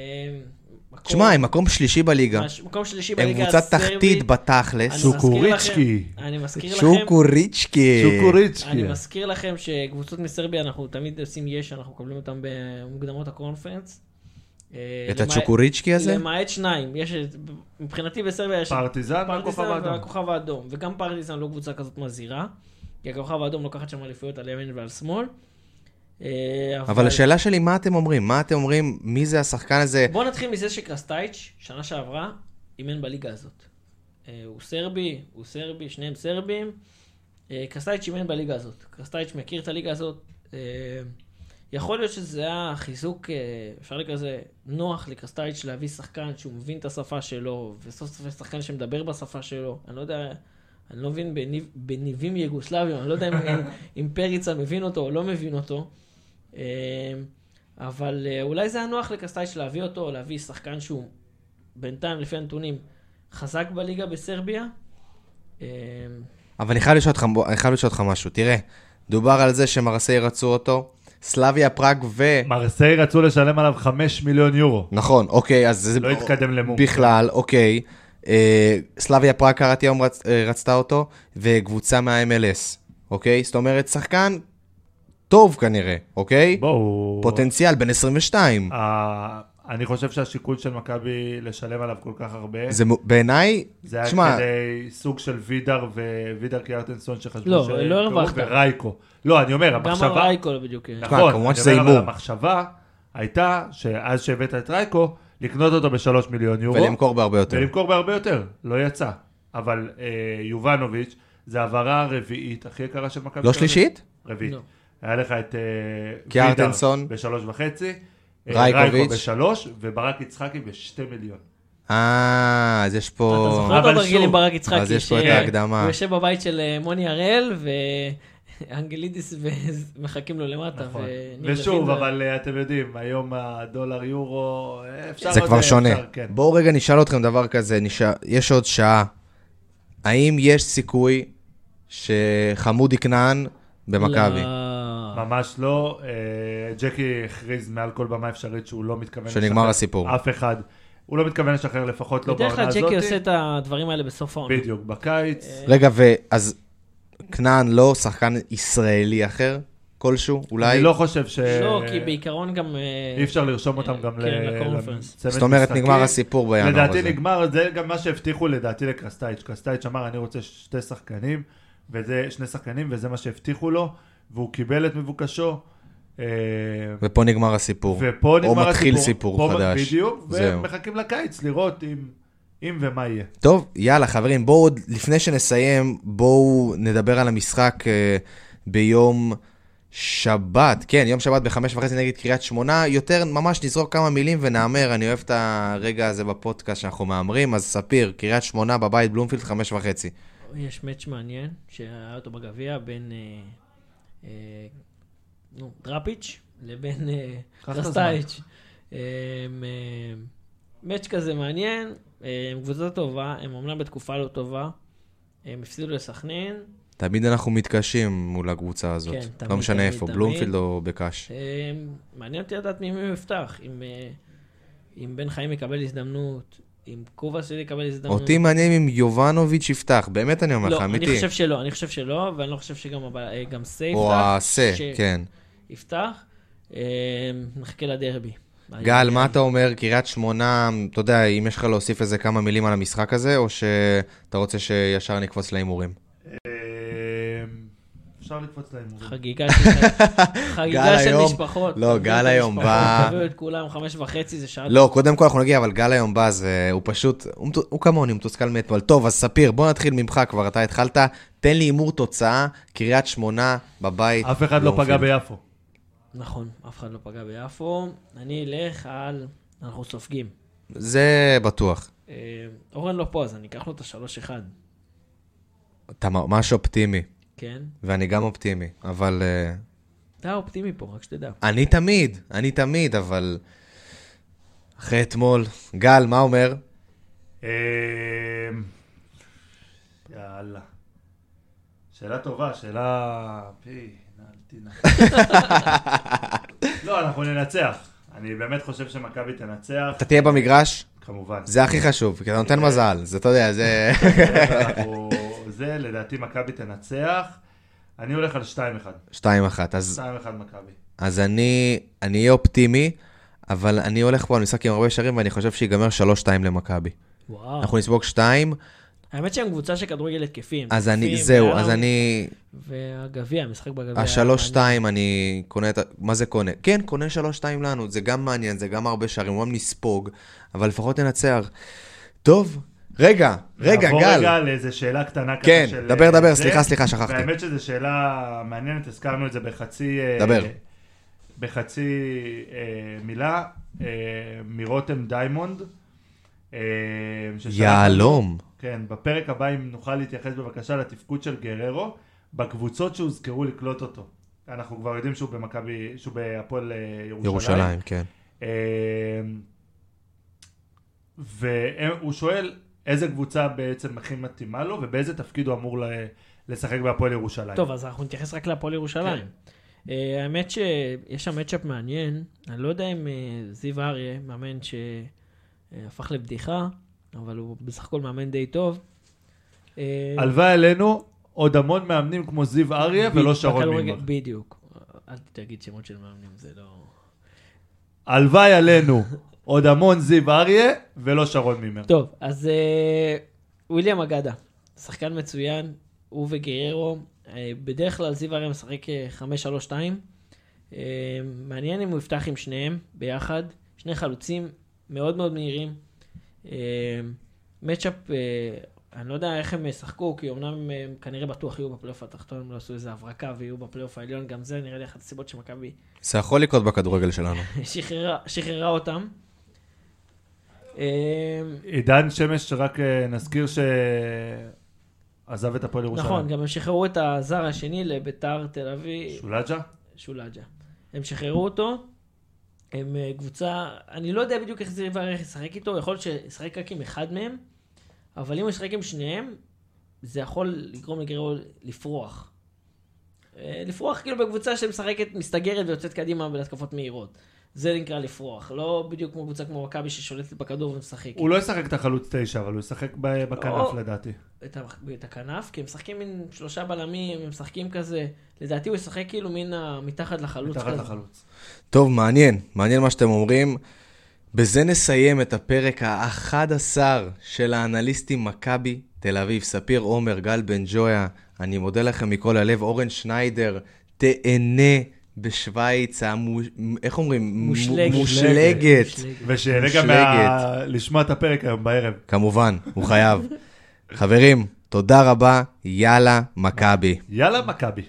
Speaker 2: מקום-
Speaker 1: תשמע, הם מקום שלישי בליגה,
Speaker 2: מש- מקום שלישי
Speaker 1: הם
Speaker 2: בליגה
Speaker 1: קבוצה תחתית
Speaker 2: אני
Speaker 1: בתכלס.
Speaker 2: מזכיר לכם-
Speaker 3: שוקוריצ'קי.
Speaker 2: אני מזכיר לכם...
Speaker 1: שוקוריצ'קי.
Speaker 3: שוקוריצ'קי.
Speaker 2: אני מזכיר לכם שקבוצות מסרביה, אנחנו תמיד עושים יש, אנחנו מקבלים אותן במוקדמות הקונפרנס. אה,
Speaker 1: את
Speaker 2: למעט-
Speaker 1: הצ'וקוריצ'קי הזה?
Speaker 2: למעט שניים. יש את... מבחינתי בסרביה יש... את
Speaker 3: פרטיזן והכוכב
Speaker 2: פרטיזן
Speaker 3: האדום.
Speaker 2: והכוכב האדום. וגם פרטיזן לא קבוצה כזאת מזהירה. כי הכוכב האדום לוקחת שם אליפויות על ימין ועל שמאל. אה,
Speaker 1: אבל השאלה שלי, מה אתם אומרים? מה אתם אומרים? מי זה השחקן הזה?
Speaker 2: בוא נתחיל מזה שקרסטייץ', שנה שעברה, אימן בליגה הזאת. אה, הוא סרבי, הוא סרבי, שניהם סרבים. אה, קרסטייץ' אימן בליגה הזאת. קרסטייץ' מכיר את הליגה הזאת. אה, יכול להיות שזה היה חיזוק, אה, אפשר לקרוא לזה, נוח לקרסטייץ' להביא שחקן שהוא מבין את השפה שלו, וסוף סוף יש שחקן שמדבר בשפה שלו. אני לא יודע, אני לא מבין בניב, בניבים יוגוסלבים, אני לא יודע אם, אם פריצה מבין אותו או לא מבין אותו. אה, אבל אה, אולי זה היה נוח לקרסטייץ' להביא אותו, להביא שחקן שהוא בינתיים, לפי הנתונים, חזק בליגה בסרביה. אה,
Speaker 1: אבל אני חייב לשאול אותך, אני חייב לשאול אותך משהו. תראה, דובר על זה שמרסיי רצו אותו, סלאביה פראג ו...
Speaker 3: מרסיי רצו לשלם עליו 5 מיליון יורו.
Speaker 1: נכון, אוקיי, אז זה...
Speaker 3: לא התקדם למום.
Speaker 1: בכלל, אוקיי. אה, סלאביה פראג קראתי היום רצ... אה, רצתה אותו, וקבוצה מה-MLS, אוקיי? זאת אומרת, שחקן טוב כנראה, אוקיי?
Speaker 3: בואו...
Speaker 1: פוטנציאל, בן 22.
Speaker 3: אה, אני חושב שהשיקול של מכבי לשלם עליו כל כך הרבה,
Speaker 1: זה מ- בעיניי,
Speaker 3: אוקיי. זה היה
Speaker 1: תשמע,
Speaker 3: כדי סוג של וידר ווידר קיארטנסון שחשבו
Speaker 2: לא,
Speaker 3: שהם
Speaker 2: לא
Speaker 3: טעו,
Speaker 2: הרווחת.
Speaker 3: ורייקו. לא, אני אומר,
Speaker 2: גם
Speaker 3: המחשבה...
Speaker 2: הרייקו לא בדיוק. אה,
Speaker 1: תשמע,
Speaker 3: נכון,
Speaker 1: כמובן
Speaker 3: אני
Speaker 1: שזה
Speaker 3: אומר, אבל
Speaker 1: הימור.
Speaker 3: המחשבה הייתה שאז שהבאת את רייקו, לקנות אותו בשלוש מיליון יורו.
Speaker 1: ולמכור בהרבה יותר.
Speaker 3: ולמכור בהרבה יותר, לא יצא. אבל אה, יובנוביץ', זה העברה הרביעית הכי יקרה של מכבי
Speaker 1: לא
Speaker 3: תל אביב.
Speaker 1: שלישית?
Speaker 3: רביעית.
Speaker 2: לא.
Speaker 3: היה לך את אה,
Speaker 1: קיארטנסון.
Speaker 3: וידר בשלוש וחצי, אה,
Speaker 1: רייקוביץ'.
Speaker 3: רייקו בשלוש, וברק יצחקי בשתי מיליון.
Speaker 1: אה, אז יש
Speaker 2: אתה
Speaker 1: פה...
Speaker 2: זוכר את
Speaker 3: אבל
Speaker 2: התרגיל
Speaker 3: שוב,
Speaker 2: עם ברק יצחקי?
Speaker 1: אז יש פה את
Speaker 2: ש-
Speaker 1: ההקדמה.
Speaker 2: הוא יושב בבית של אה, מוני הראל, ואנגלידיס ומחכים לו למטה.
Speaker 3: נכון.
Speaker 2: וניר
Speaker 3: ושוב,
Speaker 2: דוד-
Speaker 3: אבל אה, אתם יודעים, היום הדולר יורו, אה, אפשר...
Speaker 1: זה
Speaker 3: עוד,
Speaker 1: כבר
Speaker 3: אה,
Speaker 1: שונה.
Speaker 3: אפשר, כן.
Speaker 1: בואו רגע נשאל אתכם דבר כזה, נשאל, יש עוד שעה. האם יש סיכוי שחמודי כנען במכבי?
Speaker 2: לא.
Speaker 3: ממש לא. אה, ג'קי הכריז מעל כל במה אפשרית שהוא לא מתכוון
Speaker 1: שנגמר הסיפור.
Speaker 3: אף אחד. הוא לא מתכוון לשחרר, לפחות לא
Speaker 2: בדרך
Speaker 3: בעונה
Speaker 2: כלל
Speaker 3: הזאת.
Speaker 2: ג'קי עושה את אה, הדברים האלה בסוף העונה.
Speaker 3: בדיוק, בקיץ.
Speaker 1: רגע, ואז כנען לא שחקן ישראלי אחר כלשהו, אולי?
Speaker 3: אני לא חושב ש...
Speaker 2: לא, כי בעיקרון גם... אה,
Speaker 3: אי אפשר לרשום אותם גם
Speaker 2: כן,
Speaker 3: ל-
Speaker 2: לקונפרנס.
Speaker 3: לצמד
Speaker 1: זאת אומרת,
Speaker 3: משחקים.
Speaker 1: נגמר הסיפור בינואר הזה.
Speaker 3: לדעתי נגמר, זה גם מה שהבטיחו לדעתי לקרסטייץ'. קרסטייץ' אמר, אני רוצה שתי שחקנים, וזה שני שחקנים, וזה מה שהבטיחו לו, והוא קיבל את מבוקשו. אה,
Speaker 1: ופה נגמר הסיפור.
Speaker 3: ופה נגמר הסיפור.
Speaker 1: או מתחיל סיפור
Speaker 3: פה-
Speaker 1: חדש.
Speaker 3: בדיוק,
Speaker 1: זהו.
Speaker 3: ומחכים לקיץ לראות אם- אם ומה יהיה.
Speaker 1: טוב, יאללה, חברים, בואו עוד, לפני שנסיים, בואו נדבר על המשחק אה, ביום שבת, כן, יום שבת בחמש וחצי נגד קריית שמונה, יותר ממש נזרוק כמה מילים ונהמר, אני אוהב את הרגע הזה בפודקאסט שאנחנו מהמרים, אז ספיר, קריית שמונה בבית בלומפילד חמש וחצי.
Speaker 2: יש מאץ' מעניין, שהיה אותו בגביע, בין אה, אה, נו, דראפיץ' לבין אה,
Speaker 3: קח את הזמן.
Speaker 2: דרסטייץ'. אה, אה, מאץ' כזה מעניין, אה, הם קבוצה טובה, הם אמנם בתקופה לא טובה, הם הפסידו לסכנין,
Speaker 1: תמיד אנחנו מתקשים מול הקבוצה הזאת,
Speaker 2: כן, תמיד,
Speaker 1: לא משנה
Speaker 2: תמיד,
Speaker 1: איפה,
Speaker 2: תמיד.
Speaker 1: בלומפילד או בקאש.
Speaker 2: אה, מעניין אותי לדעת מי מי הוא יפתח, אם, אה, אם בן חיים יקבל הזדמנות, אם קובה שלי יקבל הזדמנות.
Speaker 1: אותי מעניין אם יובנוביץ' יפתח, באמת אני אומר לך,
Speaker 2: אה, לא, אני
Speaker 1: אמיתי.
Speaker 2: חושב שלא, אני חושב שלא, ואני לא חושב שגם הבא- אה, גם סייף
Speaker 1: או העשה,
Speaker 2: ש-
Speaker 1: כן.
Speaker 2: יפתח, אה, נחכה לדרבי.
Speaker 1: גל, מה אתה אומר? קריית שמונה, אתה יודע, אם יש לך להוסיף איזה כמה מילים על המשחק הזה, או שאתה רוצה שישר נקפוץ להימורים?
Speaker 3: אה, אפשר לקפוץ להימורים.
Speaker 2: חגיגה של חגיגה
Speaker 1: גל
Speaker 2: של
Speaker 1: היום-
Speaker 2: משפחות.
Speaker 1: לא, גל היום
Speaker 2: משפחות,
Speaker 1: בא-
Speaker 2: הביאו את כולם, חמש וחצי זה שעה.
Speaker 1: לא, קודם כל אנחנו נגיע, אבל גל היום בא, זה, הוא פשוט, הוא, מת- הוא כמוני, הוא מתוסכל מאתמול. טוב, אז ספיר, בוא נתחיל ממך כבר, אתה התחלת, תן לי הימור תוצאה, קריית שמונה, בבית.
Speaker 3: אף אחד לא פגע
Speaker 1: בלומפילד.
Speaker 3: ביפו.
Speaker 2: נכון, אף אחד לא פגע ביפו. אני אלך על... אנחנו סופגים.
Speaker 1: זה בטוח.
Speaker 2: אה, אורן לא פה, אז אני אקח לו את השלוש אחד,
Speaker 1: אתה ממש אופטימי,
Speaker 2: כן?
Speaker 1: ואני גם אופטימי, אבל... אה,
Speaker 2: אתה אופטימי פה, רק שתדע.
Speaker 1: אני תמיד, אני תמיד, אבל... אחרי אתמול. גל, מה אומר?
Speaker 3: אה, יאללה. שאלה טובה, שאלה... פי, נלטינה. לא, אנחנו ננצח. אני באמת חושב שמכבי תנצח,
Speaker 1: אתה תהיה במגרש?
Speaker 3: כמובן.
Speaker 1: זה הכי חשוב, כי אתה נותן מזל, זה אתה יודע, זה...
Speaker 3: אנחנו- זה, לדעתי מכבי תנצח. אני הולך על 2-1.
Speaker 1: 2-1. אז,
Speaker 3: 2-1 מכבי.
Speaker 1: אז אני, אני אהיה אופטימי, אבל אני הולך פה על משחק עם הרבה שערים, ואני חושב שיגמר 3-2 למכבי.
Speaker 2: וואו.
Speaker 1: אנחנו נספוג 2,
Speaker 2: האמת שהם קבוצה של כדורגל התקפים.
Speaker 1: אז אני,
Speaker 2: התקפים,
Speaker 1: זהו,
Speaker 2: יאללה.
Speaker 1: אז אני...
Speaker 2: והגביע, המשחק בגביע.
Speaker 1: ה-3-2 אני קונה את ה... מה זה קונה? כן, קונה 3-2 לנו, זה גם מעניין, זה גם הרבה שערים, אומנם נספוג, אבל לפחות ננצח. טוב, רגע, רגע,
Speaker 3: נעבור רגע
Speaker 1: גל.
Speaker 3: לאיזה שאלה קטנה ככה
Speaker 1: כן,
Speaker 3: של...
Speaker 1: דבר, דבר,
Speaker 3: זה.
Speaker 1: סליחה, סליחה, שכחתי.
Speaker 3: והאמת שזו שאלה מעניינת, הזכרנו את זה בחצי... אה,
Speaker 1: דבר.
Speaker 3: בחצי אה, מילה, אה, מרותם דיימונד. אה, ששלח לנו-
Speaker 1: יהלום.
Speaker 3: כן, בפרק הבא אם נוכל להתייחס בבקשה לתפקוד של גררו, בקבוצות שהוזכרו לקלוט אותו. אנחנו כבר יודעים שהוא במכבי, שהוא בהפועל אה, ירושלים.
Speaker 1: ירושלים, כן.
Speaker 3: אמ, והוא שואל איזה קבוצה בעצם הכי מתאימה לו ובאיזה תפקיד הוא אמור ל- לשחק בהפועל ירושלים.
Speaker 2: טוב, אז אנחנו נתייחס רק להפועל ירושלים.
Speaker 3: כן.
Speaker 2: אה, האמת שיש שם מצ'אפ מעניין, אני לא יודע אם אה, זיו אריה, מאמן שהפך לבדיחה, אבל הוא בסך הכל מאמן די טוב. אה,
Speaker 3: הלוואי עלינו עוד המון מאמנים כמו זיו אריה
Speaker 2: ב-
Speaker 3: ולא שרון
Speaker 2: בכדורגל-
Speaker 3: מימר.
Speaker 2: בדיוק. אל תגיד שמות של מאמנים, זה לא...
Speaker 3: הלוואי עלינו עוד המון זיו אריה ולא שרון מימר.
Speaker 2: טוב, אז אה, וויליאם אגדה, שחקן מצוין, הוא וגררו, אה, בדרך כלל זיו הרי משחק אה, 5-3-2. אה, מעניין אם הוא יפתח עם שניהם ביחד, שני חלוצים מאוד מאוד מהירים. מצ'אפ, אני לא יודע איך הם ישחקו, כי אמנם אה, הם כנראה בטוח יהיו בפלייאוף התחתון, הם לא עשו איזה הברקה ויהיו בפלייאוף העליון, גם זה נראה לי אחת הסיבות שמכבי
Speaker 1: זה יכול לקרות בכדורגל שלנו.
Speaker 2: שחררה, שחררה אותם. אה,
Speaker 3: עידן שמש, רק אה, נזכיר שעזב את הפועל ירושלים.
Speaker 2: נכון, גם הם שחררו את הזר השני לביתר תל אביב,
Speaker 3: שולג'ה?
Speaker 2: שולג'ה. הם שחררו אותו, הם אה, קבוצה, אני לא יודע בדיוק איך זיו הרך ישחק איתו, יכול להיות שישחק רק עם אחד מהם, אבל אם הוא ישחק עם שניהם, זה יכול לגרום לגררו לפרוח. אה, לפרוח כאילו בקבוצה שמשחקת, מסתגרת ויוצאת קדימה בהתקפות מהירות. זה נקרא לפרוח, לא בדיוק כמו קבוצה כמו מכבי ששולטת בכדור ומשחקת.
Speaker 3: הוא לא ישחק את החלוץ תשע, אבל הוא ישחק ב- בכנף
Speaker 2: לא.
Speaker 3: לדעתי.
Speaker 2: את, ה, את הכנף, כי הם משחקים מין שלושה בלמים, הם משחקים כזה, לדעתי הוא ישחק כאילו מן ה, מתחת לחלוץ
Speaker 3: מתחת
Speaker 2: כזה.
Speaker 3: לחלוץ.
Speaker 1: טוב, מעניין, מעניין מה שאתם אומרים. בזה נסיים את הפרק ה-11 של האנליסטים מכבי תל אביב. ספיר עומר, גל בן ג'ויה, אני מודה לכם מכל הלב. אורן שניידר, תהנה בשוויץ, המו... איך אומרים?
Speaker 2: מושלגת.
Speaker 1: מושלגת.
Speaker 2: מושלגת.
Speaker 3: ושיהנה גם מה- לשמוע את הפרק היום בערב.
Speaker 1: כמובן, הוא חייב. חברים, תודה רבה, יאללה, מכבי.
Speaker 3: יאללה מכבי.